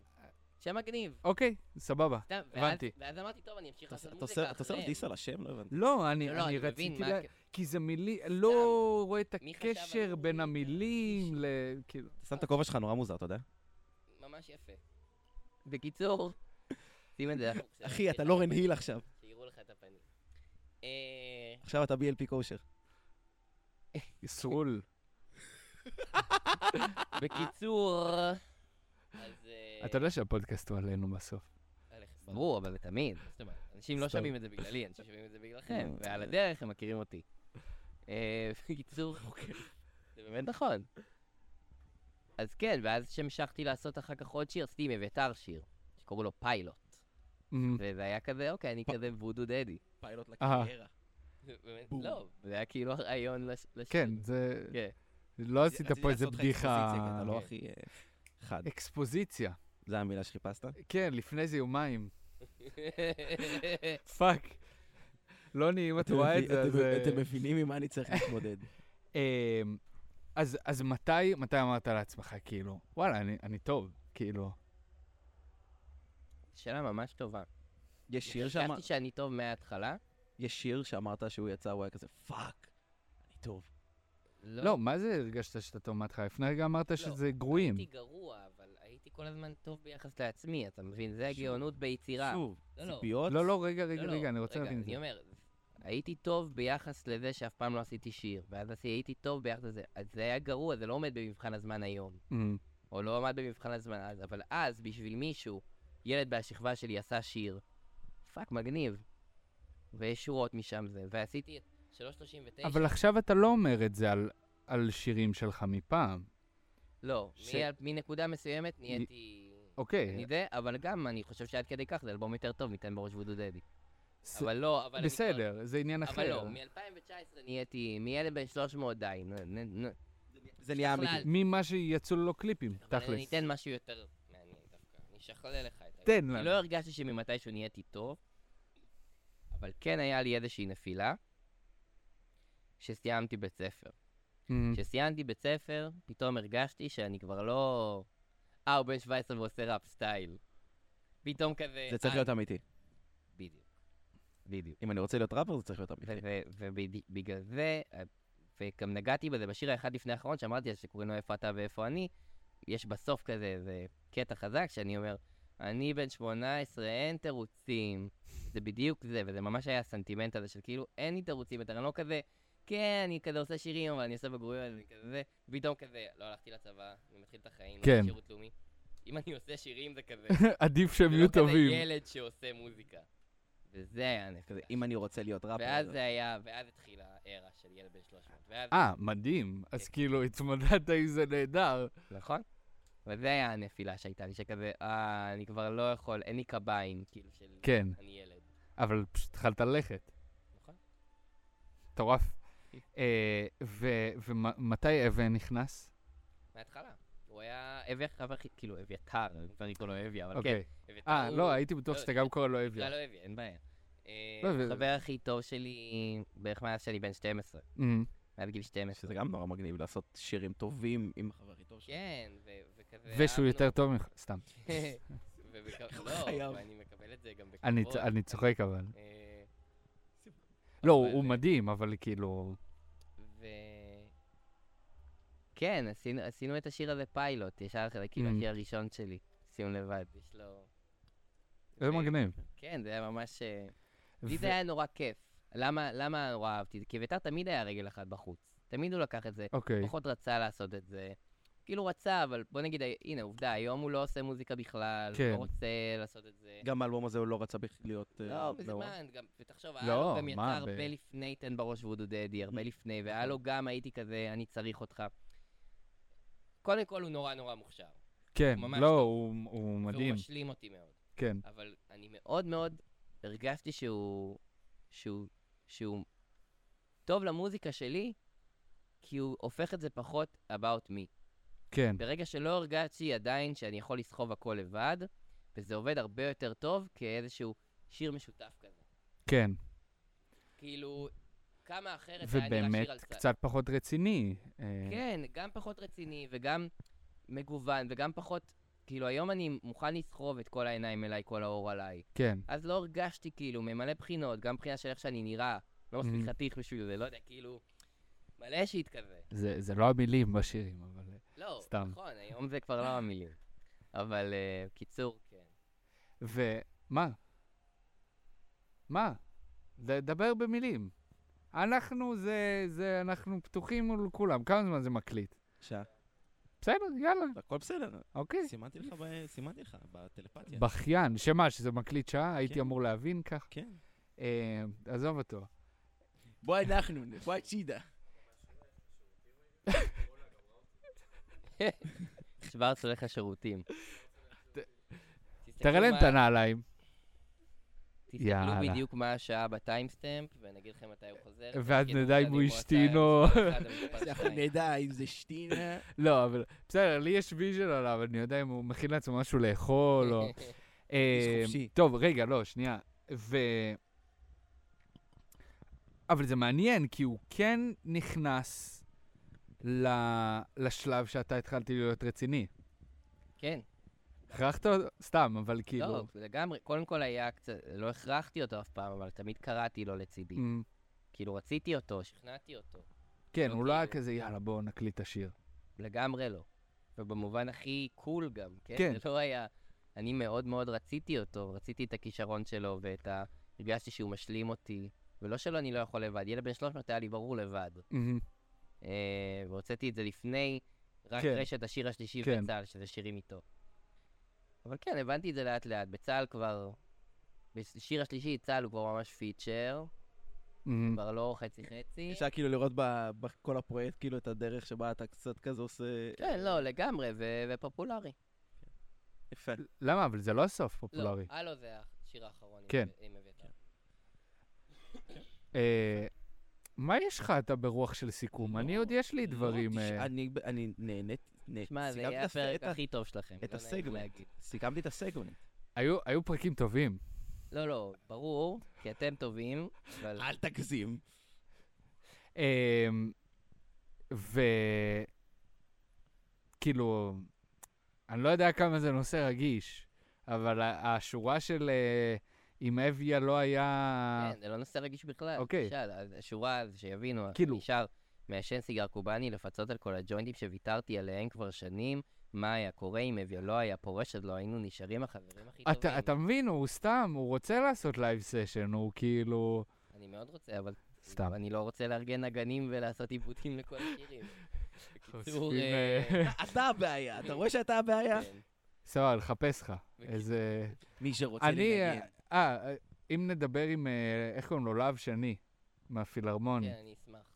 Speaker 3: שם מגניב.
Speaker 5: אוקיי, סבבה.
Speaker 3: סתם, ואז-
Speaker 5: הבנתי.
Speaker 3: ואז אמרתי, טוב, אני אמשיך
Speaker 2: אתה
Speaker 3: לעשות
Speaker 2: עושה- אתה
Speaker 3: מוזיקה
Speaker 2: עושה-
Speaker 3: אחריהם.
Speaker 2: אתה עושה לו דיס על השם? לא הבנתי.
Speaker 5: לא, אני
Speaker 3: לא, לא,
Speaker 5: אני
Speaker 3: אני מבין
Speaker 5: רציתי...
Speaker 3: מה...
Speaker 5: לה- כי זה מילים... לא רואה את
Speaker 3: מי חשב על
Speaker 5: הקשר בין
Speaker 3: המילים?
Speaker 5: המילים ל...
Speaker 3: לא.
Speaker 5: כאילו...
Speaker 2: אתה שם את הכובע שלך נורא מוזר, אתה יודע?
Speaker 3: אה, ממש יפה. בקיצור, שים את זה.
Speaker 2: אחי,
Speaker 3: אה,
Speaker 2: אתה לא לורן היל עכשיו.
Speaker 3: שיראו לך את הפנים. אה,
Speaker 2: עכשיו אתה BLP קושר.
Speaker 5: ישרול.
Speaker 3: בקיצור, אז... אה,
Speaker 5: אתה לא- יודע שהפודקאסט הוא עלינו בסוף.
Speaker 3: עליך. ברור, אבל זה תמיד. כן. זאת אומרת, אנשים לא
Speaker 2: סתם.
Speaker 3: שומעים את זה בגללי, אנשים שומעים את זה בגללכם,
Speaker 2: אה,
Speaker 3: ועל
Speaker 2: אה.
Speaker 3: הדרך הם מכירים אותי. אה, בקיצור, זה באמת נכון. אז כן, ואז כשהמשכתי לעשות אחר כך עוד שיר, סטימי אביתר שיר, שקראו לו פיילוט.
Speaker 5: אמ,
Speaker 3: וזה היה כזה, אוקיי, אני כזה וודו דדי.
Speaker 2: פיילוט
Speaker 5: לקריירה.
Speaker 3: באמת,
Speaker 2: בום.
Speaker 3: לא, זה היה כאילו הרעיון לש- לשיר.
Speaker 5: כן, זה...
Speaker 3: כן.
Speaker 5: לא עשית פה איזה בדיחה...
Speaker 2: אתה לא
Speaker 3: אוקיי.
Speaker 2: הכי אה, חד.
Speaker 5: אקספוזיציה.
Speaker 2: זו המילה שחיפשת?
Speaker 5: כן, לפני זה יומיים. פאק. לא נעים, את רואה את זה, אז... אה,
Speaker 2: אתם מבינים עם מה אני צריך להתמודד.
Speaker 5: אמ, אז, אז מתי, מתי אמרת לעצמך, כאילו, וואלה, אני, אני טוב, כאילו,
Speaker 3: שאלה ממש טובה.
Speaker 2: יש שיר שאמר-
Speaker 3: חשבתי שאני טוב מההתחלה.
Speaker 2: יש שיר שאמרת שהוא יצא, הוא היה כזה, פאק, אני טוב.
Speaker 5: לא, מה זה הרגשת שאתה טוב מהתחלה? לפני רגע אמרת שזה גרועים.
Speaker 3: לא. הייתי גרוע, אבל הייתי כל הזמן טוב ביחס לעצמי, אתה מבין? זה הגאונות ביצירה.
Speaker 2: שוב,
Speaker 3: לא, לא.
Speaker 2: ציפיות?
Speaker 5: לא, לא, רגע,
Speaker 3: לא,
Speaker 5: רגע,
Speaker 3: לא,
Speaker 5: רגע, אני רוצה להבין את זה.
Speaker 3: רגע, אני אומר, הייתי טוב ביחס לזה שאף פעם לא עשיתי שיר, ואז עשי- הייתי טוב ביחס לזה. אז זה היה גרוע, זה לא עומד במבחן הזמן היום.
Speaker 5: אמ,
Speaker 3: או לא עמד במבחן הזמן אז, אבל אז, בשביל מישהו, ילד מהשכבה שלי עשה שיר. פאק, מגניב. ויש שורות משם זה, ועשיתי את 339.
Speaker 5: אבל עכשיו אתה לא אומר את זה על, על שירים שלך מפעם.
Speaker 3: לא,
Speaker 5: ש-
Speaker 3: מ- מנקודה מסוימת נהייתי...
Speaker 5: אוקיי,
Speaker 2: כן.
Speaker 3: אני זה, אבל גם אני חושב שעד כדי כך זה אלבום יותר טוב מטן בראש וודו דדי.
Speaker 5: ס-
Speaker 3: אבל לא, אבל... אני כבר-
Speaker 5: בסדר, זה עניין
Speaker 3: אבל
Speaker 5: אחר.
Speaker 3: לא, מ-2019 נהייתי, מילד בן 300 די, נו, נו, נו.
Speaker 2: זה נהיה
Speaker 3: בכלל.
Speaker 2: אמיתי.
Speaker 5: ממה שיצאו לו קליפים,
Speaker 3: אבל אני
Speaker 5: תכלס.
Speaker 3: אתן משהו יותר מעניין דווקא, אני אשכלל לך את זה. כי
Speaker 5: תן לנו.
Speaker 3: לא הרגשתי שממתישהו נהייתי טוב, אבל כן היה לי איזושהי נפילה, שסיימתי בית ספר.
Speaker 5: אמ,
Speaker 3: כשסיימתי בית ספר, פתאום הרגשתי שאני כבר לא... אה, הוא בן 17 ועושה ראפ סטייל. פתאום כזה...
Speaker 2: זה צריך
Speaker 3: אה,
Speaker 2: להיות אמיתי.
Speaker 3: בדיוק. בדיוק.
Speaker 2: אם אני רוצה להיות ראפר, זה צריך להיות אמיתי.
Speaker 3: ובגלל זה, אה, וגם נגעתי בזה בשיר האחד לפני האחרון, שאמרתי אז שקוראים לו איפה אתה ואיפה אני, יש בסוף כזה איזה קטע חזק שאני אומר, אני בן 18, אין תירוצים. זה בדיוק זה, וזה ממש היה הסנטימנט הזה של כאילו, אין לי תירוצים יותר, אני לא כזה, כן, אני כזה עושה שירים, אבל אני עושה בגרויות, אני כזה, פתאום כזה, לא הלכתי לצבא, אני מתחיל את החיים, לא
Speaker 5: כן.
Speaker 3: עושה שירות לאומי. אם אני עושה שירים זה כזה,
Speaker 5: עדיף שהם
Speaker 3: זה לא
Speaker 5: יהיו
Speaker 3: כזה
Speaker 5: טובים.
Speaker 3: ילד שעושה מוזיקה. וזה היה הנפילה.
Speaker 2: כזה, אם אני רוצה להיות ראפר...
Speaker 3: ואז זה היה, ואז התחילה הארה של ילד בן 300. ואז, כן.
Speaker 5: אה, מדהים. אז כאילו, התמודדת עם זה נהדר.
Speaker 3: נכון. אבל זה היה הנפילה שהייתה לי, שכזה, אה, אני כבר לא יכול, אין לי קביים, כאילו, של...
Speaker 5: כן,
Speaker 3: אני ילד.
Speaker 5: אבל פשוט התחלת ללכת.
Speaker 3: נכון.
Speaker 5: מטורף. אה, ו- ומתי אבן נכנס?
Speaker 3: כן. מההתחלה. הוא היה אבי, אבל הכי- כאילו, אביתר, כבר אני קורא לו אביה, אבל כן.
Speaker 5: אוקיי.
Speaker 3: אביתר
Speaker 5: אה,
Speaker 3: הוא-
Speaker 5: לא, הייתי בטוח
Speaker 3: לא,
Speaker 5: שאתה גם קורא לו אביה.
Speaker 3: קרא לו אביה, אין בעיה. אה,
Speaker 5: לא, ו-
Speaker 3: החבר הכי טוב שלי, בערך מאז שאני בן 12,
Speaker 5: אמ,
Speaker 3: מעל גיל 12.
Speaker 2: שזה גם נורא מגניב לעשות שירים טובים עם החבר הכי טוב שלך.
Speaker 3: כן, ו- וכזה...
Speaker 5: ושהוא
Speaker 3: אהבנו.
Speaker 5: יותר טוב ממך, סתם.
Speaker 3: ובכ-
Speaker 2: חייב.
Speaker 3: לא, אני מקבל את זה גם בכבוד.
Speaker 5: אני צ- אני צוחק אבל.
Speaker 3: אה,
Speaker 5: לא,
Speaker 3: אבל-
Speaker 5: הוא הוא מדהים, אבל כאילו...
Speaker 3: ו... כן, עשינו, עשינו את השיר הזה פיילוט, ישר אחרי, כאילו,
Speaker 5: Mm.
Speaker 3: השיר הראשון שלי, סיום לבד, יש לו...
Speaker 5: זה
Speaker 3: ו-
Speaker 5: מגניב.
Speaker 3: כן, זה היה ממש... אה, לי
Speaker 5: ו-
Speaker 3: זה היה נורא כיף. למה, למה נורא אהבתי את זה? כי ביתר תמיד היה רגל אחת בחוץ. תמיד הוא לקח את זה,
Speaker 5: אוקיי.
Speaker 3: פחות רצה לעשות את זה. כאילו רצה, אבל בוא נגיד, הנה, עובדה, היום הוא לא עושה מוזיקה בכלל, הוא
Speaker 5: כן.
Speaker 3: לא רוצה לעשות את זה.
Speaker 2: גם האלבום הזה הוא לא רצה בכ- להיות... אה,
Speaker 3: לא,
Speaker 2: מעורב.
Speaker 3: בזמן, גם, ותחשוב, היה
Speaker 5: לא,
Speaker 3: לו גם יצא
Speaker 5: מה, ב- נכון.
Speaker 3: הרבה לפני תן בראש וודו דדי, הרבה לפני, והיה לו גם הייתי כזה, אני צריך אותך. קודם כל הוא נורא נורא מוכשר.
Speaker 5: כן,
Speaker 3: ממש
Speaker 5: לא,
Speaker 3: טוב.
Speaker 5: הוא הוא מדהים.
Speaker 3: והוא משלים אותי מאוד.
Speaker 5: כן.
Speaker 3: אבל אני מאוד מאוד הרגשתי שהוא... שהוא... שהוא טוב למוזיקה שלי, כי הוא הופך את זה פחות about me.
Speaker 5: כן,
Speaker 3: ברגע שלא הרגשתי עדיין שאני יכול לסחוב הכל לבד, וזה עובד הרבה יותר טוב כאיזשהו שיר משותף כזה.
Speaker 5: כן.
Speaker 3: כאילו, כמה אחרת היה נראה
Speaker 5: ובאמת
Speaker 3: שיר על צה"ל.
Speaker 5: קצת פחות רציני. אה,
Speaker 3: כן, גם פחות רציני וגם מגוון וגם פחות... כאילו, היום אני מוכן לסחוב את כל העיניים אליי, כל האור עליי.
Speaker 5: כן.
Speaker 3: אז לא הרגשתי, כאילו, ממלא בחינות, גם בחינה של איך שאני נראה, לא מספיק
Speaker 5: Mhm.
Speaker 3: חתיך בשביל זה, לא יודע, כאילו... מלא שיט כזה.
Speaker 5: זה זה לא המילים בשירים, אבל...
Speaker 3: לא,
Speaker 5: סתם.
Speaker 3: נכון, היום זה כבר לא המילים. אבל אה, קיצור, כן.
Speaker 5: ומה? מה? ד- דבר במילים. אנחנו זה, זה, אנחנו פתוחים מול כולם. כמה זמן זה מקליט?
Speaker 2: שעה.
Speaker 5: בסדר, יאללה,
Speaker 2: הכל בסדר.
Speaker 5: אוקיי.
Speaker 2: סימנתי לך, ב- סימנתי לך, בטלפתיה.
Speaker 5: בכיין, שמה, שזה מקליט שעה? הייתי
Speaker 2: כן.
Speaker 5: אמור להבין כך.
Speaker 2: כן.
Speaker 5: אה, עזוב אותו.
Speaker 2: בוא אנחנו, בוא הצידה.
Speaker 3: שוורץ הולך לשירותים.
Speaker 5: תראה להם את
Speaker 3: תסתכלו מה-
Speaker 5: הנעליים.
Speaker 3: תסתכלו
Speaker 5: יאללה.
Speaker 3: בדיוק מה השעה בטיימסטמפ, ונגיד לכם מתי הוא חוזר.
Speaker 5: ואז
Speaker 3: ותגידו
Speaker 5: נדע אם
Speaker 3: אחד
Speaker 5: הוא השתין
Speaker 3: עשה
Speaker 5: או-
Speaker 3: מספר אחד או מספר שתיים.
Speaker 2: נדע אם זה שטינה.
Speaker 5: לא, אבל בסדר, לי יש ויז'ן עליו, אני לא יודע אם הוא מכין לעצמו משהו לאכול או... אה,
Speaker 2: חופשי.
Speaker 5: טוב, רגע, לא, שנייה. ו... אבל זה מעניין, כי הוא כן נכנס ל... לשלב שאתה התחלתי להיות רציני.
Speaker 3: כן,
Speaker 5: הכרחת אותו? סתם, אבל כאילו...
Speaker 3: לא, לגמרי. קודם כל היה קצת, לא הכרחתי אותו אף פעם, אבל תמיד קראתי לו לצידי.
Speaker 5: אמ,
Speaker 3: כאילו, רציתי אותו, שכנעתי אותו.
Speaker 5: כן,
Speaker 3: לא
Speaker 5: הוא לא היה
Speaker 3: כאילו.
Speaker 5: כזה, יאללה, בואו נקליט את השיר.
Speaker 3: לגמרי לא. ובמובן הכי קול גם, כן?
Speaker 5: כן.
Speaker 3: זה לא היה... אני מאוד מאוד רציתי אותו, רציתי את הכישרון שלו ואת ה... הרגשתי שהוא משלים אותי, ולא שלא אני לא יכול לבד, ילד בן 300 היה לי ברור לבד.
Speaker 5: אמ,
Speaker 3: אה, והוצאתי את זה לפני, רק
Speaker 5: כן.
Speaker 3: כן. רשת השיר השלישי
Speaker 5: כן.
Speaker 3: כן. בצה"ל, שזה שירים איתו. אבל כן, הבנתי את זה לאט לאט, בצה"ל כבר... בשיר השלישי צה"ל הוא כבר ממש פיצ'ר,
Speaker 5: אמ,
Speaker 3: כבר לא חצי חצי.
Speaker 2: אפשר כאילו לראות ב- בכל הפרויקט, כאילו, את הדרך שבה אתה קצת כזה עושה...
Speaker 3: כן, לא, לגמרי, ו- ופופולרי.
Speaker 2: יפה.
Speaker 5: למה? אבל זה לא הסוף
Speaker 3: לא,
Speaker 5: פופולרי.
Speaker 3: הלו זה השיר האחרון, אם
Speaker 5: כן.
Speaker 3: הבאת- אם הבאת.
Speaker 5: אה, מה יש לך אתה ברוח של סיכום? אני עוד יש לי דברים...
Speaker 2: לא, תש-
Speaker 5: אה,
Speaker 2: אני- אני נהניתי. נה-
Speaker 3: שמע, זה
Speaker 2: סיכמתי
Speaker 3: יהיה
Speaker 2: אה, את הס-
Speaker 3: הפרק
Speaker 2: את ה-
Speaker 3: הכי טוב שלכם.
Speaker 2: את
Speaker 3: לא נעים
Speaker 2: הסגמנט.
Speaker 3: להגיד.
Speaker 2: סיכמתי את הסגמנט.
Speaker 5: היו- היו פרקים טובים.
Speaker 3: לא, לא, ברור, כי אתם טובים, אבל...
Speaker 2: אל תגזים.
Speaker 5: אמ, ו... כאילו, אני לא יודע כמה זה נושא רגיש, אבל ה- השורה של אה, אם אביה לא היה...
Speaker 3: כן, זה לא נושא רגיש בכלל.
Speaker 5: אוקיי.
Speaker 3: למשל, השורה, אז שיבינו,
Speaker 5: כאילו.
Speaker 3: כאילו. נשאר מעשן סיגר קובאני לפצות על כל הג'וינטים שוויתרתי עליהם כבר שנים, מה היה קורה אם אביו לא היה פורש, אז לא היינו נשארים החברים הכי
Speaker 5: אתה-
Speaker 3: טובים.
Speaker 5: אתה מבין, הוא סתם, הוא רוצה לעשות לייב סשן, הוא כאילו...
Speaker 3: אני מאוד רוצה, אבל...
Speaker 5: סתם.
Speaker 3: אני לא רוצה לארגן נגנים ולעשות עיבודים לכל השירים. בקיצור,
Speaker 5: חושפים,
Speaker 3: אה,
Speaker 5: אה,
Speaker 2: אתה הבעיה, אתה רואה שאתה הבעיה?
Speaker 3: כן.
Speaker 5: סבבה, לחפש לך.
Speaker 3: בקיצור.
Speaker 5: איזה...
Speaker 2: מי שרוצה
Speaker 5: אני...
Speaker 2: לנגן.
Speaker 5: אה, אה, אם נדבר עם... אה, איך קוראים לו? להב שני, מהפילהרמונית.
Speaker 3: כן, אני אשמח.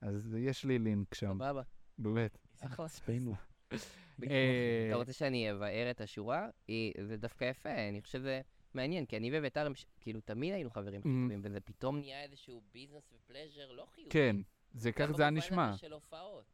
Speaker 5: אז יש לי לינק שם,
Speaker 3: סבבה,
Speaker 5: באמת.
Speaker 3: אחלה.
Speaker 2: עצבנו.
Speaker 5: אה,
Speaker 3: אתה רוצה שאני אבאר את השורה? היא- זה דווקא יפה, אני חושב שזה מעניין, כי אני וביתר, הם ש- כאילו, תמיד היינו חברים הכי
Speaker 5: Mm.
Speaker 3: טובים, וזה פתאום נהיה איזשהו ביזנס ופלז'ר לא חיובי.
Speaker 5: כן, זה
Speaker 3: גם
Speaker 5: כך זה היה
Speaker 3: במובן
Speaker 5: נשמע.
Speaker 3: הזה של הופעות,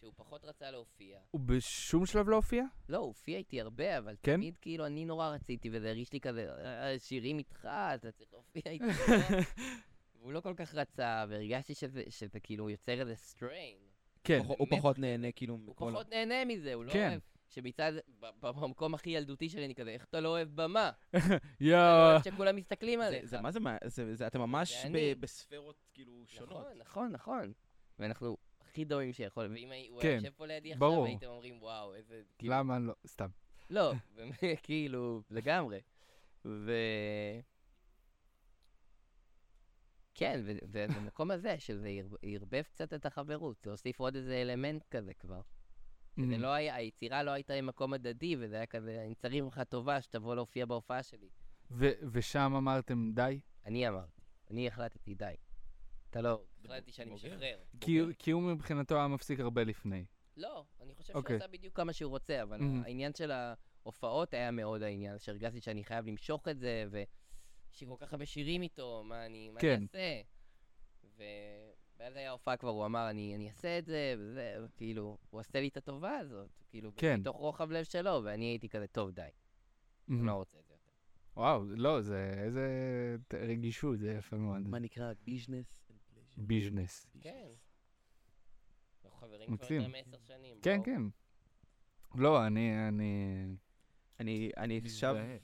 Speaker 3: שהוא פחות רצה להופיע.
Speaker 5: הוא בשום שלב לא הופיע?
Speaker 3: לא, הוא הופיע איתי הרבה, אבל
Speaker 5: כן?
Speaker 3: תמיד כאילו אני נורא רציתי, וזה הרגיש לי כזה, "אה, שירים איתך, אתה צריך להופיע איתי. והוא לא כל כך רצה, והרגשתי שזה, שזה כאילו יוצר איזה סטריין.
Speaker 5: כן.
Speaker 2: הוא- הוא פחות נהנה כאילו
Speaker 3: הוא
Speaker 2: מכל...
Speaker 3: פחות נהנה מזה, הוא לא
Speaker 5: כן.
Speaker 3: אוהב. שמצד, ב- במקום הכי ילדותי שלי, אני כזה, איך אתה לא אוהב במה? אתה לא
Speaker 5: יואו.
Speaker 3: אוהב שכולם מסתכלים
Speaker 2: זה-
Speaker 3: עליך.
Speaker 2: זה מה זה מה? זה- זה- אתם ממש
Speaker 3: זה
Speaker 2: ב-
Speaker 3: אני.
Speaker 2: בספרות כאילו שונות.
Speaker 3: נכון, נכון, נכון. ואנחנו הכי דומים שיכול, ואם הי- הוא
Speaker 5: כן,
Speaker 3: היה יושב פה לידי
Speaker 5: ברור.
Speaker 3: עכשיו, הייתם אומרים, וואו, איזה... כאילו,
Speaker 5: למה לא? סתם.
Speaker 3: לא, באמת, כאילו, לגמרי. ו... כן, ו- ובמקום הזה, שזה יר- ערבב קצת את החברות, להוסיף עוד איזה אלמנט כזה כבר.
Speaker 5: Mm.
Speaker 3: זה לא היה, היצירה לא הייתה עם מקום הדדי, וזה היה כזה, אני צריך ממך טובה שתבוא להופיע בהופעה שלי.
Speaker 5: ו- ושם אמרתם די?
Speaker 3: אני אמרתי, אני החלטתי, די. אתה לא, החלטתי שאני
Speaker 2: בוגר.
Speaker 3: משחרר.
Speaker 5: כי הוא- כי הוא מבחינתו היה מפסיק הרבה לפני.
Speaker 3: לא, אני חושב
Speaker 5: אוקיי.
Speaker 3: שהוא עשה בדיוק כמה שהוא רוצה, אבל
Speaker 5: Mhm.
Speaker 3: העניין של ההופעות היה מאוד העניין, שהרגשתי שאני חייב למשוך את זה, ויש לי כל כך הרבה שירים איתו, מה אני, מה
Speaker 5: כן.
Speaker 3: אני אעשה? ו... ואז היה הופעה כבר, הוא אמר, אני, אני אעשה את זה, וזה, וכאילו, הוא עשה לי את הטובה הזאת, כאילו,
Speaker 5: כן.
Speaker 3: מתוך רוחב לב שלו, ואני הייתי כזה, טוב, די, אני לא רוצה את זה יותר.
Speaker 5: וואו, לא, זה איזה ת- רגישות, זה יפה מאוד.
Speaker 2: מה נקרא ביזנס אנד פלז'ר.
Speaker 5: ביז'נס.
Speaker 3: כן. אנחנו חברים כבר
Speaker 5: מקסים.
Speaker 3: יותר מעשר שנים.
Speaker 5: כן,
Speaker 3: בואו.
Speaker 5: כן. לא, אני... אני...
Speaker 2: אני אני עכשיו,
Speaker 5: מזדהה.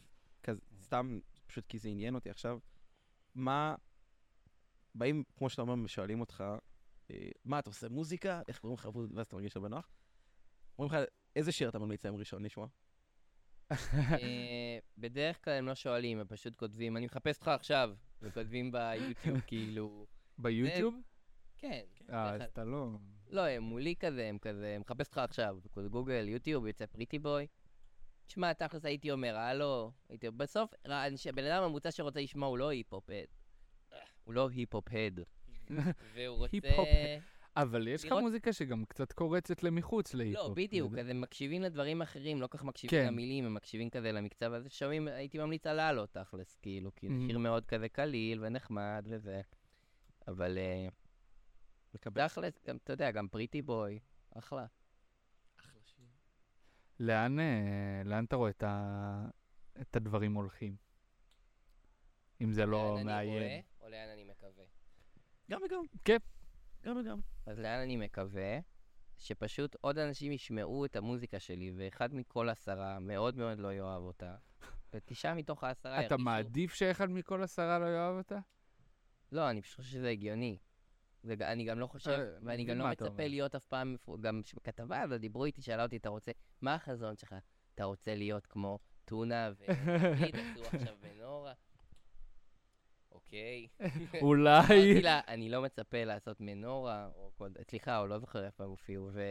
Speaker 2: כזה- סתם, פשוט כי זה עניין אותי עכשיו, מה, באים, כמו שאתה אומר, שואלים אותך, אה, מה, אתה עושה מוזיקה? איך קוראים לך, ואז אתה מרגיש לא בנוח? אומרים לך, איזה שיר אתה ממליץ להם ראשון לשמוע?
Speaker 5: כן.
Speaker 3: אה, בדרך כלל הם לא שואלים, הם פשוט כותבים, אני מחפש אותך עכשיו, וכותבים ביוטיוב, כאילו,
Speaker 5: ביוטיוב?
Speaker 3: כן.
Speaker 5: אה,
Speaker 3: בדרך
Speaker 5: אז
Speaker 3: כלל-
Speaker 5: אתה לא...
Speaker 3: לא, הם מולי כזה, הם כזה, הם מחפש אותך עכשיו, כזה גוגל, יוטיוב, יוצא פריטי בוי. תשמע, תכלס הייתי אומר, הלו, הייתי, בסוף, רע, אנש- בן אדם ממוצע שרוצה לשמוע הוא לא היפ-הופ-הד. הוא לא היפ-הופ-הד. והוא רוצה...
Speaker 5: היפ-הופ-הד. אבל יש לך
Speaker 3: לראות-
Speaker 5: מוזיקה שגם קצת קורצת למחוץ אוקיי, להיפ-הופ.
Speaker 3: לא, בדיוק,
Speaker 5: וזה-
Speaker 3: אז הם מקשיבים לדברים אחרים, לא כל כך מקשיבים
Speaker 5: כן.
Speaker 3: למילים, הם מקשיבים כזה למקצב הזה, שומעים, הייתי ממליץ על הלו תכלס, כאילו, כי זה
Speaker 5: Mhm.
Speaker 3: שיר מאוד כזה קליל ונחמד וזה. אבל אה,
Speaker 2: לקבל
Speaker 3: תכלס, גם, אתה יודע, גם פריטי בוי, אחלה.
Speaker 2: אחלה שיר.
Speaker 5: לאן, אה, לאן אתה רואה את, ה... את הדברים הולכים? אם זה לא
Speaker 3: לאן אני רואה,
Speaker 5: מאיים.
Speaker 3: או לאן אני מקווה.
Speaker 2: גם וגם.
Speaker 5: כן.
Speaker 2: גם וגם.
Speaker 3: אז לאן אני מקווה? שפשוט עוד אנשים ישמעו את המוזיקה שלי, ואחד מכל עשרה מאוד מאוד לא יאהב אותה, ותשעה מתוך העשרה
Speaker 5: אתה מעדיף שאחד מכל עשרה לא יאהב אותה?
Speaker 3: לא, אני פשוט חושב שזה הגיוני. וג- אני גם לא חושב,
Speaker 5: אה,
Speaker 3: ואני
Speaker 5: מבין
Speaker 3: גם לא
Speaker 5: מה אתה
Speaker 3: מצפה
Speaker 5: אומר.
Speaker 3: להיות אף פעם, מפו- גם ש- בכתבה הזו דיברו איתי, שאלה אותי, אתה רוצה, מה החזון שלך? אתה רוצה להיות כמו טונה ו... תגיד, עשו עכשיו מנורה? אוקיי. אמרתי
Speaker 5: אולי...
Speaker 3: לה, אני לא מצפה לעשות מנורה, או כל... סליחה, או לא זוכר איפה הם הופיעו, ו...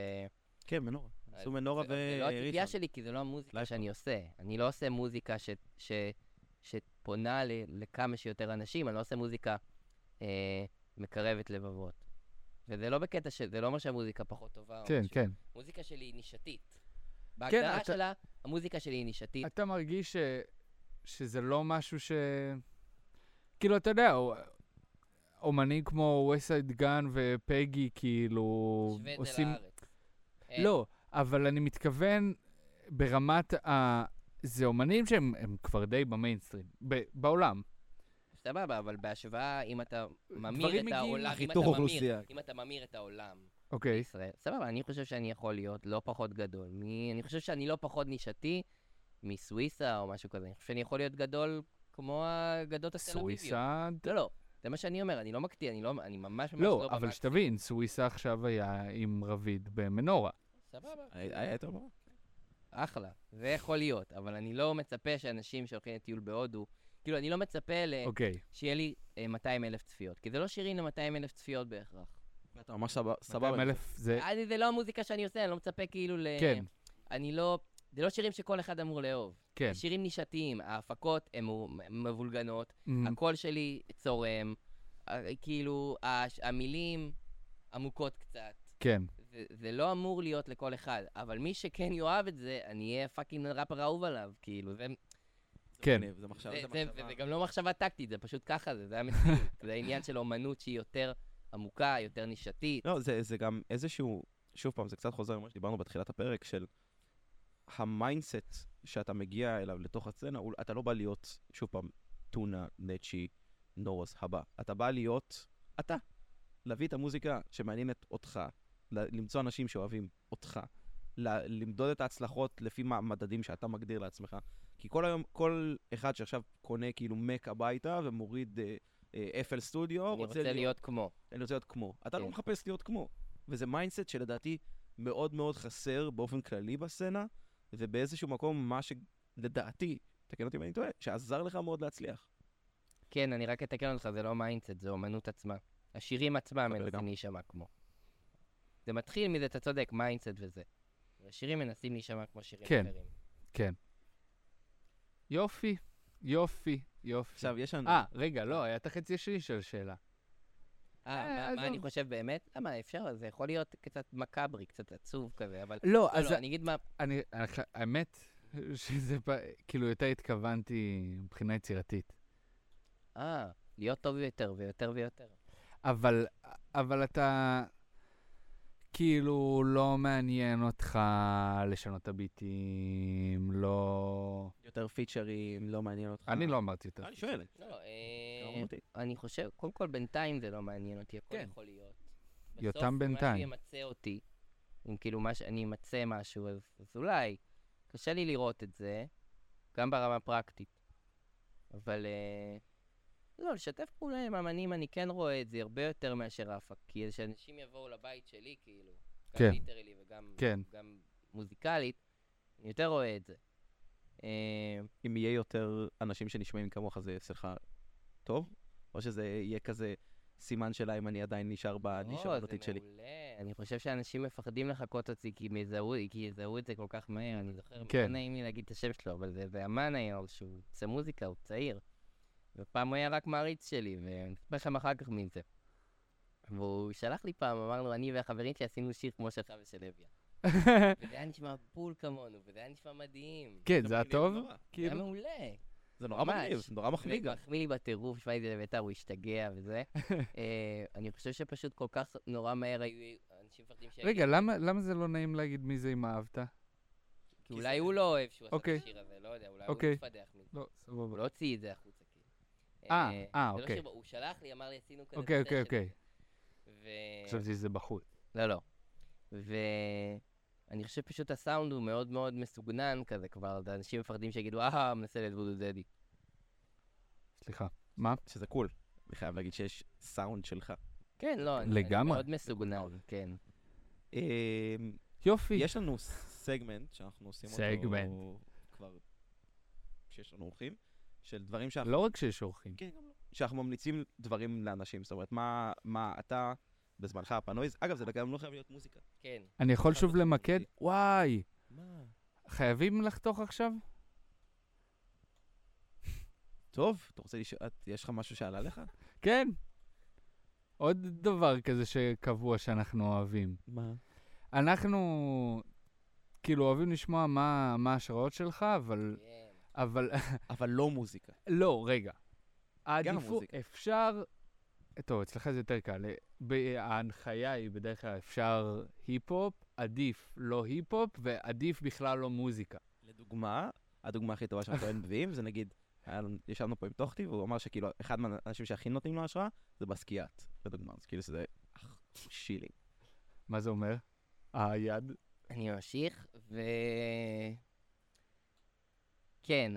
Speaker 2: כן, מנורה. עשו מנורה
Speaker 3: זה- זה לא הציפייה
Speaker 2: וראשון.
Speaker 3: שלי, כי זה לא המוזיקה
Speaker 2: לייפ
Speaker 3: שאני עושה. אני לא עושה מוזיקה ש- ש- שפונה ל- לכמה שיותר אנשים, אני לא עושה מוזיקה אה, מקרבת לבבות. וזה לא בקטע ש... זה לא אומר שהמוזיקה פחות טובה. או
Speaker 5: כן,
Speaker 3: משהו.
Speaker 5: כן.
Speaker 3: המוזיקה שלי היא נישתית. בהגדרה
Speaker 5: אתה-
Speaker 3: שלה, המוזיקה שלי היא נישתית.
Speaker 5: אתה מרגיש ש... שזה לא משהו ש... כאילו, אתה יודע, או- אומנים כמו וסייד גן ופגי, כאילו,
Speaker 3: תשווה את זה
Speaker 5: עושים...
Speaker 3: לארץ. אה, אין.
Speaker 5: לא, אבל אני מתכוון ברמת ה... זה אומנים שהם הם כבר די במיינסטרים, ב- בעולם.
Speaker 3: סבבה, אבל בהשוואה, אם אתה ממיר
Speaker 5: דברים
Speaker 3: את
Speaker 5: מגיעים
Speaker 3: העולם, אם אתה
Speaker 2: לחיתוך
Speaker 3: ממיר,
Speaker 2: אוכלוסייה.
Speaker 3: אם אתה ממיר את העולם
Speaker 5: אוקיי.
Speaker 3: בישראל, סבבה, אני חושב שאני יכול להיות לא פחות גדול. מ... אני חושב שאני לא פחות נישתי מסוויסה או משהו כזה. אני חושב שאני יכול להיות גדול כמו האגדות הסלוויביות.
Speaker 5: סוויסה...
Speaker 3: לא, לא, זה מה שאני אומר, אני לא מקטיא, אני, לא, אני ממש ממש לא
Speaker 5: לא, אבל
Speaker 3: במקסימום.
Speaker 5: שתבין, סוויסה עכשיו היה עם רביד במנורה.
Speaker 3: סבבה,
Speaker 2: היה היה יותר ברור.
Speaker 3: אחלה, זה יכול להיות, אבל אני לא מצפה שאנשים שהולכים לטיול בהודו, כאילו, אני לא מצפה ל...
Speaker 5: אוקיי.
Speaker 3: שיהיה לי אה, 200 אלף צפיות, כי זה לא שירים ל-200 אלף צפיות בהכרח.
Speaker 2: אתה ממש סבבה. סבבה.
Speaker 5: 200,000 זה...
Speaker 3: אני, זה לא המוזיקה שאני עושה, אני לא מצפה כאילו ל...
Speaker 5: אה. כן.
Speaker 3: אני לא... זה לא שירים שכל אחד אמור לאהוב.
Speaker 5: כן.
Speaker 3: זה שירים נישתיים, ההפקות הן מ- מבולגנות,
Speaker 5: מ,
Speaker 3: הקול שלי צורם, ה- כאילו, הש- המילים עמוקות קצת.
Speaker 5: כן.
Speaker 3: זה זה לא אמור להיות לכל אחד, אבל מי שכן יאהב את זה, אני אהיה פאקינג ראפר אהוב עליו, כאילו, זה...
Speaker 5: כן.
Speaker 2: מגניב, זה מחשב.
Speaker 3: זה- זה- זה גם לא מחשבה טקטית, זה פשוט ככה, זה זה המציאות. זה עניין של אומנות שהיא יותר עמוקה, יותר נישתית.
Speaker 2: לא, זה, זה גם איזשהו, שוב פעם, זה קצת חוזר למה שדיברנו בתחילת הפרק, של המיינדסט שאתה מגיע אליו לתוך הסצנה, הוא- אתה לא בא להיות, שוב פעם, טונה, נצ'י, נורס, הבא. אתה בא להיות אתה. להביא את המוזיקה שמעניינת אותך, ל- למצוא אנשים שאוהבים אותך, ל- למדוד את ההצלחות לפי מה- מדדים שאתה מגדיר לעצמך. כי כל היום, כל אחד שעכשיו קונה כאילו מק הביתה ומוריד אה, אה, אפל סטודיו,
Speaker 3: אני רוצה להיות כמו.
Speaker 2: אני רוצה להיות כמו. אתה לא
Speaker 3: כן.
Speaker 2: מחפש להיות כמו. וזה מיינדסט שלדעתי מאוד מאוד חסר באופן כללי בסצנה, ובאיזשהו מקום מה שלדעתי, תקן אותי אם אני טועה, שעזר לך מאוד להצליח.
Speaker 3: כן, אני רק אתקן אותך, זה לא מיינדסט, זה אומנות עצמה. השירים עצמם
Speaker 2: מקבל
Speaker 3: מנסים
Speaker 2: לגמרי.
Speaker 3: להישמע כמו. זה מתחיל מזה, אתה צודק, מיינדסט וזה. השירים מנסים להישמע כמו שירים
Speaker 5: כן.
Speaker 3: אחרים.
Speaker 5: יופי, יופי, יופי.
Speaker 2: עכשיו, יש לנו...
Speaker 5: אה, רגע, לא, היה את החצי השני של השאלה.
Speaker 3: אה,
Speaker 5: אה,
Speaker 3: מה- מה אני
Speaker 5: עזוב.
Speaker 3: חושב באמת? למה, אפשר, זה יכול להיות קצת מקאברי, קצת עצוב כזה, אבל...
Speaker 5: לא,
Speaker 3: לא, לא, אני אגיד מה...
Speaker 5: אני, אני ח- האמת, שזה פ- כאילו יותר התכוונתי מבחינה יצירתית.
Speaker 3: אה, להיות טוב יותר ויותר ויותר.
Speaker 5: אבל, אבל אתה, כאילו, לא מעניין אותך לשנות את הביטים, לא...
Speaker 2: יותר פיצ'רים, לא מעניין אותך. אה,
Speaker 5: אני לא אמרתי יותר.
Speaker 2: אני שואל.
Speaker 3: לא,
Speaker 2: זה
Speaker 3: אה,
Speaker 2: אומנותי.
Speaker 3: אני חושב, קודם כל בינתיים זה לא מעניין אותי, הכל
Speaker 2: כן.
Speaker 3: יכול להיות.
Speaker 5: יותם
Speaker 3: בסוף משהו
Speaker 5: בינתיים.
Speaker 3: ימצה אותי, אם כאילו מש, אני אמצא משהו, אז, אז אולי. קשה לי לראות את זה, גם ברמה הפרקטית. אבל אה, לא, לשתף פעולה עם אמנים, אני כן רואה את זה הרבה יותר מאשר אף, כי שאנשים יבואו לבית שלי, כאילו, גם
Speaker 5: כן.
Speaker 3: ליטרלי וגם
Speaker 5: כן.
Speaker 3: גם מוזיקלית, אני יותר רואה את זה. אה,
Speaker 2: אם יהיה יותר אנשים שנשמעים כמוך, זה יעשה לך טוב? או שזה יהיה כזה סימן שאלה אם אני עדיין נשאר בנישה
Speaker 3: לא,
Speaker 2: הדתית שלי?
Speaker 3: זה מעולה. אני חושב שאנשים מפחדים לחקות אותי כי הם יזהו, כי יזהו את זה כל כך מהר, אני זוכר,
Speaker 5: כן.
Speaker 3: לא נעים לי להגיד את השם שלו, אבל זה, זה אמן היום, שהוא עושה מוזיקה, הוא צעיר. ופעם הוא היה רק מעריץ שלי, ואני אספר לכם אחר כך מי זה. והוא שלח לי פעם, אמרנו, אני והחברים שלי עשינו שיר כמו שלך ושל לויה. וזה היה נשמע בול כמונו, וזה היה נשמע מדהים.
Speaker 5: כן, זה היה טוב?
Speaker 2: נורא.
Speaker 3: זה היה
Speaker 5: כאילו,
Speaker 3: מעולה.
Speaker 2: זה נורא
Speaker 3: ממש.
Speaker 2: מגניב, זה נורא מחמיא גם.
Speaker 3: מחמיא לי בטירוף, שמע לי זה לביתר, הוא השתגע וזה. אה, אני חושב שפשוט כל כך נורא מהר היו אנשים מפחדים שיגידו,
Speaker 5: רגע, למה- למה זה לא נעים להגיד מי זה אם אהבת?
Speaker 3: כי אולי הוא לא אוהב שהוא עשה את
Speaker 5: אוקיי.
Speaker 3: השיר הזה, לא יודע, אולי הוא
Speaker 5: אוקיי.
Speaker 3: מתפדח מזה.
Speaker 5: לא,
Speaker 3: הוא
Speaker 5: סבבה.
Speaker 3: לא הוציא את זה החוצה, כאילו.
Speaker 5: אה,
Speaker 3: זה
Speaker 5: אה,
Speaker 3: לא
Speaker 5: אוקיי.
Speaker 3: שיר- הוא שלח לי, אמר לי, עשינו כזה
Speaker 5: אוקיי,
Speaker 3: בסשן."
Speaker 5: אוקיי, אוקיי.
Speaker 3: ו...
Speaker 5: חשבתי שזה בחוץ.
Speaker 3: לא, לא. ואני חושב פשוט הסאונד הוא מאוד מאוד מסוגנן כזה כבר, אז אנשים מפחדים שיגידו, אהה, מנסה את וודו דדי.
Speaker 5: סליחה. מה?
Speaker 2: שזה קול. אני חייב להגיד שיש סאונד שלך.
Speaker 3: כן, לא, אני- אני
Speaker 5: לגמרי.
Speaker 3: מאוד מסוגנן, כן.
Speaker 2: אמ,
Speaker 5: יופי.
Speaker 2: יש לנו סגמנט שאנחנו עושים
Speaker 5: סגמנט.
Speaker 2: אותו כבר כשיש לנו אורחים, של דברים שאנחנו,
Speaker 5: לא רק שיש אורחים.
Speaker 2: כן, גם לא. שאנחנו ממליצים דברים לאנשים. זאת אומרת, מה, מה אתה בזמנך הפנוי, אגב, זה גם לא חייב להיות מוזיקה.
Speaker 3: כן.
Speaker 5: אני יכול
Speaker 2: אחד
Speaker 5: שוב
Speaker 2: בתחום
Speaker 5: למקד?
Speaker 2: שלי.
Speaker 5: וואי,
Speaker 2: מה?
Speaker 5: חייבים לחתוך עכשיו?
Speaker 2: טוב, אתה רוצה לשאול, את- יש לך משהו שעלה לך?
Speaker 5: כן. עוד דבר כזה שקבוע שאנחנו אוהבים.
Speaker 2: מה?
Speaker 5: אנחנו כאילו אוהבים לשמוע מה מה ההשראות שלך, אבל...
Speaker 3: כן.
Speaker 5: אבל
Speaker 2: אבל לא מוזיקה.
Speaker 5: לא, רגע. העדיפו,
Speaker 2: המוזיקה.
Speaker 5: אפשר... טוב, אצלך זה יותר קל. אה, ב- ההנחיה היא בדרך כלל אפשר היפ-הופ, עדיף לא היפ-הופ, ועדיף בכלל לא מוזיקה.
Speaker 2: לדוגמה, הדוגמה הכי טובה שאנחנו היינו מביאים זה נגיד, היה לנו- ישבנו פה עם טוחטי, והוא אמר שכאילו, אחד מהאנשים שהכי נותנים לו השראה זה בסקיאט, לדוגמה. אז כאילו שזה אח, שילי.
Speaker 5: מה זה אומר? היד.
Speaker 3: אני ממשיך, ו... כן,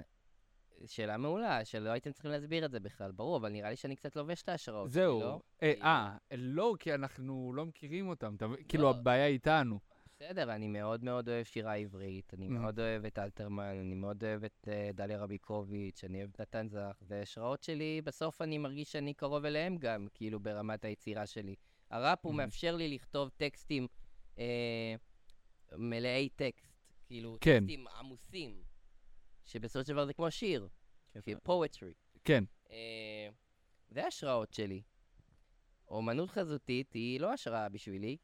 Speaker 3: שאלה מעולה, שלא הייתם צריכים להסביר את זה בכלל, ברור, אבל נראה לי שאני קצת לובש את ההשראות. שלי,
Speaker 5: זהו.
Speaker 3: לא?
Speaker 5: אה,
Speaker 3: כאילו,
Speaker 5: אה, לא, כי אנחנו לא מכירים אותם. אתה מבין? כאילו,
Speaker 3: לא.
Speaker 5: הבעיה איתנו.
Speaker 3: בסדר, אני מאוד מאוד אוהב שירה עברית, אני
Speaker 5: Mm.
Speaker 3: מאוד אוהב את אלתרמן, אני מאוד אוהב את אה, דליה רביקוביץ', אני אוהב את נתן זך, וההשראות שלי, בסוף אני מרגיש שאני קרוב אליהם גם, כאילו, ברמת היצירה שלי. הראפ הוא
Speaker 5: Mhm.
Speaker 3: מאפשר לי לכתוב טקסטים אה, מלאי טקסט, כאילו,
Speaker 5: כן.
Speaker 3: טקסטים עמוסים, שבסופו של דבר זה כמו שיר, כאילו, poetry.
Speaker 5: כן.
Speaker 3: אה, זה ההשראות שלי. אומנות חזותית היא לא השראה בשבילי,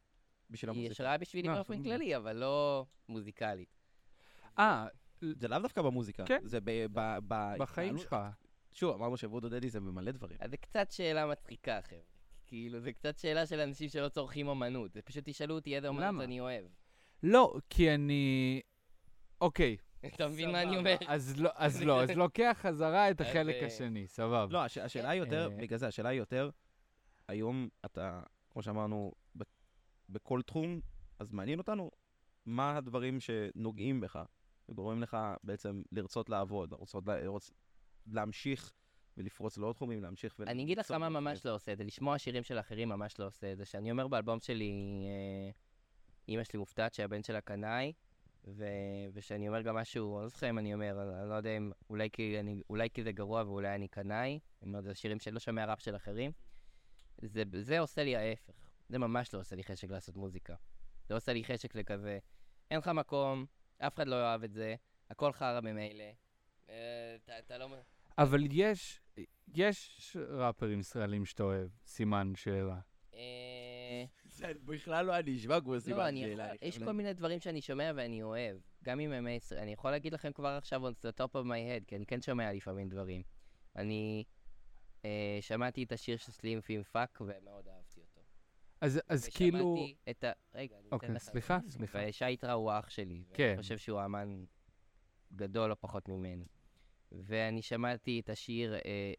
Speaker 2: בשביל
Speaker 3: היא
Speaker 2: המוזיקה.
Speaker 3: השראה בשבילי
Speaker 5: אה,
Speaker 3: באופן
Speaker 5: סבבה.
Speaker 3: כללי, אבל לא מוזיקלית.
Speaker 5: אה,
Speaker 2: זה לאו דווקא במוזיקה,
Speaker 5: כן.
Speaker 2: זה ב- ב- ב-
Speaker 5: בחיים
Speaker 2: בהתנהלות.
Speaker 5: שלך.
Speaker 2: שוב, אמרנו שוודו דדי זה במלא דברים.
Speaker 3: אז זה קצת שאלה מצחיקה, חבר'ה. כאילו, זה קצת שאלה של אנשים שלא צורכים אמנות. זה פשוט תשאלו אותי איזה אמנות
Speaker 5: למה?
Speaker 3: אני אוהב.
Speaker 5: לא, כי אני... אוקיי,
Speaker 3: אתה מבין מה אני
Speaker 4: סבבה.
Speaker 3: אומר?
Speaker 5: אז לא, אז לא, אז לוקח חזרה את
Speaker 3: אז,
Speaker 5: החלק
Speaker 3: אה,
Speaker 5: השני, סבבה.
Speaker 2: לא, הש- השאלה היא יותר,
Speaker 5: אה.
Speaker 2: בגלל זה, השאלה היא יותר, היום אתה, כמו שאמרנו, ב- בכל תחום, אז מעניין אותנו מה הדברים שנוגעים בך, וגורמים לך בעצם לרצות לעבוד, לרצות לה- לרצ- להמשיך ולפרוץ לעוד תחומים, להמשיך ול...
Speaker 3: אני אגיד לך
Speaker 2: למצוא
Speaker 3: למה
Speaker 2: עוד
Speaker 3: ממש
Speaker 2: דברים.
Speaker 3: לא עושה את זה, לשמוע שירים של אחרים ממש לא עושה את זה. שאני אומר באלבום שלי, אה, אימא שלי מופתעת שהבן שלה קנאי, ו- ושאני אומר גם משהו, אני לא זוכר אם אני אומר, אני אני לא יודע אם, אולי כי, אני, אולי כי זה גרוע ואולי אני קנאי, אני אומר, זה שירים שאני לא שומע ראפ של אחרים. זה, זה עושה לי ההפך, זה ממש לא עושה לי חשק לעשות מוזיקה. זה עושה לי חשק לכזה, אין לך מקום, אף אחד לא יאהב את זה, הכל חרא ממילא. אה, אתה- אתה לא... מ-
Speaker 5: אבל יש, יש ראפרים ישראלים שאתה אוהב, סימן שאלה.
Speaker 3: אה,
Speaker 2: זה בכלל לא אני נשמע כמו סימן
Speaker 3: לא, אני
Speaker 2: שאלה,
Speaker 3: יכול, יש
Speaker 2: חושב.
Speaker 3: כל מיני דברים שאני שומע ואני אוהב. גם אם הם עשר, אני יכול להגיד לכם כבר עכשיו on the top of my head, כי אני כן שומע לפעמים דברים. אני אה, שמעתי את השיר של סלים פים פאק ומאוד אהבתי אותו.
Speaker 5: אז, אז כאילו...
Speaker 3: ושמעתי את ה... רגע, אני אתן
Speaker 5: אוקיי,
Speaker 3: לך.
Speaker 5: סליחה, סליחה.
Speaker 3: ושייטרה הוא אח שלי.
Speaker 5: כן.
Speaker 3: ואני חושב שהוא אמן גדול לא פחות ממני. ואני שמעתי את השיר אה,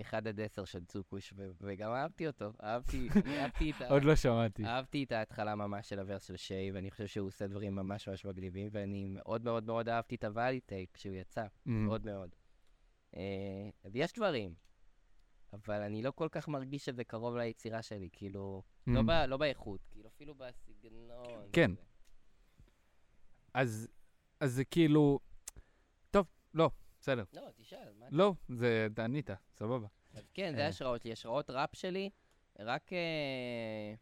Speaker 3: 1 עד 10 של צוקוש, ו- וגם אהבתי אותו. אהבתי, אני אהבתי את ה...
Speaker 5: עוד לא שמעתי.
Speaker 3: אהבתי את ההתחלה ממש של הוורס של שיי, ואני חושב שהוא עושה דברים ממש ממש מגניבים, ואני מאוד מאוד מאוד אהבתי את הוואלי טייק כשהוא יצא,
Speaker 5: אמ,
Speaker 3: מאוד מאוד. אה, אז יש דברים, אבל אני לא כל כך מרגיש שזה קרוב ליצירה שלי, כאילו, לא
Speaker 5: אמ.
Speaker 3: ב- לא באיכות, כאילו אפילו בסגנון.
Speaker 5: כן.
Speaker 3: וזה.
Speaker 5: אז, אז זה כאילו... טוב, לא, בסדר.
Speaker 3: לא, תשאל, מה...
Speaker 5: לא, זה, אתה ענית, סבבה.
Speaker 3: אז כן,
Speaker 5: אה.
Speaker 3: זה השראות שלי, השראות ראפ שלי, רק... אה,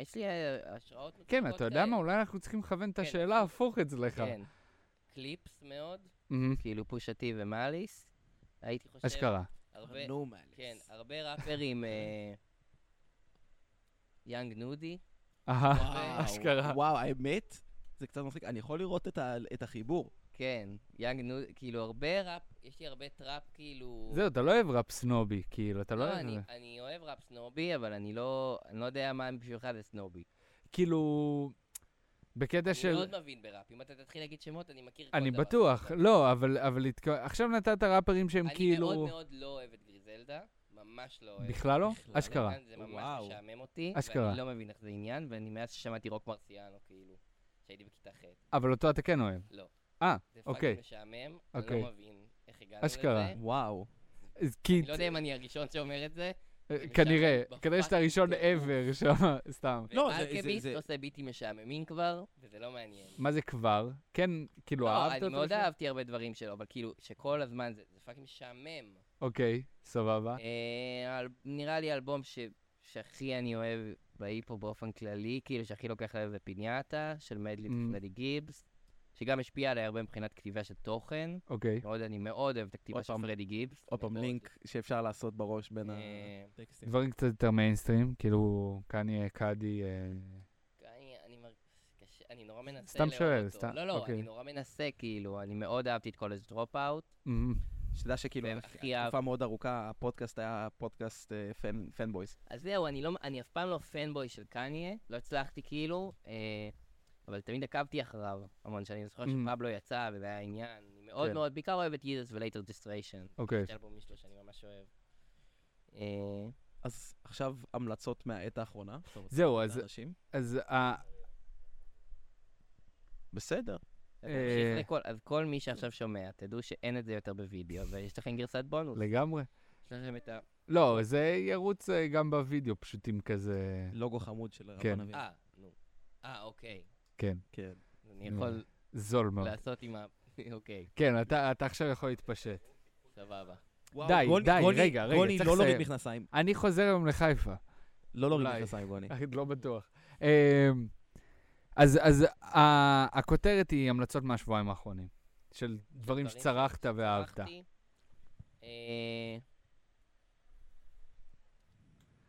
Speaker 3: יש לי אה, השראות...
Speaker 5: כן,
Speaker 3: מצחיקות
Speaker 5: אתה יודע מה?
Speaker 3: כאלה.
Speaker 5: אולי אנחנו צריכים לכוון את
Speaker 3: אוקיי. כן,
Speaker 5: השאלה הפוך אצלך.
Speaker 3: כן. קליפס מאוד,
Speaker 5: אמ,
Speaker 3: כאילו פושתי ומאליס. הייתי חושב...
Speaker 5: אשכרה.
Speaker 3: הרבה,
Speaker 2: נו, מה,
Speaker 3: כן, הרבה ראפרים, אה, יאנג נודי,
Speaker 5: אהה.
Speaker 2: וואו,
Speaker 5: אשכרה.
Speaker 2: וואו, האמת, זה קצת מצחיק. אני יכול לראות את ה- את החיבור.
Speaker 3: כן, יאנג נודי, כאילו הרבה ראפ, יש לי הרבה טראפ, כאילו...
Speaker 5: זהו, אתה לא אוהב ראפ סנובי, כאילו, אתה לא
Speaker 3: לא,
Speaker 5: אוהב...
Speaker 3: אני, אני אוהב ראפ סנובי, אבל אני לא, אני לא יודע מה בשבילך זה סנובי.
Speaker 5: כאילו... בקטע
Speaker 3: אני
Speaker 5: של...
Speaker 3: מאוד מבין בראפ, אם אתה תתחיל להגיד שמות, אני מכיר כל דבר.
Speaker 5: אני בטוח, לא, אבל, אבל התק... עכשיו נתת ראפרים שהם
Speaker 3: אני
Speaker 5: כאילו...
Speaker 3: אני מאוד מאוד לא אוהב את גריזלדה, ממש לא אוהב.
Speaker 5: בכלל לא?
Speaker 2: בכלל.
Speaker 5: אשכרה.
Speaker 3: זה ממש
Speaker 2: וואו.
Speaker 3: משעמם אותי,
Speaker 5: אשכרה.
Speaker 3: ואני לא מבין איך זה עניין, ואני מאז ששמעתי רוק מרסיאנו, כאילו, כשהייתי בכיתה ח'.
Speaker 5: אבל אותו אתה כן אוהב.
Speaker 3: לא.
Speaker 5: אה,
Speaker 3: זה
Speaker 5: אוקיי.
Speaker 3: פאקינג משעמם, אני
Speaker 5: אוקיי.
Speaker 3: לא מבין איך הגענו לזה.
Speaker 5: אשכרה.
Speaker 2: וואו.
Speaker 5: אז כי...
Speaker 3: אני לא יודע אם אני הראשון שאומר את זה.
Speaker 5: אה, כנראה,
Speaker 3: משעמם
Speaker 5: כנראה שאתה הראשון
Speaker 3: בפאקינג
Speaker 5: ever שם, סתם.
Speaker 2: לא, זה-
Speaker 3: ואלקביסט
Speaker 2: זה- זה-
Speaker 3: עושה ביטים משעממים כבר, וזה לא מעניין.
Speaker 5: מה זה כבר? כן, כאילו,
Speaker 3: לא,
Speaker 5: אהבת
Speaker 3: אני
Speaker 5: אותו?
Speaker 3: מאוד
Speaker 5: שם?
Speaker 3: אהבתי הרבה דברים שלו, אבל כאילו, שכל הזמן זה זה פאקינג משעמם.
Speaker 5: אוקיי, סבבה.
Speaker 3: אה, אל- נראה לי האלבום ש- שהכי אני אוהב בהיפו באופן כללי, כאילו שהכי לוקח לב זה פיניאטה, של מדלי
Speaker 2: Mm-hmm.
Speaker 5: Mm.
Speaker 3: ופרדי גיבס, שגם השפיע עליי הרבה מבחינת כתיבה של תוכן.
Speaker 5: אוקיי.
Speaker 3: מאוד, אני מאוד אוהב את הכתיבה
Speaker 2: עוד
Speaker 3: של
Speaker 2: פעם-
Speaker 3: פרדי גיבס.
Speaker 2: עוד פעם
Speaker 3: מאוד.
Speaker 2: לינק שאפשר לעשות בראש בין
Speaker 3: אה,
Speaker 2: הטקסטים.
Speaker 5: דברים קצת יותר מיינסטרים, כאילו, קניה, קאדי, אה,
Speaker 3: אני, אני, מר... קשה, אני נורא מנסה
Speaker 5: סתם
Speaker 3: לאהוב
Speaker 5: שואל,
Speaker 3: אותו.
Speaker 5: סתם-
Speaker 3: לא, לא,
Speaker 5: אוקיי.
Speaker 3: אני נורא מנסה, כאילו, אני מאוד אהבתי את קולג' דרופאוט.
Speaker 5: אמ,
Speaker 2: שתדע שכאילו,
Speaker 3: והם
Speaker 2: אחרי
Speaker 3: הכי אהב-
Speaker 2: תקופה מאוד ארוכה, הפודקאסט היה פודקאסט אה, פן- פנבויז.
Speaker 3: אז זהו, אני, לא, אני אף פעם לא פנבוי של קניה, לא הצלחתי כאילו, אה, אבל תמיד עקבתי אחריו המון שנים. אני זוכר
Speaker 5: Mhm.
Speaker 3: שפבלו יצא, וזה היה עניין. אני מאוד
Speaker 2: כן.
Speaker 3: מאוד, בעיקר אוהב את ייזוס ולייטר דיסטריישן.
Speaker 5: אוקיי.
Speaker 3: יש אלבומים שלו שאני ממש אוהב. אה,
Speaker 2: אז עכשיו המלצות מהעת האחרונה. אתה רוצה
Speaker 5: זהו,
Speaker 2: לתת
Speaker 5: אז-
Speaker 2: לאנשים?
Speaker 5: אז אה, ה-
Speaker 2: בסדר.
Speaker 3: אז
Speaker 5: אה.
Speaker 3: נמשיך לכל- אז כל מי שעכשיו שומע, תדעו שאין את זה יותר בווידאו, ויש לכם גרסת בונוס.
Speaker 5: לגמרי.
Speaker 3: יש לכם את ה...
Speaker 5: לא, זה ירוץ אה, גם בווידאו, פשוטים כזה...
Speaker 2: לוגו חמוד של
Speaker 5: כן.
Speaker 2: רבן אביב.
Speaker 3: אה, נו. אה, אוקיי.
Speaker 5: כן,
Speaker 2: כן.
Speaker 3: אז אני
Speaker 5: נו.
Speaker 3: יכול
Speaker 5: זול מאוד.
Speaker 3: לעשות עם ה... אוקיי,
Speaker 5: כן, אתה אתה עכשיו יכול להתפשט.
Speaker 3: סבבה.
Speaker 2: וואו,
Speaker 5: די,
Speaker 2: גוני-
Speaker 5: די,
Speaker 2: גוני-
Speaker 5: רגע, רגע,
Speaker 2: גוני,
Speaker 5: צריך
Speaker 2: לא להוריד
Speaker 5: לסיים.
Speaker 2: מכנסיים.
Speaker 5: אני חוזר היום לחיפה.
Speaker 3: אוקיי.
Speaker 2: לא להוריד
Speaker 5: אולי.
Speaker 2: מכנסיים, גוני.
Speaker 5: אני לא בטוח. אמ, אז, אז ה- הכותרת היא המלצות מהשבועיים האחרונים, של דברים שצרחת ואהבת.
Speaker 3: צרחתי. אה,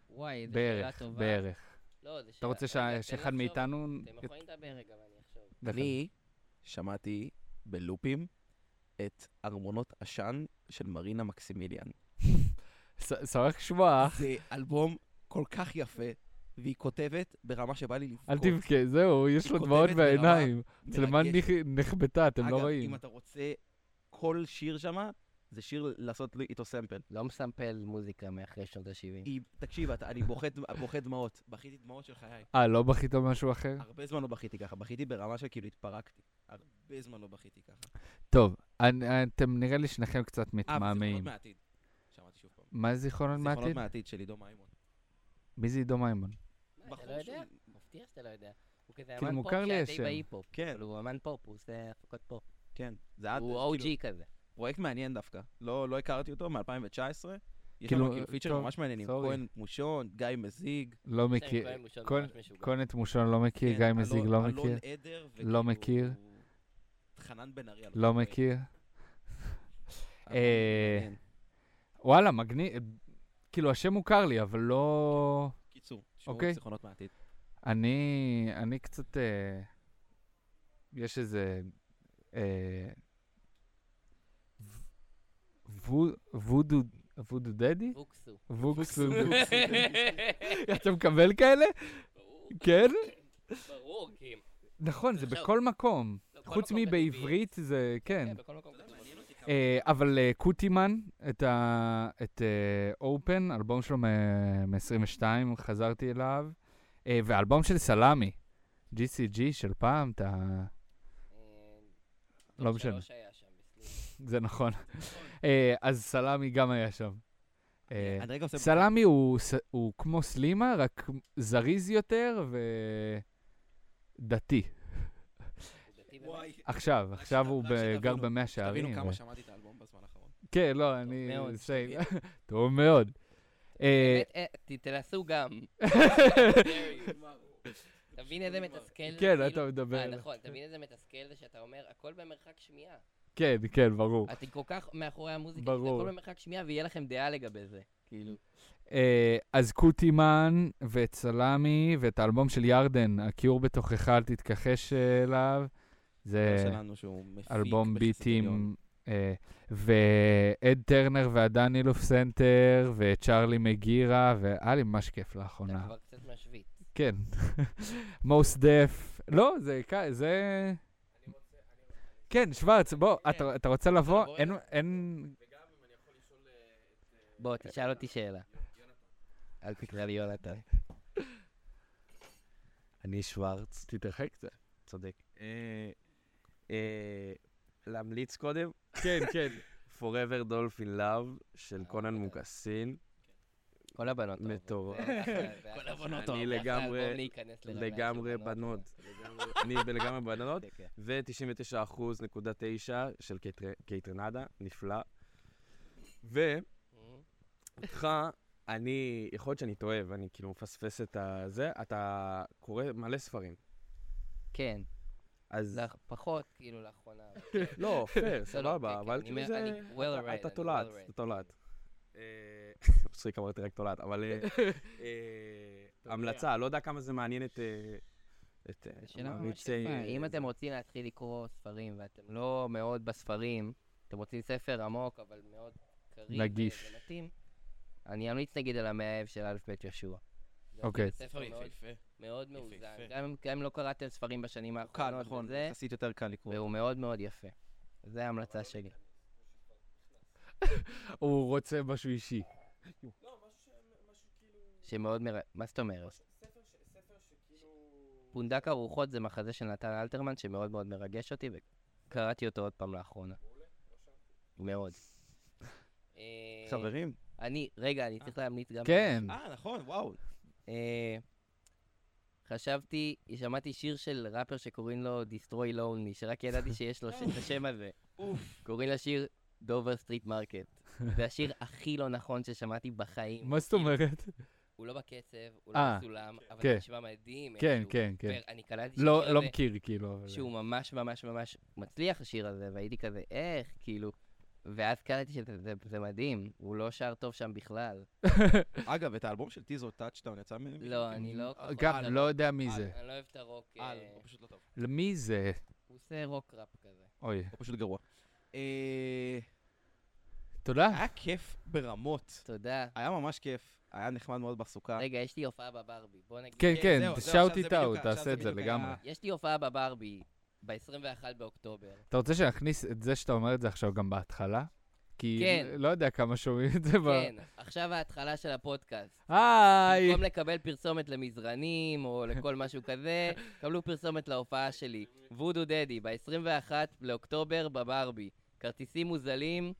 Speaker 3: וואי, איזה שאלה
Speaker 5: בערך,
Speaker 3: טובה.
Speaker 5: בערך.
Speaker 3: לא, זה שאלה.
Speaker 5: אתה רוצה ש-
Speaker 3: רגע, תן
Speaker 5: שאחד
Speaker 3: לחשוב.
Speaker 5: מאיתנו...
Speaker 3: אתם יכולים לדבר רגע, אבל אני אחשוב.
Speaker 2: אני שמעתי בלופים את ארמונות עשן של מרינה מקסימיליאן.
Speaker 5: ס- שמח לשמוע.
Speaker 2: זה אלבום כל כך יפה, והיא כותבת ברמה שבא לי לבכות.
Speaker 5: אל תבכה, זהו, יש לו
Speaker 2: כותבת
Speaker 5: דמעות
Speaker 2: ברמה
Speaker 5: בעיניים. צלמן
Speaker 2: מרגש.
Speaker 5: נכ- נחבטה, אתם לא
Speaker 2: אגב,
Speaker 5: רואים.
Speaker 2: אם אתה רוצה כל שיר שמה, זה שיר לעשות לי איתו סמפל.
Speaker 3: לא מסמפל מוזיקה מאחרי שנות ה-70.
Speaker 2: היא, תקשיב, אתה- אני בוכה דמ- בוכה דמעות. בכיתי דמעות של חיי.
Speaker 5: אה, לא בכית על משהו אחר?
Speaker 2: הרבה זמן לא בכיתי ככה, בכיתי ברמה שכאילו התפרקתי. הרבה זמן לא בכיתי ככה.
Speaker 5: טוב, אני- אתם נראה לי שניכם קצת
Speaker 2: אה, וזיכרונות
Speaker 5: מתמהמהים.
Speaker 2: מהעתיד. שמעתי שוב פעם.
Speaker 5: מה זה זיכרונות
Speaker 2: זיכרונות
Speaker 5: מהעתיד?
Speaker 2: מהעתיד של עידו מימון.
Speaker 5: מי זה עידו מימון?
Speaker 3: מה, אתה לא
Speaker 2: בחור
Speaker 3: יודע?
Speaker 2: שהוא-
Speaker 3: מפתיע שאתה לא יודע. הוא כזה
Speaker 5: כאילו,
Speaker 3: אמן פופ
Speaker 5: מוכר לי
Speaker 3: שהיה
Speaker 5: השם.
Speaker 3: די בהיפ-הופ.
Speaker 2: כן,
Speaker 3: אבל הוא אמן פופ, הוא עושה הפקות פופ.
Speaker 2: כן.
Speaker 5: אה,
Speaker 2: זה עד...
Speaker 3: הוא
Speaker 2: זה כאילו-
Speaker 3: OG כזה.
Speaker 2: פרויקט מעניין דווקא. לא, לא הכרתי אותו, מ-2019. יש
Speaker 5: כאילו,
Speaker 2: כאילו, כאילו פיצ'רים
Speaker 5: טוב,
Speaker 2: ממש מעניינים.
Speaker 5: סורי.
Speaker 2: כהן מושון, גיא מזיג.
Speaker 5: לא
Speaker 3: בסדר,
Speaker 5: מכיר.
Speaker 3: כהן מושון
Speaker 5: כהן-
Speaker 3: ממש משוגע.
Speaker 5: קונת מושון לא מכיר, גיא
Speaker 2: כן,
Speaker 5: מזיג
Speaker 2: אלון-
Speaker 5: לא מכיר,
Speaker 2: אלון עדר.
Speaker 5: לא מכיר.
Speaker 2: חנן בן ארי.
Speaker 5: לא מכיר. אה,
Speaker 2: מעניין.
Speaker 5: וואלה, מגניב. כאילו, השם מוכר לי, אבל לא...
Speaker 2: קיצור, שמעו
Speaker 5: אוקיי.
Speaker 2: זיכרונות מהעתיד.
Speaker 5: אני, אני קצת, אה, יש איזה אה, ו- וודו, וודו דדי?
Speaker 3: בוקסו.
Speaker 5: ווקסו. אתה מקבל כאלה?
Speaker 3: ברור,
Speaker 5: כן?
Speaker 3: ברור, כי...
Speaker 5: נכון, זה
Speaker 3: עכשיו-
Speaker 5: בכל מקום.
Speaker 3: לא, כל
Speaker 5: חוץ
Speaker 3: מקום כתוב
Speaker 5: מבעברית זה, כן.
Speaker 3: כן, בכל מקום כתוב בעברית.
Speaker 5: אה, אבל אה, קוטימן, את ה- את אופן, אלבום שלו מ-22, חזרתי אליו. אה, והאלבום של סלאמי, GCG של פעם, אתה...
Speaker 3: אה,
Speaker 5: לא
Speaker 3: טוב,
Speaker 5: משנה.
Speaker 3: שלוש היה שם, בסליחה.
Speaker 5: זה נכון. אה, אז סלאמי גם היה שם. אה,
Speaker 2: אני רגע עושה...
Speaker 5: סלאמי הוא ס- הוא כמו סלימה, רק זריז יותר ודתי.
Speaker 3: הוא דתי באמת.
Speaker 2: וואי.
Speaker 5: עכשיו, עכשיו הוא
Speaker 2: רק
Speaker 5: ב- גר
Speaker 2: שתבינו,
Speaker 5: במאה שערים.
Speaker 2: תבינו
Speaker 5: ו-
Speaker 2: כמה שמעתי את האלבום בזמן האחרון.
Speaker 5: כן, לא, אני...
Speaker 3: מאוד,
Speaker 5: זה- טוב מאוד. אה,
Speaker 3: באמת, אה, ת- תנסו גם. תבין איזה מתסכל.
Speaker 5: כן,
Speaker 3: זה,
Speaker 5: אתה
Speaker 3: כאילו- אה,
Speaker 5: מדבר.
Speaker 3: נכון, תבין איזה מתסכל זה שאתה אומר, הכל במרחק שמיעה.
Speaker 5: כן, כן, ברור.
Speaker 2: אה,
Speaker 3: אתם כל כך מאחורי המוזיקה, שזה
Speaker 5: ברור.
Speaker 3: הכל במרחק שמיעה ויהיה לכם דעה לגבי זה. כאילו.
Speaker 5: אה, אז קוטימן ואת סלאמי ואת האלבום של ירדן, הכיור בתוכך, אל תתכחש אליו. זה...
Speaker 2: לא שלנו שהוא מפיק
Speaker 5: אה, אלבום
Speaker 2: בחסד עליון.
Speaker 5: ביטים, אה, ועד טרנר והדן אילוף סנטר, וצ'ארלי מגירה, והיה לי ממש כיף
Speaker 3: אתה
Speaker 5: לאחרונה.
Speaker 3: כבר קצת משוויץ.
Speaker 5: כן. מוס דף. לא, זה... ק- זה... כן, שוורץ, בוא, אתה- אתה רוצה לבוא?
Speaker 3: בוא
Speaker 5: אין- אין...
Speaker 3: בוא, תשאל אותי שאלה. אל תקרא לי יונתן.
Speaker 6: אני שוורץ,
Speaker 5: תתרחק קצת.
Speaker 6: צודק. אה, אה, להמליץ קודם?
Speaker 5: כן, כן.
Speaker 6: Forever Dolphin Love של קונן מוקסין.
Speaker 3: כל הבנות אוהבות.
Speaker 6: מטורף.
Speaker 3: כל
Speaker 2: הבנות
Speaker 6: אני לגמרי, לגמרי בנות. לגמרי- אני לגמרי בנות.
Speaker 3: כן, כן.
Speaker 6: ו-99.9 של קייטר- קייטרנדה, נפלא. ואיתך, אני, יכול להיות שאני טועה ואני כאילו מפספס את הזה, אתה קורא מלא ספרים.
Speaker 3: כן,
Speaker 6: אז
Speaker 3: לאח- פחות כאילו לאחרונה. אבל כן.
Speaker 6: לא, פייר,
Speaker 3: לא, לא, כן,
Speaker 6: סבבה, אבל
Speaker 3: כן, אני
Speaker 6: כאילו
Speaker 3: אומר,
Speaker 6: זה...
Speaker 3: אני well read,
Speaker 6: אתה
Speaker 3: אני
Speaker 6: תולעת,
Speaker 3: well read.
Speaker 6: אתה תולעת. אה, מצחיק, אמרתי רק תולעת, אבל... אה, אה, המלצה, לא יודע כמה זה מעניין את... אה, את אה,
Speaker 3: זו שאלה ממש
Speaker 6: ערוצי,
Speaker 3: יפה.
Speaker 6: אה,
Speaker 3: אם אתם רוצים להתחיל לקרוא ספרים ואתם לא מאוד בספרים, אתם רוצים ספר עמוק אבל מאוד קריא ו-
Speaker 5: נגיש.
Speaker 3: ומתאים, אני אמליץ נגיד על המאהב של א' ב' יהושע. זה
Speaker 5: אוקיי.
Speaker 3: ספר
Speaker 2: ספר
Speaker 3: מאוד-
Speaker 2: יפהפה.
Speaker 3: מאוד מאוזן,
Speaker 2: יפהפה.
Speaker 3: גם אם- גם אם לא קראתם ספרים בשנים
Speaker 2: הוא קל,
Speaker 3: האחרונות,
Speaker 2: נכון,
Speaker 3: וזה,
Speaker 2: יחסית יותר קל לקרוא.
Speaker 3: והוא מאוד מאוד יפה. זה ההמלצה שלי.
Speaker 5: הוא רוצה משהו אישי.
Speaker 3: שמאוד מר... מה זאת אומרת? פונדק הרוחות זה מחזה של נתן אלתרמן שמאוד מאוד מרגש אותי וקראתי אותו עוד פעם לאחרונה. מאוד. אה,
Speaker 2: חברים.
Speaker 3: אני, רגע, אני צריך להמליץ גם...
Speaker 5: כן.
Speaker 2: אה, נכון, וואו.
Speaker 3: אה, חשבתי, שמעתי שיר של ראפר שקוראים לו Destroy Lonely, שרק ידעתי שיש לו ש- את השם הזה. קוראים לשיר דובר סטריט מרקט. זה השיר הכי לא נכון ששמעתי בחיים.
Speaker 5: מה זאת אומרת?
Speaker 3: הוא לא בקצב, הוא לא
Speaker 5: אה,
Speaker 3: מצולם, אבל
Speaker 5: כן.
Speaker 3: זה נשמע מדהים.
Speaker 5: כן,
Speaker 3: איכשהו.
Speaker 5: כן, כן.
Speaker 3: ואני קלטתי
Speaker 5: לא
Speaker 3: שהשיר
Speaker 5: לא
Speaker 3: הזה,
Speaker 5: מכיר, כאילו. אבל-
Speaker 3: שהוא ממש ממש ממש מצליח, השיר הזה, והייתי כזה, איך, כאילו, ואז קלטתי שזה זה- זה מדהים, הוא לא שר טוב שם בכלל.
Speaker 2: אגב, את האלבום של טיזו טאצ'טאון יצא ממנו?
Speaker 3: לא, אני לא... כל כך אוהב את
Speaker 5: גם, לא
Speaker 3: הרוק.
Speaker 5: יודע מי זה.
Speaker 3: אני לא אוהב את הרוק.
Speaker 2: אה,
Speaker 3: אה,
Speaker 2: לא, הוא פשוט לא טוב.
Speaker 5: מי זה?
Speaker 3: הוא עושה רוק ראפ כזה.
Speaker 5: אוי,
Speaker 2: הוא פשוט גרוע. אה,
Speaker 5: תודה.
Speaker 2: היה כיף ברמות.
Speaker 3: תודה.
Speaker 2: היה ממש כיף. היה נחמד מאוד בסוכה.
Speaker 3: רגע, יש לי הופעה בברבי. בוא נגיד...
Speaker 5: כן,
Speaker 3: ש-
Speaker 5: כן,
Speaker 2: אה, זהו, זהו,
Speaker 5: שאוט
Speaker 2: עכשיו זה
Speaker 5: איט אאוט,
Speaker 2: בדיוק- עכשיו
Speaker 5: תעשה את זה
Speaker 2: בדיוק היה-
Speaker 5: לגמרי.
Speaker 3: יש לי הופעה בברבי ב-21 באוקטובר.
Speaker 5: אתה רוצה שנכניס את זה שאתה אומר את זה עכשיו גם בהתחלה? כי
Speaker 3: כן.
Speaker 5: לא יודע כמה שומעים את זה ב...
Speaker 3: כן, עכשיו ההתחלה של הפודקאסט.
Speaker 5: היי!
Speaker 3: במקום לקבל פרסומת למזרנים או לכל משהו כזה, קבלו פרסומת להופעה שלי. וודו דדי, ב-21 לאוקטובר בברבי. כרטיסים מוזלים,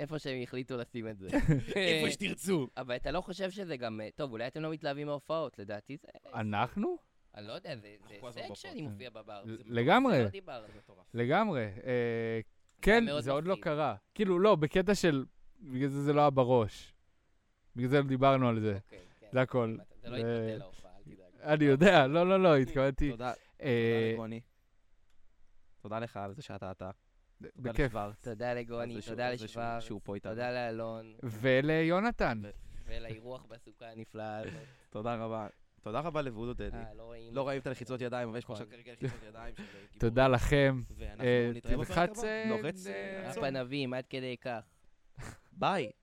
Speaker 3: איפה שהם החליטו לשים את זה.
Speaker 2: איפה שתרצו.
Speaker 3: אבל אתה לא חושב שזה גם... טוב, אולי אתם לא מתלהבים מההופעות, לדעתי זה...
Speaker 5: אנחנו?
Speaker 3: אני לא יודע, זה זה
Speaker 2: כל הזמן כן.
Speaker 3: הישג שאני
Speaker 5: בהופעות.
Speaker 3: מופיע בברבי. זה-
Speaker 5: לגמרי.
Speaker 3: זה לא דיברנו.
Speaker 5: לגמרי. אה, כן,
Speaker 3: מאוד
Speaker 5: זה עוד לא
Speaker 3: מפחיד.
Speaker 5: קרה. כאילו, לא, בקטע של... בגלל זה זה לא היה בראש. בגלל זה לא דיברנו על זה.
Speaker 3: אוקיי, כן.
Speaker 5: זה הכל.
Speaker 3: זה לא
Speaker 5: זה-
Speaker 3: יתבטל להופעה, אל תדאג.
Speaker 5: אני יודע, לא, לא, לא, התכוונתי.
Speaker 2: תודה,
Speaker 5: אה,
Speaker 2: תודה לגוני. תודה לך על זה שאתה אתה. תודה
Speaker 5: בכיף.
Speaker 2: לשוורץ.
Speaker 3: תודה לגוני,
Speaker 2: על זה שהוא-
Speaker 3: תודה
Speaker 2: על זה שהוא-
Speaker 3: לשוורץ,
Speaker 2: שהוא פה איתנו.
Speaker 3: תודה לאלון,
Speaker 5: וליונתן.
Speaker 3: ולאירוח בסוכה הנפלאה הזאת.
Speaker 2: תודה רבה. תודה רבה לוודו דדי.
Speaker 3: אה, לא רואים.
Speaker 2: לא ראיתי את הלחיצות ידיים, אבל יש פה
Speaker 3: נכון.
Speaker 2: עכשיו כרגע לחיצות ידיים של גיבורים.
Speaker 5: תודה לכם.
Speaker 2: ואנחנו
Speaker 5: אה,
Speaker 2: נתראה בפרק
Speaker 5: תלחץ,
Speaker 2: הבא.
Speaker 5: אה,
Speaker 2: לוחץ.
Speaker 5: אה,
Speaker 2: אה,
Speaker 3: הפנבים, עד כדי כך.
Speaker 2: ביי.